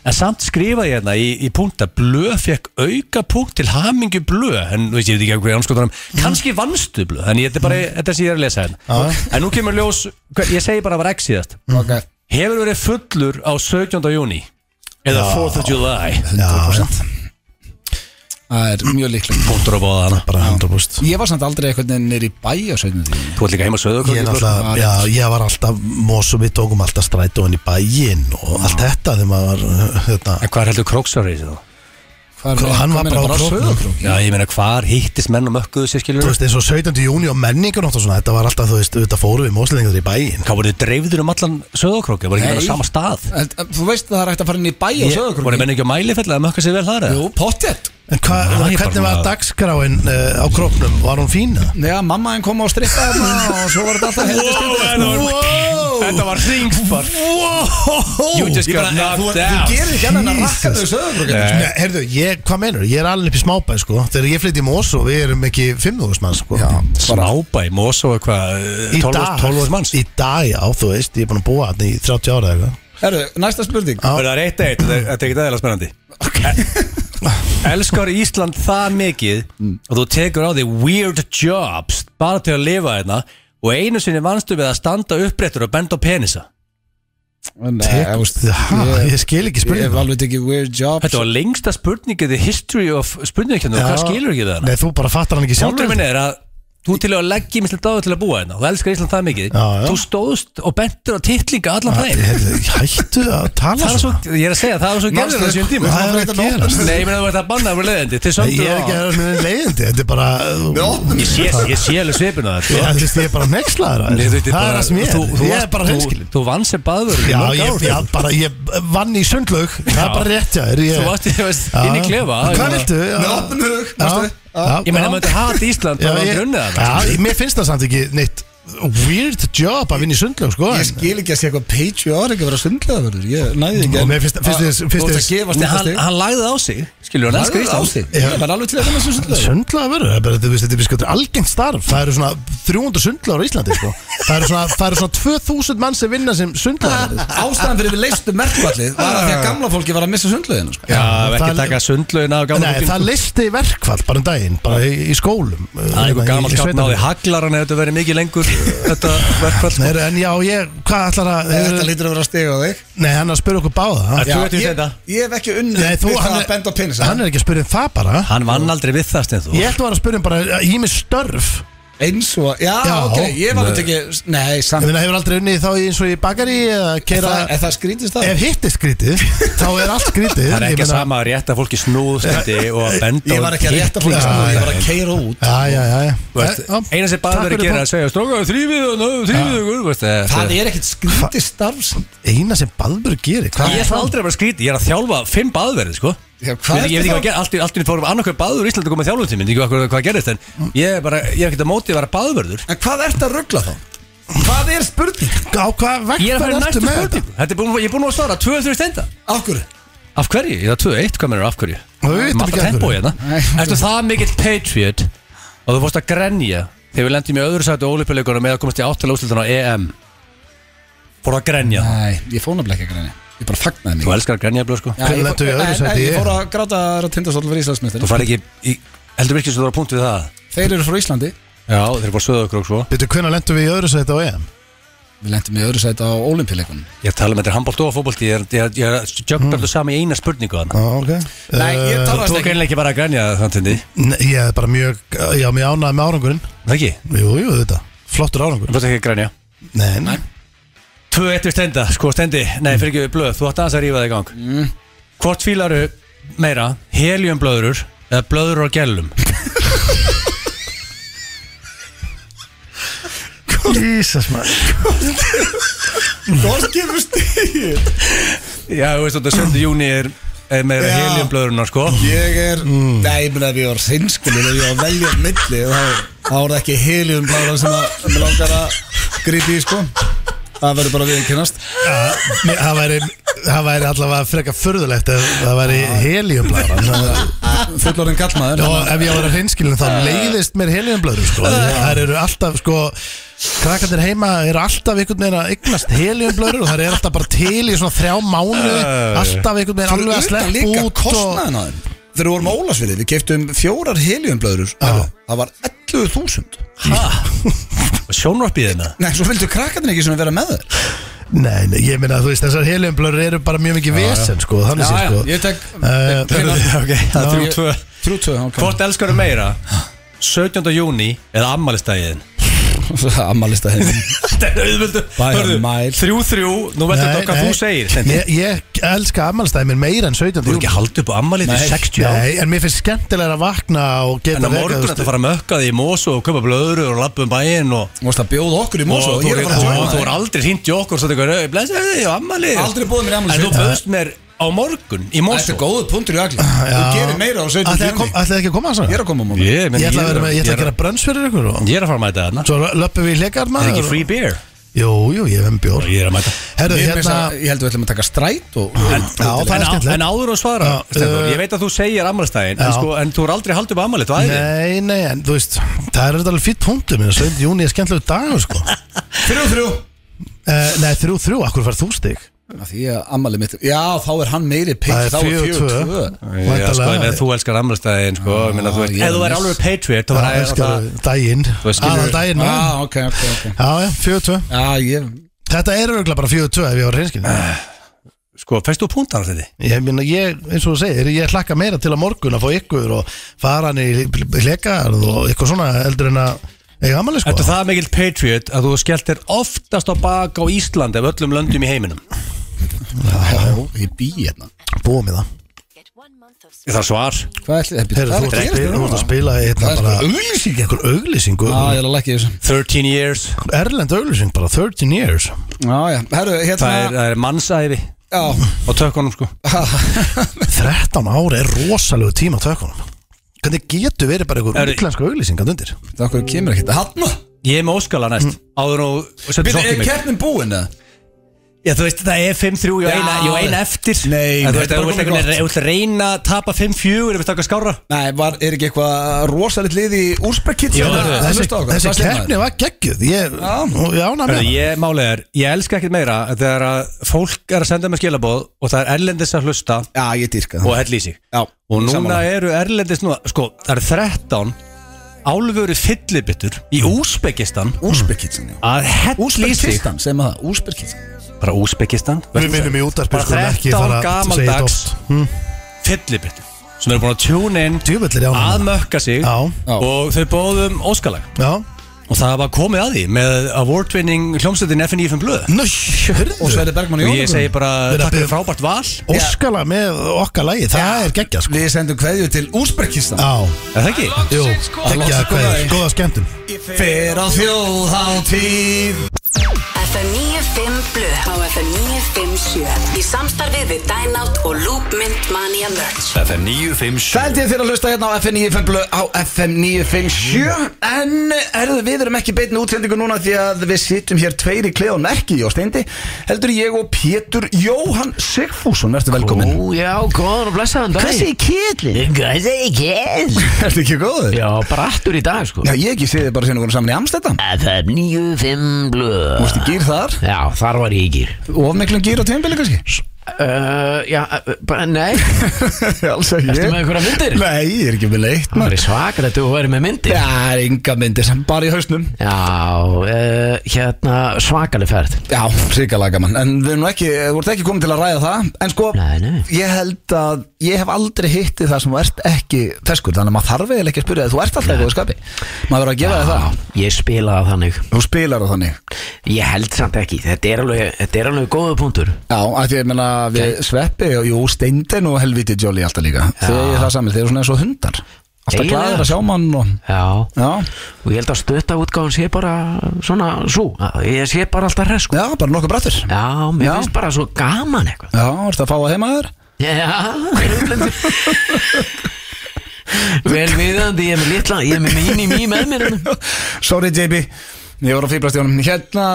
S2: En samt skrifaði ég hérna í, í punkt að blöð fekk auka punkt til hamingju blöð En þú veist, ég veit ekki hverju anskotunum mm. Kanski vannstu blöð, þannig þetta er bara þetta sem ég er að lesa hérna En nú kemur ljós, hver- ég segi bara að var ekki síðast
S1: Ok
S2: Hefur verið fullur á 17. júni Eða 4th of July
S3: Já,
S1: Það er mjög líklegt
S2: Punktur á bóða hana
S3: bara 100%
S1: Ég var samt aldrei einhvern veginn nýri bæ á 17. tíðinni
S2: Þú ert líka heima sko. að söðu
S3: Ég, er náttúrulega- já, ég var alltaf mós og við tókum alltaf strætóin í bæinn og allt þetta þegar maður var hérna,
S2: En hvað heldur króksarið þú?
S3: Hann var bara á króknum.
S2: Já, ég meina hvar hittist menn og mökkuðu sér skilur
S3: þú veist, eins og 17. júni og menningunótt og svona, þetta var alltaf, þú veist, auðvitað fórum við móslingar í bæinn.
S2: Hvað voru þið dreifður um allan söðokróki? Voru ekki
S1: Nei.
S2: bara á sama stað?
S1: Þú veist að það er hægt að fara inn í bæ á
S2: Voru
S1: söðurkrúki
S2: menn ekki á mælifell að mökka sér vel þar? eða?
S1: um Jú, pottet
S3: En hva,
S2: Já, ég
S3: hvernig
S2: bara
S3: var
S2: svona-
S3: dagskráin uh, á króknum? Var hún fína?
S1: Já, mamma henn kom á strippa þarna og svo var þetta alltaf heldur
S2: þetta var- Þetta var ringsbar You just
S1: Ég bara,
S2: got
S1: þú,
S2: knocked
S3: eh,
S1: þú gerir
S2: out
S1: ekki annað en að rakka þau
S3: Jesus.
S1: söðurkrúkina
S3: Nei, heyrðu, ég, hvað menur? Ég er alveg upp í smábæ, sko. Þegar ég flytti í Mós og við erum ekki 5.000 mann, sko.
S2: Smábæ, Mosó eitthvað eh,
S3: Í
S2: 12
S3: dag,
S2: 12 árs manns
S3: Í dag, já, þú veist, ég er búin að búa þarna í 30 ára eða eitthvað.
S1: Herru, næsta spurning
S3: Já.
S2: Það er eitt eitt, þetta er ekki aðeins spennandi E- Elskar Ísland það mikið
S3: Mm.
S2: og þú tekur á því weird jobs bara til að lifa hérna og einu sinni vannstu við að standa uppréttur og benda á penisa
S1: Nei,
S3: Tek-
S1: Eh, þú veist,
S3: Ha, ég skil ekki
S1: Ég hef
S3: spurninguna.
S1: alveg tekið weird job
S2: Þetta var lengsta spurningið The history of spurningkjöndu og hvað
S3: Já.
S2: skilur ekki það?
S3: Nei, þú bara fattar hann ekki sjálfur
S2: Sjálfur minn er að þú til að leggja mislega dáðu til að búa hérna og elskar Ísland það mikið
S3: Já, já.
S2: þú stóðst og bentur á titlinga allan
S3: Æ,
S2: þeim
S3: heyrðu, Hættu að tala
S2: það er svo, ég er að segja, það er svo gerður á síðan tíma
S3: Hvað er að gerast?
S2: Nei, ég meina þú ert að banna að vera leiðandi Þið
S3: Nei,
S2: sömdu
S3: Ég er ekki
S2: á
S3: að vera með leiðindi Þetta er bara
S2: Ég sé, ég sé alveg svipin á sko.
S3: Ég,
S2: þetta
S3: þú veist, ég er bara nekslaður
S2: Nei, þú veit,
S3: Það er
S2: ég bara-
S3: það sem ég
S2: þú-
S3: er
S2: þú
S3: Ég er
S2: varst-
S3: bara
S2: þú-
S3: hreinskilin
S2: Þú vann sem baður
S3: Já, ég, ég, bara, ég vann í sundlaug Það er bara rétt hjá þér ég-
S2: Þú varst, ég veist,
S3: Já.
S2: inn í klefa
S3: Hvað viltu? Já.
S1: Með opnum hug,
S3: Já,
S1: mástu
S3: já,
S2: Ég meina,
S3: já.
S2: maður þetta hata Ísland
S3: Já,
S2: og
S3: ég-
S2: grunnið
S3: Já,
S2: það
S3: Mér finnst það samt ekki neitt weird job að vinna í sundlög sko
S1: Ég skil ekki að sé eitthvað Patreon ekki að vera sundlegaður Ég næði ekki
S3: Og
S1: en-
S3: mér finnst- finnst
S1: að-
S3: þess- finnst
S1: Þú ert
S3: þess-
S1: að gefast
S2: Nei,
S1: þetta
S2: hann,
S1: stig
S2: hann lagði það á sig Skilur, hann elskar Ísland
S1: Ég var alveg til að vinna sem sundlegaður
S3: Sundlaga verður, það er bara, þú veist, þetta er biskutur algengt starf Það eru svona 300 sundlagar á Íslandi sko. það, eru svona, það eru svona 2000 mann sem vinna sem sundlagar
S1: Ástæðan fyrir við leistum merkvallið var að því að gamla fólki var að missa sundleginu sko.
S2: Já, ekki
S3: það-
S2: taka sundlaun af gamla
S3: Nei, það leisti verkfall bara um daginn, bara í, í skólum
S2: Það er einhver gammal skapn á því haglaran eða þetta verið mikið (laughs) lengur þetta verkfall sko.
S3: Nei, en já, ég, hvað ætlar að
S1: Þetta lítur að vera að stiga á þig
S3: Nei, hann er að spyrja okkur báða
S2: Þú ert í
S1: ég,
S2: þetta.
S1: ég hef ekki unnið
S3: Nei, þú,
S1: við það
S3: hann,
S1: að benda á pinnis
S3: hann er ekki að spyrja um það bara
S2: Hann vann aldrei við það stið þú
S3: Ég ætla að vera að spyrja um bara ími störf
S1: Eins og, já,
S3: Já.
S1: ok, ég var þetta ekki Nei,
S3: Ég
S1: samt
S3: meina, hefur aldrei unnið þá í eins og í bakari eða
S1: Er
S3: keira
S1: það, er það skrítist það?
S3: Ef hitt er skrítið, þá er allt skrítið
S2: Það er
S3: Ég
S2: ekki
S3: meina-
S2: sama að rétta fólki (laughs) snúðstendi og að benda
S1: Ég
S2: á
S1: var ekki að
S2: hitt.
S1: rétta fólki
S3: Já,
S1: sko, Ég var
S2: já,
S1: að keira út
S3: Já, já, já, já.
S2: Þú veist,
S3: Já,
S2: Eina sem
S3: takk
S2: bara verið að
S3: fyrir
S2: gera er að segja Strókaðu þrýfið og náðu þrýfið og guð
S1: Það er ekkit skrítið starf samt.
S3: eina sem Baldur gerir hvað
S2: Ég ætla aldrei að vera skrítið, ég er að þjálfa fimm baðverði sko
S1: Já,
S2: Ég
S1: hvað
S2: veit
S1: ertu
S2: ég veit ekki
S1: þá?
S2: hvað gerði, allt í- allt í nýtt fórum annarkvæð baður í Íslandi komið þjálfum tíminn, ég veit ekki hvað- hvað gerðist en ég er bara, ég er ekkert að móti að vera baðverður
S1: En hvað ert að ruggla þá? Hvað er spurning?
S3: á hvað vekk
S2: Ég er að fara í næstu
S3: þetta
S2: spurningu, Þetta er búin- ég er búin að svara, 2-3 stenda
S1: Akkur?
S2: Af hverju? Ég það 2-1, hvað meður af hverju?
S3: Við vitum
S2: Maður
S3: ekki
S2: alltaf
S3: af
S2: tempó
S3: hverju.
S2: hérna Ertu það mikill patriot og þú fórst að grenja þegar við lendum í öðru sætu ólipileikunum eða komast í áttal úrslutan á EM Fór að grenja
S1: Nei, ég fóna blekja græni Ég bara fagnaði mig
S2: Þú elskar að grenja blöð sko
S1: Já,
S3: Hvernig
S1: ég-
S3: lentu í öðru
S1: en- en
S3: sæti?
S1: Ég fór að gráta að það er að tindastóll fyrir Íslandsmeistar
S2: Þú fær ekki, í, heldur virkið sem þú er að punkt við það
S1: Þeir eru frá Íslandi
S2: Já, þeir eru bara söðu okkur og svo
S3: Býttu, hvenær lendum við í öðru sæti á EM?
S1: Við lentum í öðru sæti á olimpíuleikunum
S2: Ég tala með þetta er handbólt og fótbolti Ég er, ég er, ég er jöknarðu saman í eina spurningu hann
S3: Mm. Já, ok
S1: Nei, ég
S3: Eh,
S1: talaði
S2: Þú
S1: ekki
S2: greinlega ekki bara að grenja þann tindi
S3: Nei, Ég er bara mjög, já, mjög ánægð með árangurinn
S2: Það ekki?
S3: Jú, jú, þetta, flottur
S2: Þú
S3: árangur
S2: fórst ekki að grenja
S3: Nei, nei
S2: 2-1 við stenda, sko stendi
S3: Mm.
S2: Nei, fyrir ekki við blöð, þú átt aðeins að rífa það í gang mm. Hvort fílaru meira Heliumblöðurur eða blöður á gælum
S3: Ísas maður
S1: Hvort gefur stíð?
S2: (laughs) Já, þú veist þetta 7. júni er, er meira
S1: Já.
S2: heliumblöðurna, sko
S1: Ég er, nei, ég meina ef ég var sinnskilin og ég var að velja á milli þá, þá er það ekki helium blára sem að sem mig langar að grípi í sko Það verður bara við kynast
S3: Það væri, það væri allavega frekar förðulegt ef það væri
S2: (laughs)
S3: heliumblæðan
S1: Fullorinn kallmaður
S3: og ef ég var að reynskilin þá leiðist mér heliumblæður
S2: (laughs)
S3: sko. það eru alltaf sko krakkandir heima eru alltaf einhvern veginn að eignast heliumblæður og það eru alltaf bara til í svona þrjá mánu alltaf einhvern veginn alveg að
S1: Utan
S3: sleppa
S1: líka
S3: út og
S1: kostnaðin á þeim Þegar við vorum á Ólasfirði, við keftum fjórar heliumblöður Það var 11.000
S2: Sjónvarpið hérna. þeirna
S1: Nei, svo vildu krakkarnir ekki svona vera með þér
S3: Nei, nei, ég meina þú veist þessar heliumblöður eru bara mjög mikið vesen sko,
S1: Já,
S3: þannig sé
S1: já,
S3: sko
S1: ég tek
S3: Eh, (laughs)
S2: Ok, það er 3-2
S1: Þrjú-tvö,
S2: Hvort elskaru meira 17. júni eða ammælistægiðin
S1: ok Ammalista henni
S2: (laughs) Þetta er auðvöldu
S1: By a mile.
S2: 3-3, nú
S3: Nei,
S2: veitum þetta hvað
S3: nei.
S2: þú segir Stendi.
S3: Ég, ég elska ammálstæðin minn meira en 17
S2: Þú er ekki að halda upp á ammælið
S1: Nei.
S2: í 60 ár
S3: Nei, en mér finnst skemmtilega að vakna og geta
S2: En á morgun
S3: vekað,
S2: þetta fara að mökka því í mosu og köpa blöður og lappa um bæinn og
S1: Þú veist að bjóða okkur í
S2: og
S1: mosa og
S2: þú
S1: ég er að fara að
S2: þú er
S1: joina
S2: aldrei hringt í okkur svo þetta er eitthvað, blessaði þig og ammali
S1: Aldrei búið mér í afmæli
S2: En þú
S1: sveit.
S2: bauðst mér á morgun í
S1: Þetta
S2: mosu
S1: er góðu punktur í
S3: (laughs)
S1: allir Þú
S3: Já.
S1: gerir meira á 17.
S3: Ætlaði að kom-
S1: júni
S3: ætlaði ekki að koma að
S1: Ég
S3: svona
S1: er að koma á móti
S2: Ég menn,
S3: Ég ætla að vera með, ég ætla að gera
S2: ég
S3: brönns fyrir ykkur og
S2: er- ég er að fara að mæta þarna
S3: Svo löpum við í leikar
S2: Það
S3: maður
S2: er ekki free beer
S3: Jú, jú, ég hef um bjór
S2: Ég er að mæta
S3: Herru,
S1: Ég,
S3: hérna
S1: hérna, ég held að við ætlum að taka stræt
S3: (laughs)
S1: og
S2: En,
S3: Já, það er
S2: en, á,
S3: skemmtilegt.
S2: en áður að svara
S3: Já,
S2: Stefán,
S3: uh,
S2: Ég veit að þú segir ammælstæðin en,
S3: Já.
S2: sko, en þú er aldrei haldið upp ammæli Þú æði
S3: Nei, nei, en þú veist Það er þetta alveg fýtt punktum minna 7. júni er skemmtilegu
S2: (laughs)
S3: dagur sko uh,
S1: Þrjú, þrjú
S3: Nei, þrjú, þrjú, akkur fær þú stig
S1: Af Því að ammali mitt Já, þá er hann meiri
S3: Það
S1: pitt
S3: er
S1: Þá er
S3: fjögur,
S1: fjögur, tvö
S3: tvö.
S2: Já, sko,
S3: Væntanlega.
S2: ég veit að þú elskar ammælstæðin sko, ég meina, þú veist,
S1: ég
S2: Ef
S1: er
S2: þú er
S1: miss.
S2: alveg patriot þá
S3: Það
S2: er
S3: er
S2: það-
S3: daginn
S2: Þú skilur- Ah.
S3: Aðal daginn
S1: Já,
S3: maður.
S1: ok, ok, ok
S3: Já, já, fjögur tvö
S1: Já, ég
S3: Þetta er örgulega bara fjögur tvö ef ég var reynskinn
S2: Sko, fæst þú púntan á þetta?
S3: Ég minna, ég, eins og þú segir, ég hlakka meira til að morgun að fá ykkur og fara hann í leikar og eitthvað svona eldur en að eiga ammali sko
S2: Ertu það mikill patriot að þú skellt þér oftast á bak á Ísland af öllum löndum í heiminum?
S1: Já, ég bý hérna
S3: Búum í það
S2: Er það svar?
S1: Hvað ætli, það
S3: Heyrðu,
S1: hvað er
S3: þú ert að
S1: að
S3: spila, þú ert að
S1: gera
S3: spila hérna
S1: Það er
S3: bara
S1: bara
S3: auglýsing, einhver auglýsingu
S1: Já, ég er að lækja þessu
S2: 13 years
S3: Erlend auglýsing, bara 13 years
S1: Já, já, herru,
S2: Það er,
S1: hérna
S2: það er mannsæfi
S1: Já,
S2: á tökkunum sko
S3: 13 ára er rosalegu tíma á tökunum Hvernig getur verið bara einhver
S2: Herru-
S3: útlensku auglýsing að undir?
S1: það okkur kemur ekkert Hanna
S2: Ég er með óskala næst Áður og og setur
S1: Býtu,
S2: sokk í
S1: er
S2: mig
S1: keppnin búin eða?
S2: Já, þú veist, það er 5-3 og
S1: Já.
S2: eina, ég á eina eftir
S1: Nei,
S2: En
S1: þetta
S2: þú
S1: er
S2: veist, ef þú
S1: bara
S2: vilt einhvern
S1: komið
S2: veginn- ef þú vilt reyna að tapa 5-4 Ef þú taka skára
S1: Nei, var, er ekki eitthvað rosalit lið í hérna? úrspekkitt?
S2: Jú, þessi-
S3: Þessi, þessi keppni var geggjuð Ég,
S1: Já.
S3: já, ná með
S2: Hörðu, ég, málið er, ég elska ekkert meira Þegar að fólk er að senda mér skilabóð Og það er erlendis að hlusta
S1: Já, ég dýrka
S2: og
S1: það
S2: hell í sig
S1: Já,
S2: Og núna
S1: sammála.
S2: eru erlendis núna Sko, það eru 13 Álfuru fyllibittur Í Úsbekistan
S1: Úrspekkitsan, já
S2: Að hell í sig
S1: Úrspekkistan, segjum það, Úrspekkistan
S2: Bara Úsbekistan
S3: Við minnum í útarpi
S2: Bara 13 gamaldags
S3: Hm.
S2: Fyllibittur Sem eru búin að tune in
S3: Djúvillir já
S2: Að mökka sig
S3: Já.
S1: Já.
S2: Og þau bóðum óskalag
S3: Já
S2: Og það var komið að því Með award-winning hljómsveitin FNF Blöð
S3: Nú,
S1: Og
S3: hörðu
S1: Sverri Bergmann
S2: Og
S1: og
S2: ég
S1: Jónatan
S2: segi bara
S3: Við
S2: Takk
S3: erum-
S2: fyrir frábært val
S3: Óskala með okkar lagi Það er geggjað sko
S1: Við sendum kveðju til Úsbekistan
S3: Já
S2: Er það ekki?
S3: Jú,
S1: Það er
S3: geggjað
S1: loksins komið að
S3: kveður
S1: því.
S3: Góða skemmtum
S1: Fyrir á þjóðháttíð
S5: FM 95 Blu á FM 957 í samstarfið við Dynout og Loopmynd Mania Merch
S6: FM 957
S1: Sældið þér að hlusta hérna á FM 957 á FM 957 En erðu, við erum ekki beitin útsendingu núna því að við sitjum hér tveir í kleð og merki og steindi Heldur ég og Pétur Jóhann Sigfússon, verður velkominn
S7: Ú, já, góðan og blessaðan dag
S1: Hvað segir kýllin?
S7: Hvað segir kjell?
S1: (laughs) Ertu ekki góður?
S7: Já, bara aftur í dag, sko
S1: Já, ég ekki séð þið bara sinni voru saman í Amstættan
S7: FM 95
S1: Þú
S7: blöð
S1: veist, gýr þar,
S7: Já, þar var ég í gýr
S1: of miklum gýr á tímbili kannski
S7: uh, Já, uh, bara nei
S1: (laughs) Alls ekki
S7: Ertu með einhverja myndir?
S1: Nei, ég er ekki með leitt
S7: Það
S1: maður.
S7: er svakar að þú væri með myndir
S1: Já, það er enga myndir sem bara í hausnum
S7: Já, uh, hérna svakaleg ferð
S1: Já, ríkalega gaman En við erum nú ekki, þú ert ekki komin til að ræða það En sko,
S7: Nei, nei.
S1: ég held að Ég hef aldrei hitti það sem þú ert ekki Feskur, þannig að maður þarf eiginlega ekki að spyrja það Þú ert alltaf í góðu skapi Maður verður að gefa þér það
S7: Ég spilaði þannig
S1: Þú spilar það þannig
S7: Ég held samt ekki, þetta er alveg, þetta er alveg góða punktur
S1: Já, af því að ég meina við sveppi og jú, steindin og helviti jolly alltaf líka Þegar ég er það saman, þeir eru svona eins og hundar Alltaf
S7: Eiginlega.
S1: glæðir að sjá mann og
S7: Já,
S1: Já,
S7: og ég held að stötta útgáðan sé bara svona svo Ég sé bara alltaf hress, sko
S1: já bara nokkuð brættur Já,
S7: Já, mér
S1: Já.
S7: finnst bara svo gaman eitthvað
S1: ertu að fá að heima þér?
S7: Já, rúblendur (laughs) Vel viðandi, ég er með litla Ég er með mín í mý með mér hérna.
S1: Sorry JB, ég voru að fýblast í honum Hérna,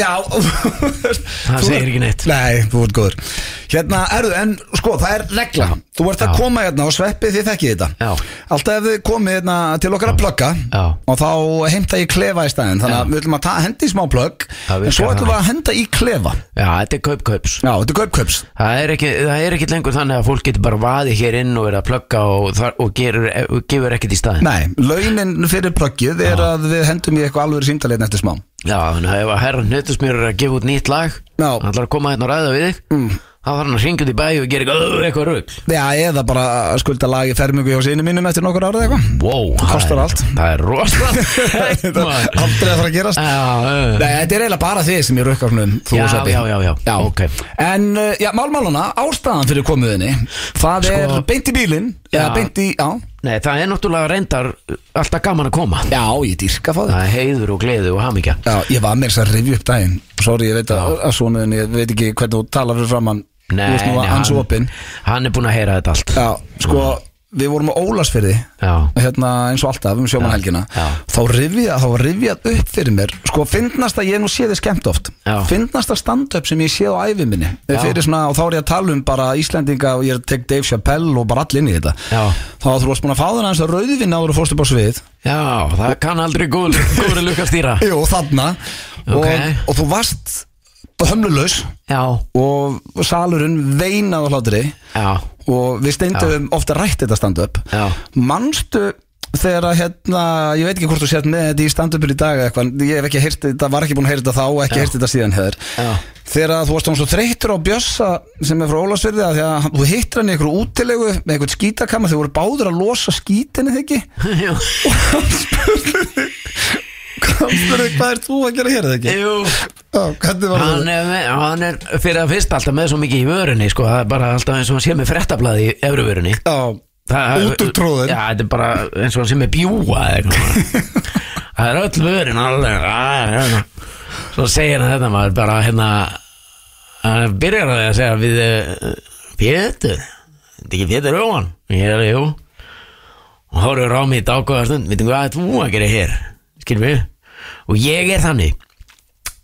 S1: já (laughs) Það
S7: segir ekki neitt.
S1: Nei, þú ert góður Hérna, erðu, en sko, það er regla Þú ert að
S7: Já.
S1: koma hérna og sveppi þið þekkið þetta
S7: Já.
S1: Alltaf ef þið komið hérna til okkar að plugga
S7: Já.
S1: Og þá heimta ég klefa í staðinn Þannig
S7: Já.
S1: að við ætlum að ta- henda í smá plugg
S7: Það
S1: En svo
S7: virkar
S1: ætlum við
S7: þannig.
S1: að henda í klefa
S7: Já, þetta er kaup-kaups
S1: Já, þetta er kaupkaups
S7: Það er, ekki, það er ekki lengur þannig að fólk getur bara vaðið hér inn og verið að plugga og, þar, og, gerur, og gefur ekkert í staðin
S1: Nei, launin fyrir pluggið er að við hendum í eitthvað alveg símdalegin eftir smá
S7: Já, þannig að ef að herran hnutusmjör er að gefa út nýtt lag
S1: Já.
S7: hann ætlar að koma hérna og ræða við þig mm. þá þarf hann að hringja út í bæ og gera eitthvað, "Ugh", eitthvað rugl
S1: Já, eða bara skulda lagi fermingu hjá sinni mínum eftir nokkur árið eitthvað
S7: Wow,
S1: Kostar
S7: það er-
S1: allt.
S7: Það er rosa
S1: (laughs) Þetta er Aldrei að fara að gerast
S7: Já,
S1: Nei, þetta er eiginlega bara þið sem ég rukka svona um þú
S7: Já,
S1: og Sveppi.
S7: já, já, já. Ok.
S1: En, uh, já, málmáluna, ástæðan fyrir komuðinni Það
S7: Sko-
S1: er beint í bílinn Já,
S7: Já.
S1: beint í, já
S7: Nei, það er náttúrulega reyndar uh, alltaf gaman að koma
S1: Já, ég dýrka fá
S7: Það
S1: þig
S7: er heiður og gleði og hamingja
S1: Já, ég var með þess að rifja upp daginn Sorry, ég veit að, að svonuðin, ég veit ekki hvernig þú talar fyrir framann Þú veist nú að hans opinn
S7: hann er búinn að heyra þetta allt
S1: Já, sko, við vorum á Ólasfyrði
S7: Já.
S1: Hérna eins og alltaf um sjómanhelgina
S7: Já.
S1: Þá rifjað, þá var rifjað upp fyrir mér Sko, fyndnast að ég hef nú séð þið skemmt oft
S7: Já.
S1: Fyndnast að standa upp sem ég séð á ævi minni
S7: Já.
S1: Fyrir svona, og þá er ég að tala um bara Íslendinga og ég er að tek Dave Chappelle og bara allir inn í þetta
S7: Já.
S1: Þá þú varst búin að fá þennan þess að rauðvinna áður og fórstu bara svið
S7: Já, það kann aldrei góð, góður lukka stýra
S1: Jú, þarna
S7: Ok.
S1: og, og þú varst hömlulaus
S7: Já,
S1: og salurinn veinað á hlátri
S7: já, (laughs)
S1: og við steindum ofta rætt þetta stand-up
S7: Já.
S1: manstu þegar að hérna, ég veit ekki hvort þú sért með þetta í stand-upur í dag eða eitthvað, en ég hef ekki heyrt þetta, var ekki búin að heyra þetta þá og ekki heyrt þetta síðan hefur
S7: Já.
S1: þegar að þú varst hann svo þreyttur á Bjössa sem er frá Ólasverði að því að hann- þú hittir hann í einhverju útilegu með einhvern skítakama, þau voru báður að losa skítinni þegi
S7: já
S1: hvað er þú að gera hér eða ekki?
S7: Jú,
S1: Já, hvernig var
S7: hann
S1: það?
S7: er, með- hann er fyrir að fyrst alltaf með svo mikið í vörunni sko, það er bara alltaf eins og hann sé með frettablaði í efru vörunni
S1: Já,
S7: Það-
S1: Út úr tróðin.
S7: Já, þetta er bara eins og hann sem er bjúa eða
S1: (laughs)
S7: eitthvað. Það er öll vörin alveg að, hérna. Svo segir hann þetta maður bara hérna Hann byrjar á því að segja við eh, Pétur Þetta er ekki Pétur Jóhann Ég er jú Og hóruður á mig í dágóða stund Veitum hvað þú að gera hér Skilum við og ég er þannig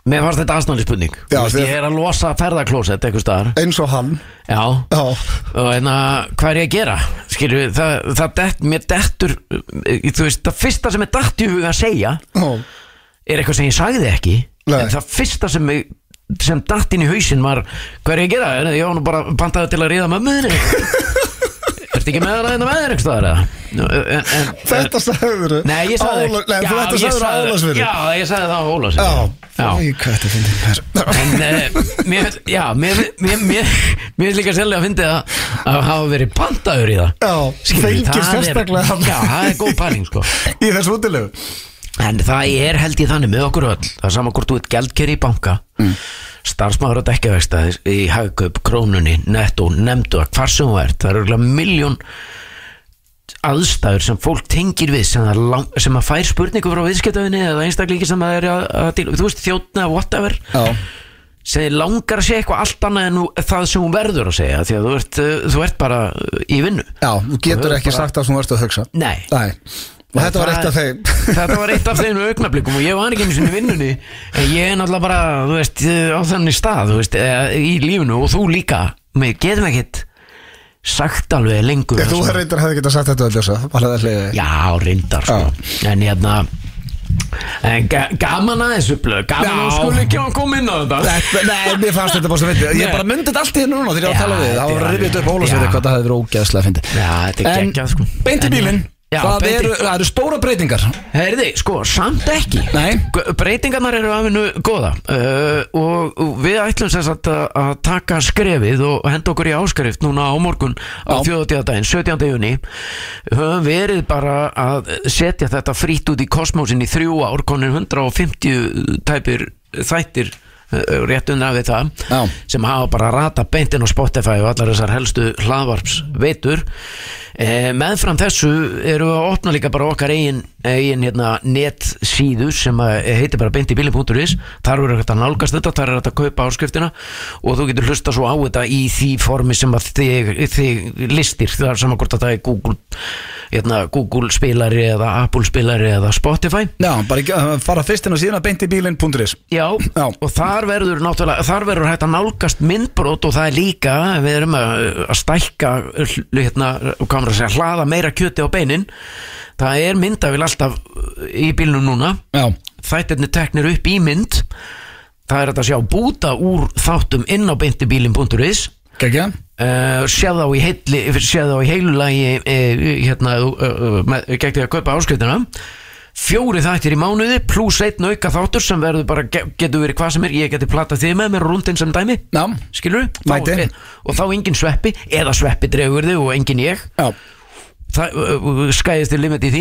S7: Mér fannst þetta aðsnáli spurning
S1: Já,
S7: Þú veist,
S1: þér-
S7: Ég er að losa ferðaklósett einhvers staðar
S1: eins og hann
S7: Já,
S1: Já,
S7: og en að hvað er ég að gera skilju, það, það dett, mér dettur eh, þú veist, það fyrsta sem er datt í huga að segja
S1: já,
S7: er eitthvað sem ég sagði ekki
S1: Nei.
S7: en það fyrsta sem ég sem datt inn í hausinn var hvað er ég að gera, Er- ég var nú bara pantaði til að ríða með
S1: (laughs)
S7: möðinni ertu ekki með hana hérna með þér einhvers staðar eða? e, En- en-
S1: þetta sagður
S7: e, nei, ég sagði
S1: Ála, Nei, þú þetta
S7: ég
S1: sagður
S7: sagði-
S1: álagsverði
S7: já, ég sagði það á
S1: já,
S7: Ólasverði
S1: Í, hvað þetta finnir þér
S7: En uh, mér, já, mér, mér, mér, mér er líka sérlega að fyndi að, að hafa verið pantaður í það
S1: Já,
S7: Skilurðu,
S1: fengir
S7: það er-
S1: sérstaklega hann.
S7: Já, það er góð (laughs) pæling sko
S1: Í þessu útilegu
S7: En það er held ég þannig með okkur öll Það er sama hvort þú ert gældkeri í banka mm. Starfsmaður á dekkjavegstaðis Í hagkaup, krónunni, netto, nefndu Hvar sem þú ert, það eru örugglega miljón aðstæður sem fólk tengir við sem, það lang, sem að fær spurningu frá viðskiptafinni eða einstaklingi sem það er að, að til, þú veist, þjóttna eða whatever
S1: Já,
S7: sem þið langar að segja eitthvað allt annað en nú, það sem hún verður að segja því að þú ert, uh, þú ert bara uh, í vinnu
S1: já, þú getur
S7: Það er
S1: ekki
S7: bara-
S1: sagt það sem þú ert að hugsa
S7: Nei.
S1: Nei, og þetta var eitt af þeim (laughs)
S7: Þetta var eitt af þeim augnablikum og ég var ekki einu sinni í vinnunni en ég er náttúrulega bara, þú veist, á þannig stað þú veist, eh, í lífinu og þú líka við getum ekkit sagt alveg lengur
S1: Ef Þú
S7: svona-
S1: reyndar hefði getað sagt þetta öll þessu Bara það hliði
S7: Já, reyndar sko. En hérna En ga gaman að þessu blöð Gaman að
S1: Já.
S7: skuli ekki að koma inn á þetta
S1: Nei, mér fannst þetta bara svo fyndið Ég
S7: Nei.
S1: bara myndi þetta allt í hérna núna þegar ég var að
S7: Já,
S1: tala við þig.
S7: þetta
S1: Það
S7: er
S1: var
S7: alveg-
S1: rifið upp ólasviti
S7: Já.
S1: hvað það hefur verið ógeðslega fyndið
S7: Já, þetta er
S1: En
S7: geggjað sko
S1: beint í
S7: En-
S1: bílinn
S7: Já,
S1: Það
S7: beint í-
S1: eru það eru stóra breytingar
S7: Herði, sko, samt ekki
S1: Nei.
S7: G- Breytingarnar eru afinu góða uh, og, og við ætlum sem sagt að, að taka skrefið og henda okkur í áskrift núna á morgun á þjóðatíðardaginn, 17. juni höfum verið bara að setja þetta frýtt út í kosmósin í þrjú ár, konir 150 tæpir þættir uh, rétt undan við það
S1: Já.
S7: sem hafa bara rata beintinn á Spotify og allar þessar helstu hlaðvarps veitur e, meðfram þessu eru við að opna líka bara okkar eigin, eigin hérna, netsíðu sem að eh, heitir bara beintibili.is þar eru þetta nálgast þetta, þar er þetta að kaupa áskriftina og þú getur hlusta svo á þetta í því formi sem að þig, þig listir, það er saman hvort að það er Google, hérna, Google spilari eða Apple spilari eða Spotify
S1: Já, bara ekki- uh, fara fyrst inn og síðan að beint í bílinn.is
S7: Já,
S1: Já.
S7: og þar verður náttúrulega, þar verður hægt að nálgast myndbrot og það er líka, við erum að, að stækka, hl- hérna, hvað maður að segja, hlaða meira kjöti á beinin það er myndavil alltaf í bílnum núna,
S1: Já,
S7: þættirni teknir upp í mynd það er hægt að sjá búta úr þáttum inn á beintibílin.is
S1: gekkja
S7: Uh, sé þá í heilli sé þá í heilulagi uh, hérna, uh, uh, gegn því að kaupa áskriftina fjóri þættir í mánuði pluss einn auka þáttur sem verður bara ge- getur verið hvað sem er, ég geti platað þig með mér rúndin sem dæmi,
S1: Já.
S7: skilur
S1: Mæti.
S7: og þá engin sveppi, eða sveppi dregur þig og engin ég
S1: Já,
S7: það uh, uh, skæðist þér limit í því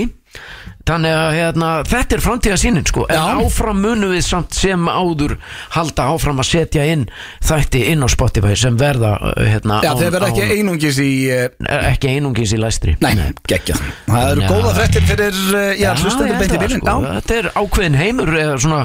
S7: þannig að hérna, þetta er framtíða sínin sko, en
S1: Já.
S7: áfram munum við samt sem áður halda áfram að setja inn þætti inn á Spotify sem verða uh, hérna,
S1: Já
S7: án-
S1: þeir verða
S7: án-
S1: ekki einungis í eh,
S7: Eh, ekki einungis í læstri
S1: Nei, gekkja Það eru
S7: Já.
S1: góða frettir fyrir eh, Já,
S7: ég
S1: hlustendur
S7: held
S1: beint í
S7: það,
S1: bílinn
S7: sko.
S1: Já,
S7: Þetta er ákveðin heimur eða svona,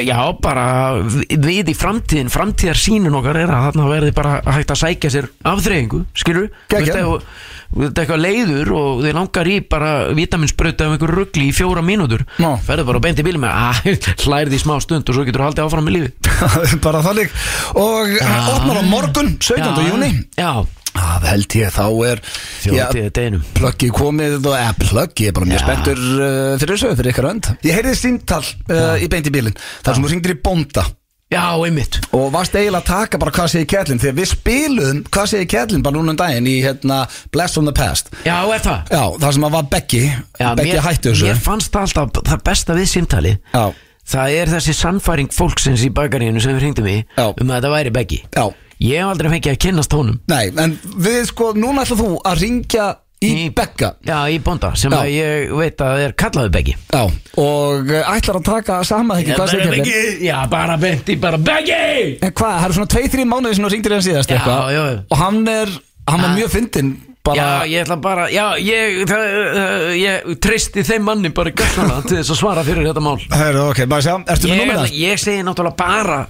S7: eh, já, bara vi- við í framtíðin, framtíðarsýnin okkar er að þarna verði bara hægt að sækja sér afþreyingu, skilur
S1: Geggjað.
S7: Þetta eitthvað leiður og þið langar í bara vitaminsbrauta um einhver ruggli í fjóra mínútur
S1: Ná.
S7: ferðu bara beint í bílum með (laughs) að hlærði í smá stund og svo getur haldið áfram í lífi
S1: (laughs) bara þannig og hann opnar á morgun 17.
S7: Já,
S1: júni
S7: Já,
S1: Það held ég þá er
S7: þjóðtíða deginum
S1: plöggi komið og eða plöggi ég er bara mjög
S7: Já.
S1: spenntur uh, fyrir þessu fyrir ykkar önd ég heyrði síntal uh, í beint í bílinn þar sem þú ringdir í bónda
S7: Já, einmitt
S1: og varst eiginlega að taka bara hvað segir kjærlinn þegar við spilum hvað segir kjærlinn bara núna um daginn í hérna Blast from the Past
S7: Já, er það
S1: já þar sem að var Beggi
S7: Já,
S1: Beggi hætti þessu
S7: Mér fannst það alltaf það besta við símtalið
S1: Já.
S7: Það er þessi sannfæring fólksins í bakaríinu sem við hringdum í
S1: Já.
S7: um að þetta væri beggi
S1: já
S7: Ég hef aldrei fengið að kynnast honum
S1: nei en við sko núna ætlað þú að ringja í, í
S7: Í-
S1: Begga
S7: Já, í bónda sem
S1: Já.
S7: að ég veit að er kallaðu beggi
S1: já og uh, ætlar að taka sama ekki hvað segir kjærlinn
S7: Já, bara beint í bara beggi
S1: En Eh, hvað, það eru svona 2-3 mánuði sem þú ringdir hann síðast
S7: Já,
S1: eitthvað
S7: já.
S1: Og hann er, hann var
S7: Ah.
S1: mjög fyndinn bara,
S7: Já, ég ætla bara, já, ég, það, uh, ég tristi þeim manni bara gætlaða til þess að svara fyrir þetta mál
S1: Heru, ok, bara sjá, ertu með
S7: Ég,
S1: númur
S7: ætla-
S1: það?
S7: ég segi náttúrulega bara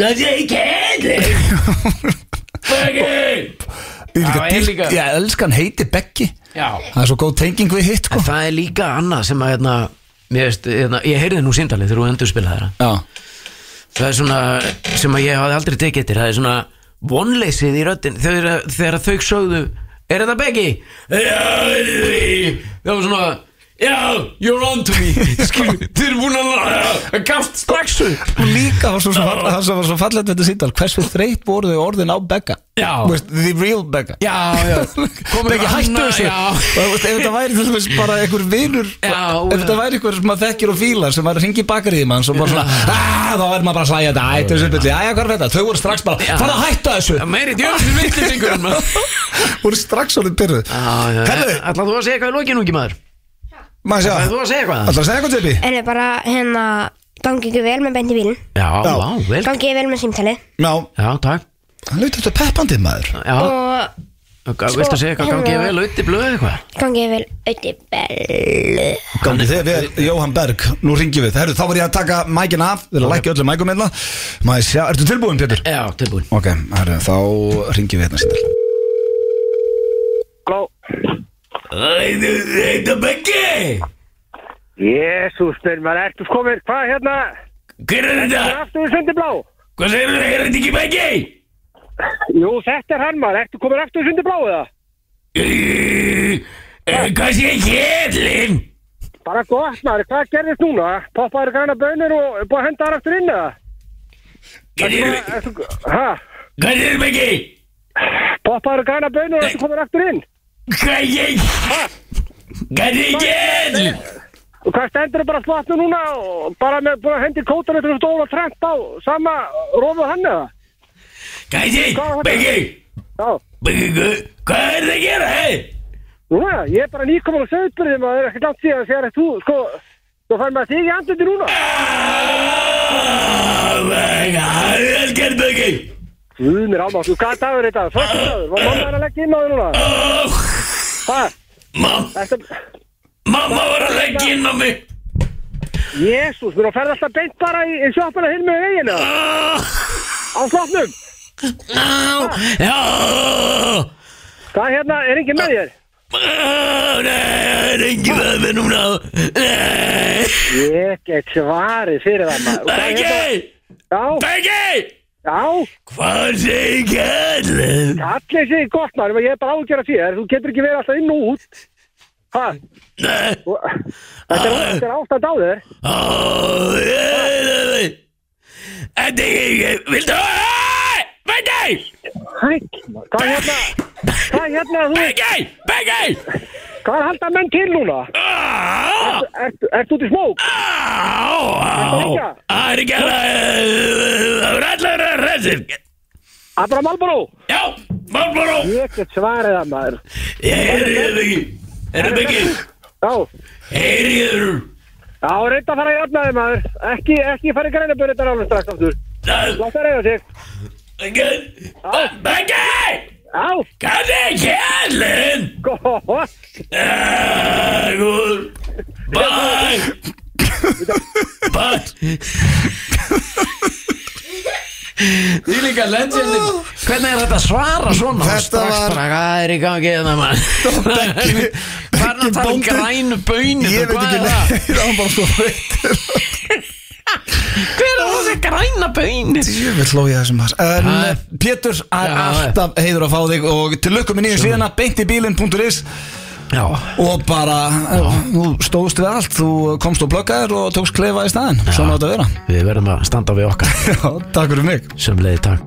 S7: Gæti ég kæði (laughs) Beggi
S1: Ég,
S7: Já, ég
S1: ég,
S7: líka.
S1: ég elskan heiti Beggi
S7: Já
S1: Það er svo góð tenging við hitt sko.
S7: En það er líka annað sem að hérna, Mér veist, hérna, ég heyrði nú síndalið þegar þú endur spilaði það
S1: Já,
S7: það er svona sem að ég hafði aldrei tekið eftir það er svona vonleysið í röddin þegar, þegar þau sögðu er þetta Beggi? já, það var svona já, you're on to (laughs) me Skil, þið eru búin að laga gafst strax upp
S1: og líka var svo, svo, fall- það sem var svo fallet við þetta síndal Hversu þreytt voru þau orðin á Begga
S7: Já.
S1: Þú veist, The real Begga
S7: já, já,
S1: (laughs)
S7: komin
S1: Beggi hættu þessu Og
S7: já,
S1: þú veist, Ef þetta væri til dæmis bara einhver vinur
S7: Já,
S1: Ef þetta væri einhver sem maður þekkir og fílar sem var að ringi bakariði mann og bara svona "Ah, Þá væri maður bara að hlæja þetta Æ, þessu byrli, æja, hvað er þetta? Þau voru strax bara,
S7: Já. Um,
S1: fara að hætta þessu
S7: meiri djöfnir vittlisingur en maður
S1: (laughs) Voru strax orðin pyrruð Herðu,
S7: ætlaðu þú að segja eitthvað í lokinu ungi maður
S1: maður sjá
S7: ætlaðu þú að segja eitthvað
S1: Ætlar að segja eitthvað tippi?
S8: En ég bara, hérna, gangi ykkur vel með beint í bílinn
S7: já, já, vel
S8: Gangi ykkur vel með símtalið
S1: Já,
S7: já, takk
S1: hann lauti þetta peppandi maður
S7: já,
S8: Og
S4: Sko,
S7: viltu segja eitthvað gangi
S4: hérna-
S7: ég vel auðvitað blöð eitthvað
S8: gangi ykkur vel auðvitað bellu
S1: Gangi þið vel, Jóhann Berg, nú ringjum við Herru, þá var ég að taka mækin af, við erum að lækja öllu mækum einna Maður sjá, ertu tilbúin, Pétur?
S7: já, tilbúin
S1: Ok, herru, þá ringjum við hérna síndal (laughs)
S4: Halló,
S7: Þetta Beggi
S4: Jésús, minn, maður ertu komin, hvað hérna,
S7: Hver er þetta?
S4: aftur í sundiblá?
S7: Hvað segir þú? Er þetta ekki Beggi?
S4: Jú, þetta er hann maður, ertu komin aftur í sundiblá eða?
S7: Eh, Hvað segir Kjellin?
S4: Bara gott maður, hvað gerðist núna? Poppaður græna bönir og búið að henda þar aftur inn eða?
S7: Hvað segir þú?
S4: Ertu, hæ,
S7: Hvað segir Beggi?
S4: poppaður græna bönir og ertu komin aftur inn?
S7: Hvað segir Hvað segir Kjellin?
S4: Og hvað stendur bara slatnu núna og bara með búið að hendi kótan eftir að stóla trent á sama rófuð hann eða?
S7: Hvað segir Beggi?
S4: Já,
S7: Beggi, hvað- hvað er það að gera? hei?
S4: núna, ég er bara nýkomin á söðbyrðum og það er ekkert langt síðan þegar þú, sko, þú fær maður þig í andluti núna.
S7: Ah, Beggi, Það er vel gert Beggi
S4: Guð mér ámátt, þú gæt dagur í dag, fyrst dagur, var mamma er að leggja inn á þig núna?
S7: Ah,
S4: Hvað?
S7: mam-
S4: Þetta,
S7: Mamma var að leggja inn á mig
S4: jésús, mér ferði alltaf beint bara í, í sjoppuna hinn með veginu,
S7: Ah,
S4: á slotnum.
S7: ah, Já
S4: Hvað hérna, er engin með þér?
S7: Ó, Nei, það er ekki með mér núna Nei,
S4: Ég get svarið fyrir það maður. Og hvað hérna-
S7: Beggi,
S4: Já,
S7: Beggi
S4: já,
S7: Hvað segir kallið?
S4: allir séu gott maður, ég er bara ágjör að þér, þú getur ekki verið alltaf inn og út. Hvað?
S7: Nei, Ah.
S4: Þetta er, þetta er átt að dáður.
S7: ó, ég er það Þetta er ekki, viltu Æ, Beggi,
S4: Hæk, hvað hérna, hvað hérna þú,
S7: Beggi, Beggi
S4: hvað halda menn til núna?
S7: Á,
S4: Ert, ert út í smók?
S7: á, á Það er ekki að Það er allar að ræðsir
S4: Abra Malboro,
S7: Já, Marlboro
S4: ég get svarið það maður.
S7: Ég er það ekki Er það ekki
S4: Já.
S7: Heyriður
S4: Já, reynda að fara í öfnaði maður Ekki, ekki fara í grænabörðar alveg strax aftur
S7: Það
S4: Látt að reyða sig
S7: Beggi Beggi
S4: Já,
S7: Hvað er kjallinn?
S4: gott
S7: Ægur Bæk Bæk Því líka legendin Hvernig er þetta að svara svona?
S1: Þetta
S7: Strax
S1: var-
S7: bara, Hvað er í gangi hérna maður? Hvað er
S1: Beggi-
S7: hann að tala um
S1: bóndinn.
S7: grænu bönir?
S1: Ég veit
S7: Hvað
S1: ekki
S7: er það?
S1: neitt, það var bara svo veit
S7: Hver er þessi græna bönir?
S1: Ég vil hlója þessum hans En
S7: Hæ?
S1: eh, Pétur, það er
S7: Já,
S1: alltaf heiður að fá þig og til lukkum með nýjum síðana beintibílin.is
S7: Já
S1: og bara, eh, þú stóðst við allt þú komst og blöggaðir og tókst klefa í staðinn svona átt að vera
S7: Við verðum að standa við okkar
S1: Já, Takk fyrir mig
S7: sem leiði takk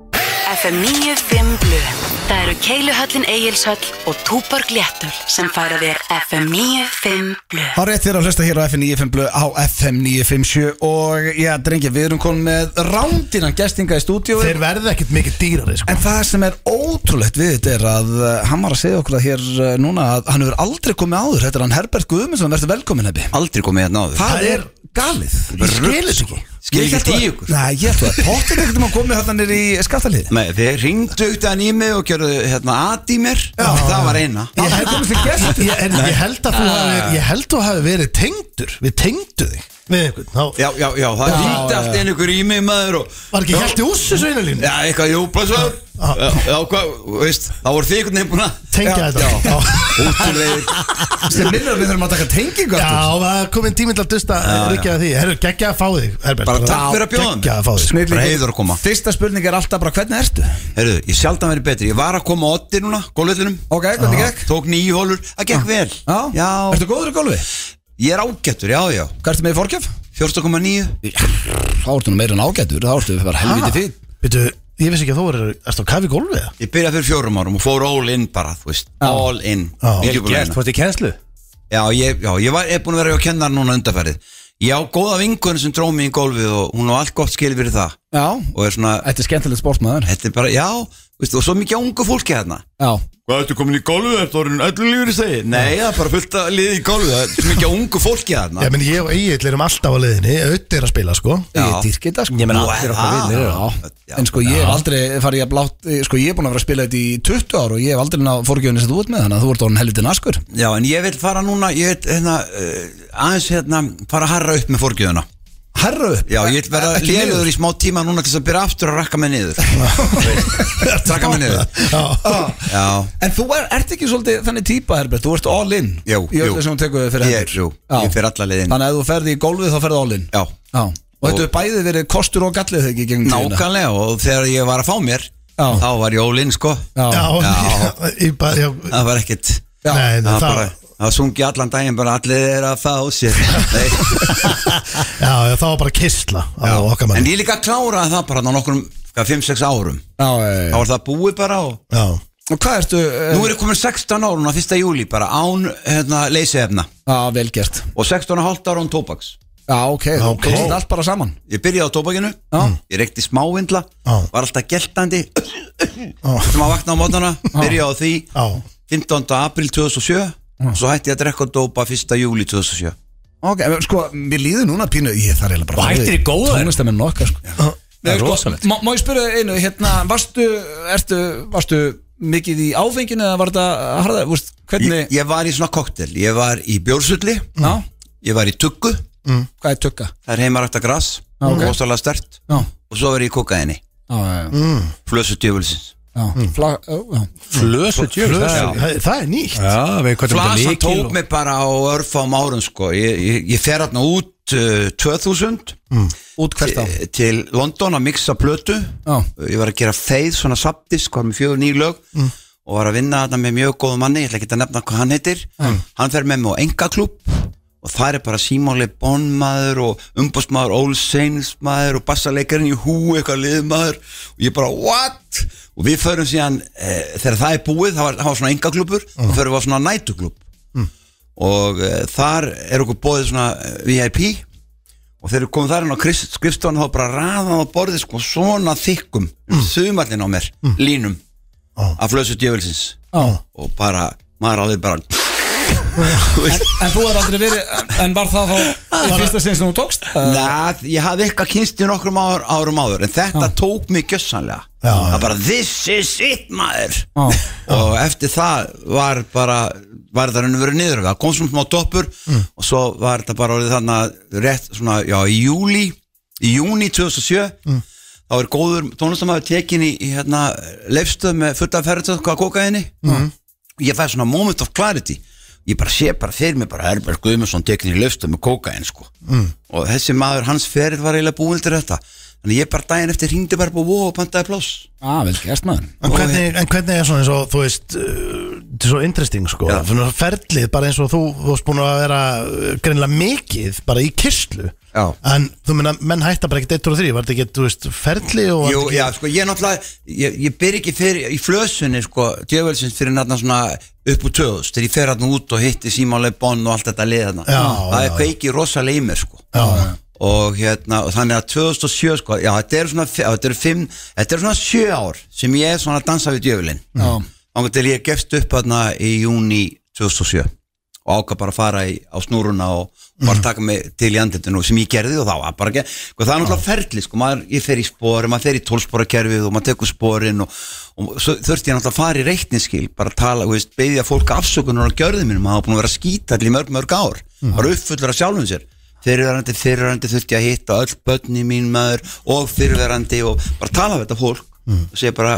S5: FM 95 Blu Það eru Keiluhöllin Egilshöll og Túborg Léttul sem færa þér FM 95 Blu
S1: Há rétt þér að hlusta hér á FM 95 blöð á FM 957 og já, drengi, við erum komin með rándinan gestinga í stúdíói
S3: Þeir verða ekkert mikið dýrari sko.
S1: En það sem er ótrúlegt við þetta er að uh, hann var að segja okkur að hér uh, núna að hann hefur aldrei komið áður, þetta er hann Herbert Guðmundsson, verður velkomin hefði
S9: Aldrei komið hérna áður
S1: Það er galið
S3: Ég skil þetta ekki
S9: Skil
S1: Ég
S9: ekki
S1: hélt
S9: þetta
S1: að-
S9: í ykkur.
S1: Nei, ég ætla að pottir ekkert um að komið hérna nýri í skattalið
S9: Nei, þeir ringdu auðvitaðan í mig og gerðu hérna aðt í mér Það var eina
S1: Ég held að komið til gestur
S3: Ég, en, ég held að þú hafi, ég held að þú hafi verið tengdur Við tengdu þig Við einhvern þá-
S9: Já, já, já, það
S3: Já,
S9: hýtti
S3: já,
S9: allt
S3: já.
S9: einn ykkur í mig maður og
S3: Var ekki Hjalti Úss í sveinalínu?
S9: Já, eitthvað, jú, blessaður Já, já, hvað, veist, þá voru þið einhvern veginn búin að
S3: Tengja þetta. Já.
S9: Útilegir
S6: Sem minnur að við þurfum að taka tengingu
S3: Já,
S6: aftur.
S3: það er komin tíminn til að dusta
S9: já.
S3: Rikki að því, herru, geggja að fá þig Herbert.
S9: Bara takk fyrir að bjóða mér.
S3: Geggja að fá þig
S6: Snillingur.
S9: Bara heiður að koma.
S6: Fyrsta spurning er alltaf bara hvernig ertu?
S9: Herðu, ég sjaldan verið betri Ég var að koma á oddi núna, gólvöllinum
S6: Ok, hvernig gekk?
S9: Tók nýju hólur, það gekk vel
S6: Já. Ertu góður í golfi?
S9: Ég er ágættur, já, já
S6: Hvað ertu með í fórkjöf?
S9: 14,9
S6: Þá ertu nú meira en ágættur, þá ertu bara helviti fín
S3: Býtu, ég veist ekki að þú er, erst á kafi gólfið eða?
S9: Ég byrjaði fyrir fjórum árum og fór all in bara, þú veist All in
S3: Já.
S9: Ég er búin að
S2: Gert,
S9: reyna.
S2: fórst í kennslu
S9: Já, ég, já, ég var, er búin að vera hjá kennar núna undarfærið Ég á góða vingun sem dró mig í gólfið og hún á allt gott skil fyrir það
S6: Já,
S9: og er svona,
S6: þetta er skemmtilegt sportmaður
S9: þetta er bara, já, veist, og svo mikið ungu fólki hérna
S6: Já,
S9: Hvað, ertu komin í gólfið, ertu orðin öllu lífur í segi? Nei, það er bara fullt að liði í gólfið, það er svo mikið ungu fólki hérna
S3: Já, menn ég og Egil erum alltaf á leiðinni, auðvitað er að spila sko
S6: ég dýrki þetta sko
S2: Ég menn
S9: Nú,
S2: allir
S9: er
S2: okkar
S9: það?
S2: vinnir
S6: Já,
S9: ah. Já.
S6: en sko ég hef aldrei farið að blátt Sko ég er búin að vera að spila þetta í 20 ár og ég hef aldrei náð fórgjöfinni sem þú ert með þannig að þú ert orðin helviti naskur
S9: Já, en ég vil fara núna, ég vil hérna, uh, aðeins hérna, fara að harra upp með fórgjöðuna
S6: Herra upp
S9: Já, ég vil vera
S6: Ekki niður.
S9: lélugur í smá tíma núna til þess að byrja aftur að rakka mig
S6: (laughs)
S9: niður Rakka mig niður Já,
S6: En þú er, ert ekki svolítið þannig típa Herbert, þú ert all in
S9: Jú,
S6: Í
S9: jú.
S6: öllu sem hún tekur þig fyrir
S9: Ég-
S6: hendur
S9: jú, ég fer alla leiðina.
S6: Þannig að ef þú ferði í gólfið þá ferði all in
S9: já,
S6: Og þetta er bæðið verið kostur og gallið þegar ekki gegn
S9: nákvæmlega og þegar ég var að fá mér
S6: Já.
S9: þá var ég ólinn sko
S3: Já,
S6: Já,
S9: Já.
S3: ég bara, já,
S9: það var ekkert
S6: Já.
S3: nei,
S9: það var bara það sungi allan daginn bara allir er að fá
S6: (laughs)
S9: sér Nei.
S3: (laughs) Já, já, það var bara kistla á okkar
S9: en
S3: manni
S9: ég líka kláraði það bara ná nokkrum 5-6 árum
S6: já, já,
S9: þá
S6: já.
S9: var það búið bara og
S3: Já,
S6: Og hvað ertu eh,
S9: nú er ég komin 16 ár núna 1. júli bara án hérna, leysefna
S6: Já, vel gert
S9: og 16,5 ára án tóbaks
S6: Já, ok, þú
S3: Ok.
S6: komst allt bara saman
S9: ég byrjaði á tóbakinu
S6: Já.
S9: ég reykti smávindla
S3: Já.
S9: var alltaf geltandi sem að vakna á mótana byrjaði á því
S3: já,
S9: 15. april 2007 og svo hætti ég að drekka og dópa 1. júli 2007
S6: Ok, en sko, mér líður núna pínu Ég þarf eiginlega bara
S2: Og hættir í góðu.
S6: Tónlistamenn nokkar sko.
S2: Það er
S6: Nei, sko,
S2: rosalegt.
S6: má, má ég spyrja þig einu, hérna Varstu, ertu, varstu mikið í áfenginu eða var þetta harða, úrst,
S9: ég,
S6: hvernig
S9: ég var í svona koktel, ég var í bjórsulli
S6: Já,
S9: ég var í tuggu,
S6: hvað er tugga?
S9: það er heimarækta gras
S6: Já, ok.
S9: rosalega stert
S6: Já,
S9: og svo var ég í kokaini,
S6: já, já, já,
S9: flösu djöfulsins
S6: já.
S9: Mm.
S6: Fla, já, já.
S2: Flösu djöfn
S9: Já.
S3: það það er nýtt
S2: Já, við hvað þetta
S9: flasan
S2: líkil
S9: tók
S2: og-
S9: mig bara á örfám árum sko, ég, ég, ég fer hérna út uh, 2000
S6: Út hvert á?
S9: til, til London að mixa plötu
S6: Já,
S9: ég var að gera feið svona saptisk var með fjögur nýr lög
S6: Mm.
S9: og var að vinna þarna með mjög góðum manni, ég ætla ekki að nefna hvað hann heitir hann fer með mig á engaklúb og það er bara Simon Le Bon maður og umbústmaður Ól Seins maður og bassaleikarinn í hú eitthvað liðmaður og ég bara what og við förum síðan, e, þegar það er búið það var, það var svona engaklúbur, mm. þá förum við á svona nætuklúb
S6: Mm.
S9: og e, þar er okkur bóðið svona eh, VIP og þegar við komum þar inn á Chris- skrifstofan þá bara raðan á borðið sko svona þykkum mm. á mér, línum
S3: Ó.
S9: af flösu djöfelsins
S6: já
S9: og bara, maður alveg bara
S6: En þú hefur aldrei verið, en var það
S9: (laughs)
S6: þá í fyrsta sinn sem þú tókst?
S9: Nei, ég hafði eitthvað kynst í nokkrum ár, árum áður en þetta tók mig gjössanlega
S3: Já,
S9: það
S3: já.
S9: bara, this is it maður
S6: Eh, Já.
S9: og eftir það var bara var það raunum verið niður það kom svona smá toppur og svo var þetta bara orðið þarna rétt svona, já, í júli í júni 2007 þá er góður tónlistamæður tekin í, í hérna, leifstöð með fulla ferðstöð hvað kokaðinni mm. ég fæði svona moment of clarity ég bara sé bara fyrir mig bara Herbert Guðmundsson tekin í leifstöð með kokaðin sko mm. og þessi maður hans ferð var eiginlega búin til þetta þannig ég bara daginn eftir hringdi bara búið og pantaði pláss
S6: Já, vel gert maður
S3: En hvernig, en hvernig er svona eins og, þú veist, uh, þetta er svo interesting sko,
S9: Já.
S3: Svona ferlið bara eins og þú, þú varst búin að vera uh, greinilega mikið bara í kistlu,
S9: Já.
S3: en þú meina, menn hætta bara ekkert 1 og 3, var þetta ekki, þú veist, ferlið og... var
S9: Jú,
S3: þetta
S9: já, sko, ég náttúrulega ég, ég byrj ekki fyrir, í flösunni, sko djöfelsins fyrir náttúrulega svona upp úr töðust þegar ég fer hann út og hitti Simon Le Bon og allt þetta lið hann
S3: Já,
S9: það
S3: já,
S9: er kveikið rosalega í mér, sko
S3: Já,
S9: og hérna, og þannig að 2007 sko, já, þetta eru svona, fi- þetta eru fimm þetta eru svona sjö ár sem ég er svona að dansa við djöflin
S6: Já.
S9: þannig til ég gefst upp hérna í júni 2007 og ákvað bara að fara í, á snúruna og bara taka mig til í andlitinu sem ég gerði og það var bara ekki sko, það er náttúrulega ferli, sko, maður, ég fer í spori maður fer í tólsporakerfið og maður tekur sporin og, og svo þurfti ég náttúrulega að fara í reikninskil bara að tala, þú veist, beðið að fólk afsökunar á gjörðum mínum, maður hafa búin að vera skítall í mörg, mörg ár bara uppfullur af sjálfum sér fyrirverandi, fyrirverandi þurfti ég að hitta öll börni mín maður og fyrirverandi og bara tala við þetta fólk og segja bara,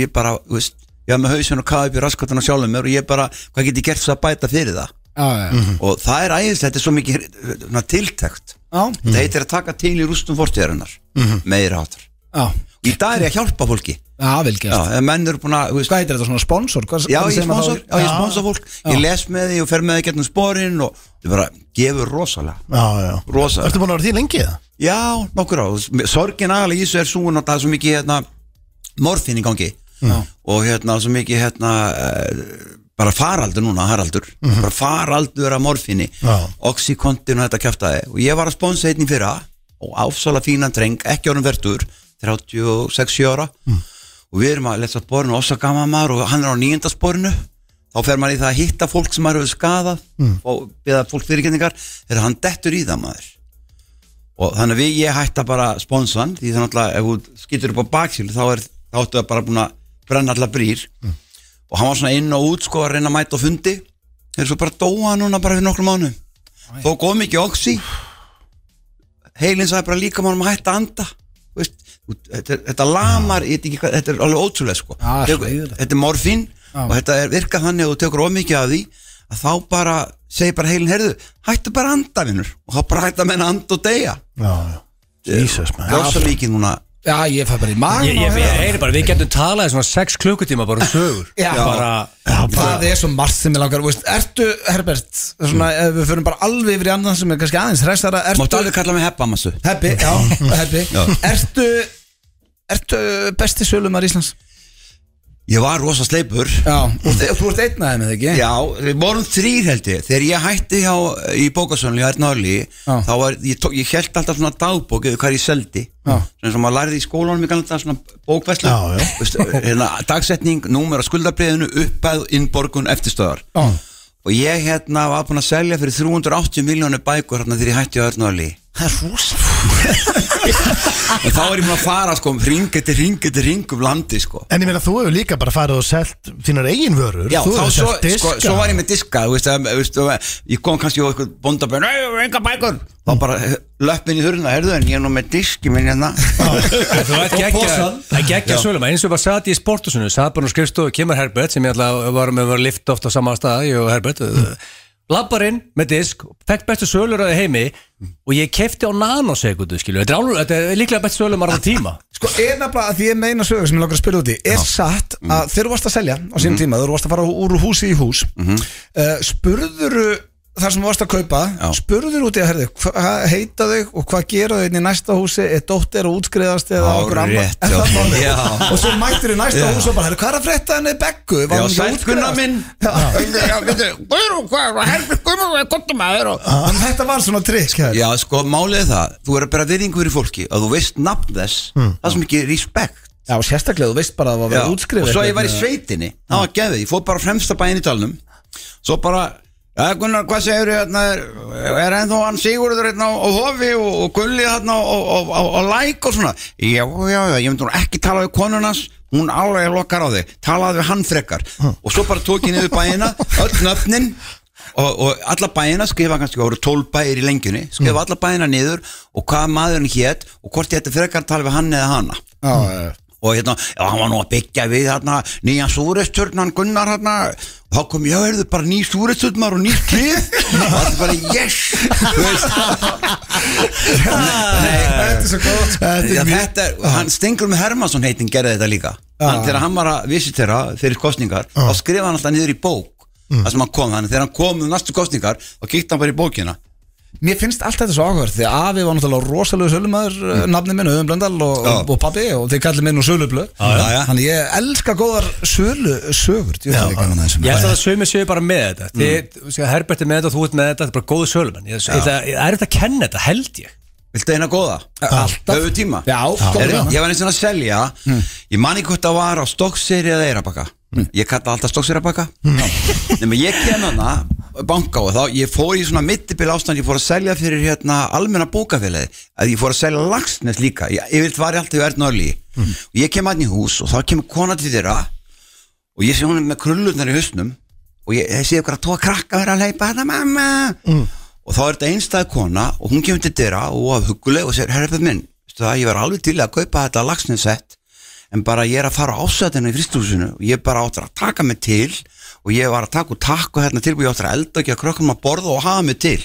S9: ég bara, þú veist ég var með hausinn og kaði upp í raskatana sjálfum mér og ég bara, hvað get ég gert þess að bæta fyrir það
S6: já, já.
S9: og það er æðislega, þetta er svo mikið svona, tiltækt
S6: Já. Mhm.
S9: þetta heitir að taka til í rústum fortíðarinnar meira áttur
S6: Já.
S9: í dag er ég að hjálpa fólki
S6: Já, vel gert.
S9: Já, ef menn eru búin að Hvað
S6: heitir þetta svona sponsor? Hvað,
S9: já,
S6: hvernig
S9: ég
S6: segir maður
S9: sponsor,
S6: þá?
S9: já, ég
S6: Já.
S9: sponsor fólk Ég les með því og fer með því getnum sporin og það bara gefur rosalega
S3: Já, já
S9: Rosalega
S3: Ertu búin að vera því lengi það?
S9: Já, nokkur á Sorgin aðalega í þessu er svo að það er svo mikið hérna, morfín í gangi
S6: Já.
S9: og hérna svo mikið hérna eh, bara faraldur núna, Haraldur
S6: Mhm.
S9: bara faraldur af morfinni
S3: Já.
S9: Oxycontin og þetta kjaftaði og ég var að sponsa einn í fyrra og áfsala fínan dreng, ekki orðum verður 36 ára og við erum að lesa borinu Osagama maður og hann er á nýjöndasporinu þá fer maður í það að hitta fólk sem maður hefur skadað og beða fólk fyrirkenningar þegar hann dettur í það maður og þannig að við ég hætta bara sponsan því þannig að ef þú skýtur upp á baksíl þá er þá áttu það bara búin að brenna allar brýr og hann var svona inn og út sko að reyna að mæta á fundi þeir svo bara dóa núna bara fyrir nokkrum mánu þó kom ekki oxi heilin sagði bara líka mánum að hætta að anda Þú veist, þú- þetta, er- þetta lamar ég veit ekki hvað, þetta er alveg ótrúlega sko
S6: Já,
S9: Tekur-
S6: hræðilegt.
S9: þetta er morfín
S6: Já.
S9: og þetta er virkað þannig að þú tekur ómikið af því að þá bara, segir bara heilin herðu, hættu bara að anda vinnur og þá bara hættu að menna anda og deyja
S3: Já, já Jesus, man
S9: rosa mikið núna
S6: Já, ég fæ bara í maður
S2: Ég, ég, ég heyri bara, við getum talað í svona 6 klukkutíma bara um sögur
S6: Já.
S2: bara,
S6: Það er svo margt sem ég langar veist, Ertu, Herbert, svona, ef við förum bara alveg yfir í andan sem er kannski aðeins hressara ertu,
S9: Mm. Máttu alveg kalla mig heppamassu
S6: Heppi, já, heppi
S9: Já.
S6: Ertu, ertu besti sölumar Íslands?
S9: Ég var rosa sleipur
S6: Já, og þe- þú ert einn aðeins með ekki?
S9: Já, við vorum þrýr held ég Þegar ég hætti hjá, í bókasönlu hjá Ernáli
S6: Já.
S9: Þá var, ég, tók, ég held alltaf svona dagbók Eða hvað ég seldi
S6: Já.
S9: Svona sem maður lærði í skólanum í galanda Svona bókverslu
S3: Já, já.
S9: Veistu, hérna, Dagsetning, númer á skuldabriðinu Uppæð, innborgun, eftirstöðar
S6: Já,
S9: Og ég hérna var búin að selja fyrir 380 miljónu bækur hérna þegar ég hætti á Örnáli
S6: það er
S9: (laughs)
S6: rosa
S9: En þá er ég búin að fara sko Ringið til ringið til ringum landi sko
S3: En ég meina, þú hefur líka bara farið og selt þínar eigin vörur
S9: Já,
S3: þú
S9: þá
S3: hefur
S9: svo,
S3: selt diska
S9: sko, svo var ég með diska þú veist, að, veist, að, Ég kom kannski og eitthvað bóndabæn Nei, ég er enga bækur
S6: Mm.
S9: Þá bara eh, löppin í hurna, herðu en ég er nú með diski minn hérna
S2: Þú veit geggja, geggja sölum eins og bara satt í sportusinu, satt bara á skrifstofu kemur Herbert sem ég alltaf var með að lifta oft á sama stað, ég og Herbert labbar inn með disk, fekk bestu sölur að heimi og ég kefti á nanosekundu, skilju, þetta er, alveg- þetta er líklega bestu sölum að tíma
S6: Sko, er nefnilega að því ég meina sögur sem ég langar að spila út í Er satt
S9: Mm.
S6: að þegar þú varst að selja á
S9: Mm-hmm.
S6: sínum tíma Þegar þú varst að fara úr húsi í hús mm Spurðuru þar sem þú varst að kaupa
S9: Já.
S6: Spurðuru út í að herðu Hvað heita þau og hvað gera þau inn í næsta húsi Er dóttir að útskriðast eða
S9: Á,
S6: okkur amma
S9: rétt,
S6: Er það
S9: já.
S6: málið?
S9: Já.
S6: Og svo mættir í næsta
S9: Já.
S6: hús og bara herðu Hvað er að frétta henni beggu?
S9: Já, sælkunna minn
S10: Guðrún, hvað er það? Herfið Guðrún, hvað er gott um aður?
S6: Þetta var svona trikk hérna. herðu.
S9: Já, sko, málið er það Þú er að bera virðingu fyrir fólki að þú veist nafn þess Það er sem ekki respekt
S6: Mm. Já, og sérstaklega þú veist bara að það var
S9: Já,
S6: verið útskrifað
S9: og svo ég var í
S6: eitthvað. hérna.
S9: sveitinni það var gefið, ég fór bara fremst að bæinn í dalnum svo bara Ja, Gunnar, hvað segir þau hérna, er, er ennþá hann Sigurður hérna á, á hofi og, og Gulli hérna á, á, á, á læk og svona? Já, já, já, ég myndi nú ekki tala við konunans, hún alveg lokar á þig, talaði við hann frekar og svo bara tók ég niður bæina, öll nöfnin og, og alla bæina skrifa kannski, það voru tól bæir í lengjunni, skrifa alla bæina niður og hvað maðurinn hétt og hvort ég ætti frekar að tala við hann eða hana
S6: Já, já, já.
S9: og hérna, já, hann var nú að byggja við hérna, nýja súresturn, hann Gunnar hérna, og þá kom ég að verðu bara ný súresturn maður og nýtt klið og það er bara yes þú
S6: (laughs)
S9: veist. Nei,
S6: Ah. Þetta er svo gott sko.
S9: já, þetta er, hann Stengur með Hermansson heitin gerði þetta líka
S6: Ah.
S9: hann, þegar hann var að visitera fyrir kostningar þá skrifa hann alltaf niður í bók
S6: Mm.
S9: það sem hann kom, þannig þegar hann kom um næstu kostningar þá kíkti hann bara í bókina
S6: Mér finnst allt þetta svo áhverð því að afi var náttúrulega rosalega sölumæður mm. nafni minn, Öðum Blöndal og,
S9: Já.
S6: og, og pabbi og þeir kallir minn og sölublö
S9: já, já.
S6: Þannig ég elska góðar sölu, sögur Ég
S3: Já,
S6: er ekki annað þessum
S2: Ég held að það sömu séu bara með þetta Þið, mm. Herbert er með þetta og þú ert með þetta Þetta er bara góðu sölumenn Ég- ég- Það það er þetta að kenna þetta, held ég
S9: Viltu eina góða?
S6: Alltaf.
S9: Höfu tíma?
S6: Já, sko. komum
S9: Er,
S6: við hana.
S9: Ég var eins og að selja Ég man ekki hvort það var á Stokkseri eða Eirabakka Ég kalla alltaf Stokksirabakka Nefnum ég kem hana banka og þá ég fór í svona mittibili ástand ég fór að selja fyrir hérna almenna bókafélagi að ég fór að selja lagsnes líka ég, ég vilt var ég alltaf í Erðnörli mm. og ég kem hann í hús og þá kemur kona til þeirra og ég sé hún með krullurnar í hausnum og ég, ég sé ykkur að tóa krakka vera að leipa þetta mamma og þá er þetta einstæð kona og hún kemur til dyra og af huguleg og segir, herrfið minn, veistu það, ég var alveg til að kaupa þetta lagsninsett en bara ég er að fara á ásætinu í fristúsinu og ég bara áttur að taka mig til og ég var að taka úr takku hérna til og ég áttur að elda og gera krökkum að borða og hafa mig til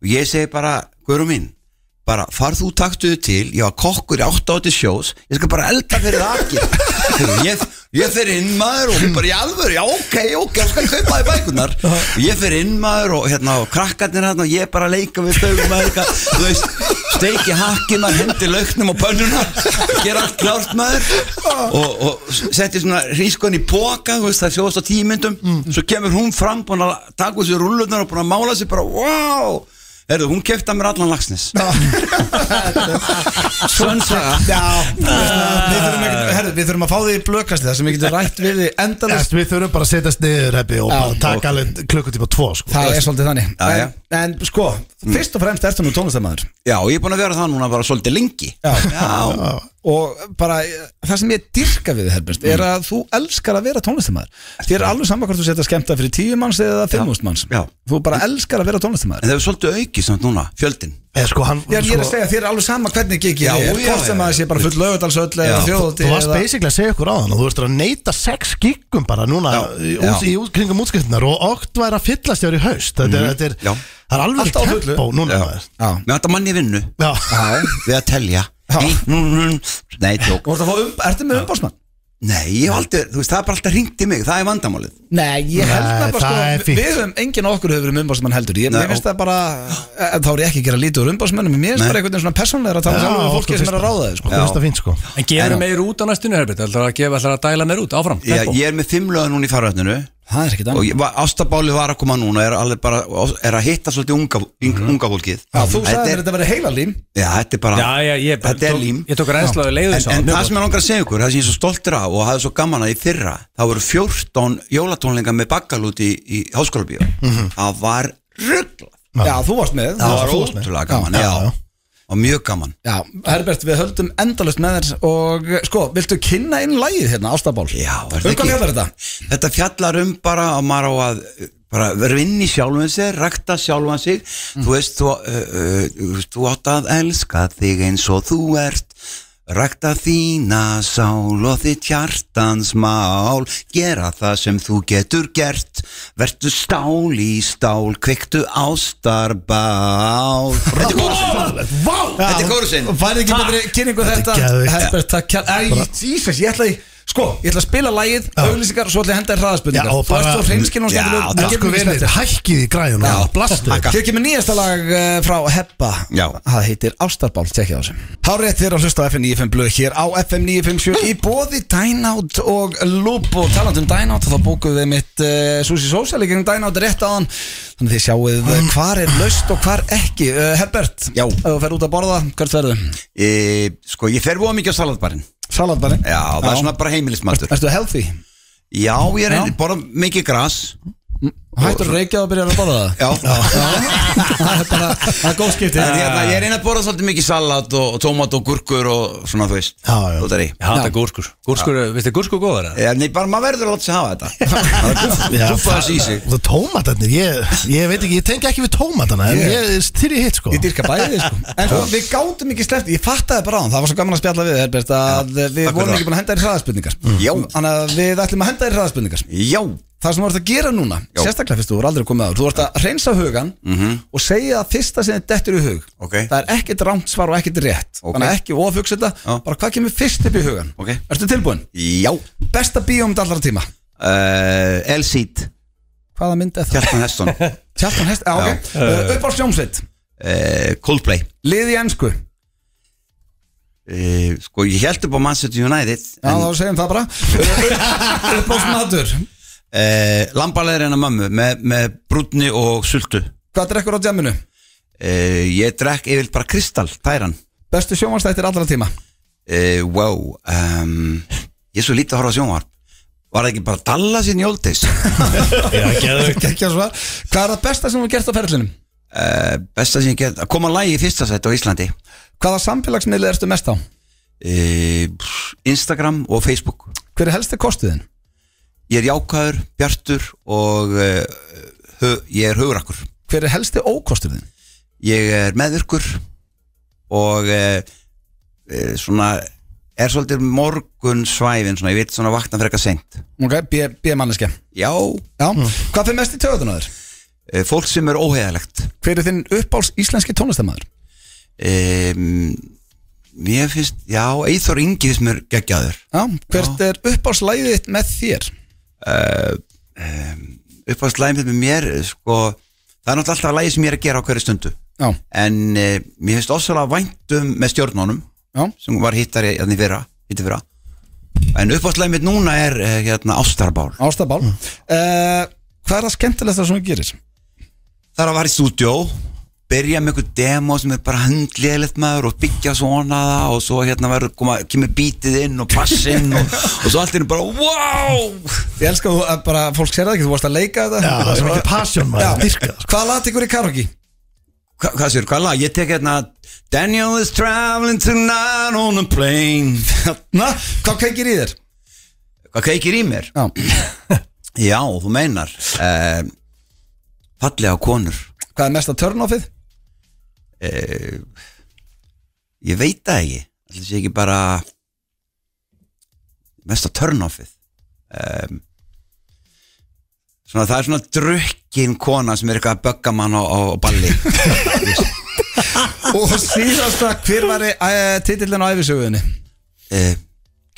S9: og ég segi bara, guðrum mín bara far þú taktuðu til ég var kokkur í 8-8 sjós ég skal bara elda fyrir akið (laughs) ég, ég fer inn maður og hún bara í alvöru já ok, ok, ég skal kaupa þið bækunar ég fer inn maður og hérna og krakkarnir hérna og ég bara leika við þau maður eitthvað, þú veist, steiki hakið maður hendi lauknum og pönnuna gera allt klárt maður og, og setti svona hrískon í póka þú veist, það sjóðast á tímyndum svo kemur hún fram búin að taka úr sér rullunar og búin að mála sér bara wow Herðu, hún kefti að mér allan lagsnes Svönsaga
S1: Já, þú veist það, við þurfum ekkert- herðu, við þurfum að fá því blökast það sem við getum rætt við þið endalist
S3: Eftir, við þurfum bara að setjast niður hefði og bara taka alveg klukkutíma tvo sko.
S1: Það er svolítið þannig
S9: Já, já.
S1: En, en sko, fyrst og fremst ertu nú tónlistamæður
S9: Já, ég er búin að vera það núna bara svolítið lengi Já, já.
S1: Og bara, eh, það sem ég dyrka við þið helbjörnst Er að þú elskar að vera tónlistamæður Þér er alveg saman hvort þú setja skemmta fyrir tíu manns eða fimmúst manns
S9: Já.
S1: Þú bara elskar að vera tónlistamæður
S9: En það er svolítið aukið samt núna, fjöldin
S3: Eða sko, hann
S1: Já, en ég er að
S3: sko,
S1: segja, þér er alveg sama hvernig gigi
S9: Já,
S1: þið er,
S9: já,
S1: Hvort sem
S9: já,
S1: að það sé bara full lögutalsöll eða
S9: Já,
S1: þjóðuti
S3: Þú varst basically að segja ykkur á þann og þú veist að neyta sex giggum bara núna
S9: Já,
S3: í,
S9: já.
S3: út, í út, kringum útskiptunar og okt væri að fyllast hjá í haust Þetta er, þetta er,
S9: Já.
S3: það er alveg
S1: Allt á fullu.
S3: tempo núna maður.
S1: Já.
S9: Með þetta manni í vinnu
S3: Já.
S9: Við að telja Ein, nú, nú, nú. Nei, tjók
S1: Þú ert að fá um, ertu með umbásmann?
S9: Nei, ég hef aldrei, þú veist, það er bara alltaf hringt í mig Það er vandamálið
S1: Nei, ég held það
S3: Nei, það
S1: bara
S3: er
S1: sko
S3: fínt.
S1: Við höfum, enginn af okkur hefur verið með umbásmann heldur Ég
S9: Nei,
S1: mér finnst
S9: ó.
S1: það bara, eh, þá er ég ekki að gera lítið úr umbásmannum Mér finnst
S9: Nei.
S1: bara einhvern veginn svona persónleira að tala
S3: Já,
S1: saman við
S3: okkur
S1: fólki sem er
S3: finnst
S1: að ráða þið sko.
S3: Okkur finnst það fínt sko
S2: En gefur meir út á næstunni, Herbert Það er að gefa ætlar að dæla meir út, áfram
S9: ég,
S2: tempo.
S9: ég er með fimm lögð núna í farvætninu
S1: Það er ekkert
S9: Og
S1: annað
S9: ég, var- ástabálið var að koma núna Er, alveg bara, er að hitta svolítið unga, unga, unga fólkið
S1: Mhm. Já, Þú sagði
S9: Þetta er-
S1: að þetta verið heila lím
S9: Já, þetta er bara
S2: Já, já, ég,
S9: Ah. Þetta er
S2: tók-
S9: lím
S2: ég tók reynslaðu leiðu
S9: En, en það sem ég langar að segja ykkur, það sem ég er svo stoltur af og hafði svo gaman að í fyrra, það voru 14 jólatónlingar með bakkalút í, í háskólabíu. Það var ruggla.
S1: Já, þú varst með
S9: Það
S1: þú
S9: var
S1: varst þú varst með.
S9: ótrúlega gaman, já. Og mjög gaman.
S1: Já, Herbert, við höldum endalust með þér og sko, viltu kynna inn lagið hérna, Ástabál?
S9: Já, er
S1: Um hvað fjallar þetta?
S9: Þetta fjallar um bara að maður á að uh, bara vinni sjálfan sig, rakta sjálfan sig. Þú veist, þú, uh, uh, þú veist, þú átt að elska þig eins og þú ert. Rakta þína sál og þitt hjartans mál Gera það sem þú getur gert Vertu stál í stál, kveiktu
S1: (laughs)
S9: ástarbál Þetta er kórusinn Þetta er kórusinn
S1: Færið ekki betri kynningu þetta
S3: Þetta er geðveikt.
S1: Herbert, takk kjær Æ, Jesus, ég ætla í Sko, ég ætla að spila lagið, auglýsingar og svo ætla ég að henda þér
S3: Já,
S1: hraðaspurningar
S3: og
S1: Þú ert
S3: bara-
S1: svo hreinskinn og
S9: Já,
S1: skemmtileg
S9: takk.
S1: við
S3: Sko
S1: gefum ekki
S3: vinir,
S1: eftir.
S3: hækkið í græðuna
S9: Já.
S3: Blastu
S9: Takk.
S1: Hér kemur nýjasta lag eh, frá Heppa
S9: Já.
S1: Það heitir Ástarbál, tekja þessu Hárið þér að hlusta á FM 95 blöð hér á FM 957 Í bóði Dynout og Loop og talandum Dynout þá bókuðum við mitt uh, Susi Social í gegnum Dynout rétt áðan Þannig þið sjáuð uh, hvar er löst og hvar ekki uh, Herbert,
S9: Já.
S1: ef þú fer út að borða, hvert verður?
S9: e, Sko, ég fer voða mikið á salatbarinn
S1: Salatbarinn?
S9: Já, það er svona bara heimilismatur
S1: Erstu healthy?
S9: Já, ég er
S1: Já.
S9: ennig, borða mikið gras
S1: Hættur að reykja og byrja að borða það?
S9: Já,
S1: það er bara, það er góð skipti
S9: En hérna, ég er einnig að borða svolítið mikið salat og, og tómat og gúrkur og svona þú veist
S3: Já, já.
S9: Þú veist,
S2: Ég hata gúrskur Gúrskur, veist þið gúrskur góðar það?
S9: Nei, bara maður verður að láta sig
S1: (laughs)
S9: hafa þetta Dúfa þessi í sig
S3: Og það tómatarnir, ég, ég veit ekki, ég tengi ekki við tómatana En
S1: Ég-
S3: ég styrir hitt sko
S1: Ég dyrka bæði sko En sko, við gátum ekki sleppt Ég fattaði bara á hann Það var svo gaman að spjalla við Herbert að við
S9: takk fyrir
S1: vorum
S9: það. Mm.
S1: ekki búin að henda þér í hraðaspurningar
S9: Já.
S1: Þannig að við ætlum að henda þér í hraðaspurningar
S9: Já,
S1: Það sem þú ert að gera núna
S9: Já.
S1: Sérstaklega fyrst þú voru aldrei komið áður Þú ert að reynsa hugan Og segja að fyrsta sem þið dettur í hug
S9: Mhm. Ok.
S1: Það er ekkit rangt svar og ekkit rétt
S9: Ok.
S1: Þannig að ekki ofugsa þetta
S9: Já.
S1: Bara hvað kemur fyrst upp í hugan
S9: Ok.
S1: Ertu tilbúin?
S9: já
S1: Besta bíómynd allra tíma
S9: uh, Elsít,
S1: Hvaða mynd er það? (laughs)
S9: Kjartan Heston uh,
S1: Tjartan Hest Já, ok uh, Upp á sjómsveit
S9: Eh, Coldplay
S1: Lið í ensku
S9: uh, Sko, ég held upp á Manchester United
S1: Já,
S9: en,
S1: þá segjum það
S9: (laughs)
S1: bara Upp á smadur
S9: uh, Lambalegir en að mömmu með, með brúnni og sultu
S1: Hvað drekkur á djaminu?
S9: uh, Ég drekk yfir bara kristall, tæran
S1: Bestu sjónvarstættir allra tíma
S9: uh, Wow um, Ég er svo lítið að horfa á sjónvarp Var það ekki bara Dallas in the old days
S1: Gekkja svar Hvað er það besta sem þú hefur gert á ferlinum?
S9: uh, Besta sem ég get Að koma að lagi í fyrsta sætt á Íslandi
S1: Hvaða samfélagsmiðli ertu mest á?
S9: uh, Instagram og Facebook
S1: Hver er helsti kostuðin?
S9: eh, Ég er jákaður, bjartur og uh, hö, ég er hugrakkur
S1: Hver er helsti ókostur þinn?
S9: Ég er meðvirkur og e, e, svona er svolítið morgun svæfin svona, ég veit svona vakna fyrir eitthvað seint
S1: Ok, B-manneske
S9: Já,
S1: Já,
S9: Mm.
S1: hvað fyrir mest í töðunar þér?
S9: e, fólk sem er óheðalegt
S1: Hver er þinn uppáls íslenski tónlistamæður?
S9: e, Mér finnst, já, Eithor Ingi finnst mér geggjaður
S1: Já, hvert er uppáls lægið þitt með þér?
S9: uppáðslæmið með mér sko, það er náttúrulega alltaf lægi sem ég er að gera á hverju stundu
S1: Já.
S9: en e, mér finnst ofsalega væntum með stjórnunum
S1: Já.
S9: sem var hittari hérna í fyrra, hitti fyrra en uppáðslæmið mitt núna er e, hérna, ástarbál,
S1: Ástabál mm. Hvað er það skemmtilegsta sem þú gerir?
S9: það er að vara í stúdjó byrja með einhver demo sem er bara handléðilegt maður og byggja svona það og svo hérna verður, koma, kemur bítið inn og passinn og, og svo allt er bara wow
S1: Ég elska þú að bara fólk sér það ekki, þú varst að leika þetta
S3: Já, það er svo mikið passion
S1: Já.
S3: maður, dyrka það, sko.
S1: Hvað lati ykkur í karaoke?
S9: Hva, hvað sér, hvað lag? Ég tek hérna Daniel is traveling tonight on a
S2: (laughs)
S9: plane
S1: Na, hvað kveikir í þér?
S9: Hvað kveikir í mér?
S2: (laughs)
S1: Já.
S9: Já, þú meinar uh, Fallega konur
S1: Hvað er mesta turn-offið?
S9: uh, Ég veit það ekki Það sé ekki bara Mesta turn-offið um, Svona það er svona drukkin kona sem er eitthvað að bögga mann á, á balli
S1: Og síðasta, hver var uh, titillin á æfisöguðinni?
S9: uh,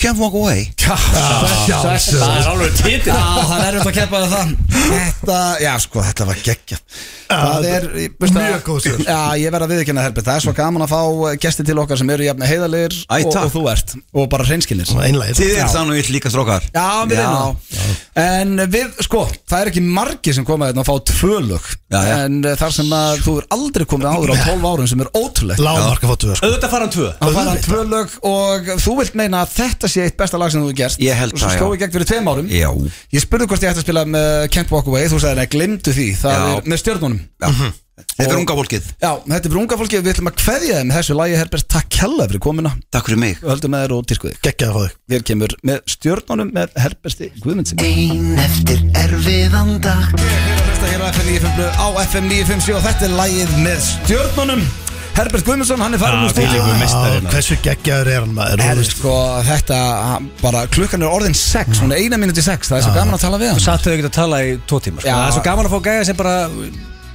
S9: Can't walk away
S2: Það er alveg titill
S1: Já, það er auðvitað að keppa við það Þetta, já sko, þetta var geggjað Það er, ég- veistu
S3: mjög
S1: það-
S3: góð svör.
S1: Já, ég verð að viðkynna Herbert Það er svo gaman að fá gesti til okkar sem eru jafn heiðalegir
S9: Æ,
S1: og,
S9: takk.
S1: og þú ert Og bara hreinskinnir
S3: Einlægir
S9: Þið er það nú vill líka strókar
S1: Já, við erum það En við, sko, það er ekki margi sem koma þetta að fá tvölug
S9: Já, já.
S1: En uh, þar sem að þú er aldrei komið áður á 12 árum sem er ótrúlegt
S3: Lámarka fóttu það,
S2: Auðvitað fara hann tvö
S1: Það fara tvölug og þú vilt meina að þetta sé eitt besta lag sem þú hefur gerst
S9: Ég held
S1: Og svo
S9: það, já.
S1: skói gegn fyrir tveim árum
S9: Já
S1: Ég spurði hvort ég ætti að spila með Can't Walk Away Þú sagði neða, glemdu því Það
S9: Já.
S1: er með stjörnunum
S9: Þetta er unga fólkið
S1: Já, þetta er fyrir unga fólki Við ætlum að kveðja þeim með þessu lagi Herbert, takk hella fyrir komuna
S9: Takk fyrir mig
S1: Við höldum með þér og dyrkuði
S3: geggjaði fóðu
S1: Þér kemur með stjörnunum með Herberti Guðmundsin
S5: Ein eftir erfiðan dag
S1: Hlusta hér á FM 957 á FM 957 og þetta er lagið með stjórnunum Herbert Guðmundsson, hann er farin úr stíl
S2: hérna.
S3: Hversu geggjaður er hann maður
S1: Herri,
S3: Þú veist,
S1: sko, þetta, hann- bara klukkan er orðin 6, hún er eina mínúti 6 það er svo gaman að tala við hann
S2: Satt þau ekki að tala í tvo tíma sko.
S1: Já.
S2: Það er svo gaman að fá gæja sem bara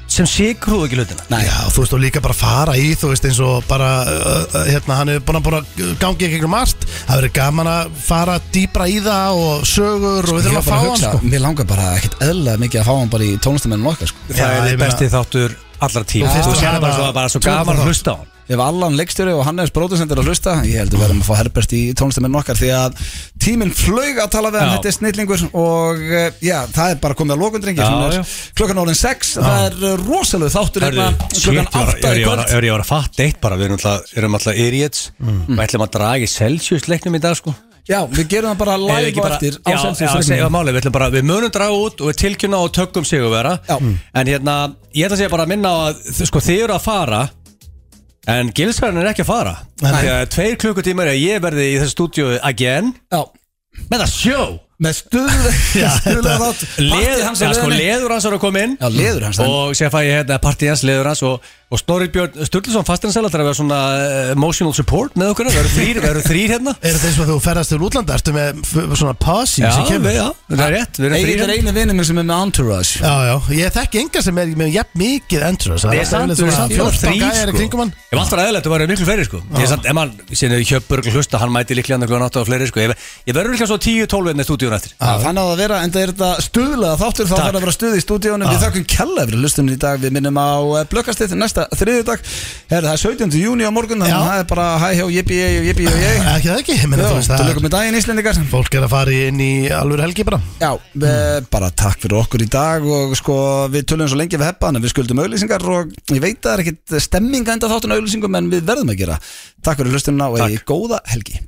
S2: sem sikrúðu ekki hlutina
S1: Nei,
S3: Já, þú veist, og líka bara fara í, þú veist, eins og bara, uh, uh, hérna, hann er búin að búin að gangi í gegnum allt, það verður gaman að fara dýpra í það og sögur og
S1: ég
S3: við þurfum
S1: var
S3: að fá
S1: bara að
S3: hann,
S1: hugsa,
S3: sko.
S1: mér langar bara ekkit eðla mikið að fá hann bara í tónlistamennum okkar sko.
S3: Já,
S2: Það
S3: ég
S2: er
S3: meina-
S2: bestið þáttur allra
S1: Já.
S2: tíma Þú
S1: Fyrst
S2: sér
S3: að
S2: bara
S3: hafa
S2: svo, bara svo
S3: tvö
S2: gaman
S3: þátt.
S2: að hlusta á hann
S1: Ef Allan leikstjóri og Hannes bróðusendur að hlusta Ég heldur verðum að fá Herbert í tónlistamenn okkar Því að tíminn flög að tala við hann
S2: Já.
S1: Þetta er snillingur og eh, já, það er bara komið að lokundrengi
S2: Já, já.
S1: Klokkan orðin 6, það er rosalega þáttur hérna Klokkan 8 í kvöld Mm.
S2: Hörru, ég var að fatta eitt bara Við erum alltaf- erum alltaf idiots Við ætlum að draga í Celsius leiknum í dag sko
S1: Já, við gerum það bara
S2: Eða
S1: live
S2: ekki
S1: og
S2: bara-
S1: eftir á
S2: Já,
S1: Celsius
S2: já,
S1: regninu.
S2: segja máli, við ætlum bara, við munum draga út og við tilkynna og tökum sigurvera
S1: Já.
S2: en hérna, ég ætla að segja bara að minna á að þ- sko, þið eru að fara en gilsverðin er ekki að fara því að tveir klukkutímar er að ég verði í þessu stúdíu again
S1: Já,
S2: með að sjó
S1: með stuð Stuðlega þátt
S2: Leð,
S1: Partí
S2: hans
S1: hans er
S2: ja, sko,
S1: leiðinni.
S2: leður hans er að koma inn
S1: Já, leður hans er-
S2: og sér fæ ég hérna partí hans leður hans og, og Snorri Björn Sturluson fastinansæla þarf að vera svona uh, emotional support með okkur það eru þrýr, það eru þrýr hérna
S3: Er þetta eins og þú ferðast til útlanda, ertu með f- svona posse
S2: já,
S3: sem kemur?
S2: við, já, það er rétt, hérna. við erum
S1: Egil
S2: þrýr
S1: er einu vinnum sem er með entourage
S3: Já, já, ég þekki enga sem er með jafn mikið endur
S2: Ég er samt, við erum samt
S3: fjórtán gæjar í kringum hann
S2: sko. Ég var alltaf ræðilegt, þú værið miklu fleiri sko Ég er samt, ef mann, síðan við Hjöpburg hlusta, hann mæti líklega annað klukkan 8 og fleiri sko Ég, ég verður líka svo 10-12 enn í stúdíun eftir
S1: Já, Þannig að það vera, enda er þetta stuðlega þáttur þá
S2: Takk.
S1: þarf að vera stuð í stúdíónum Við þakkum kella fyrir hlustunum í dag Við minnum á blökkastitt næsta þriðjudag Herra, Það er 17. júni á morgun Þannig að
S3: Já.
S1: það er bara hæ hjá jippi ég og jippi og (laughs) ég
S3: Ekki það ekki, ég menna þú veist
S1: Það
S3: það
S1: lögum með daginn Íslendingar
S3: Fólk er að fara í- inn í alvöru helgi bara
S1: Já, mm. bara takk fyrir okkur í dag og sko við tölum svo lengi við heppa en við skuldum auðlýsingar og ég veit að það er ekkit stemminga enda þáttun auðlýsingum en við verðum að gera Takk fyrir hlustununa og eigi góða helgi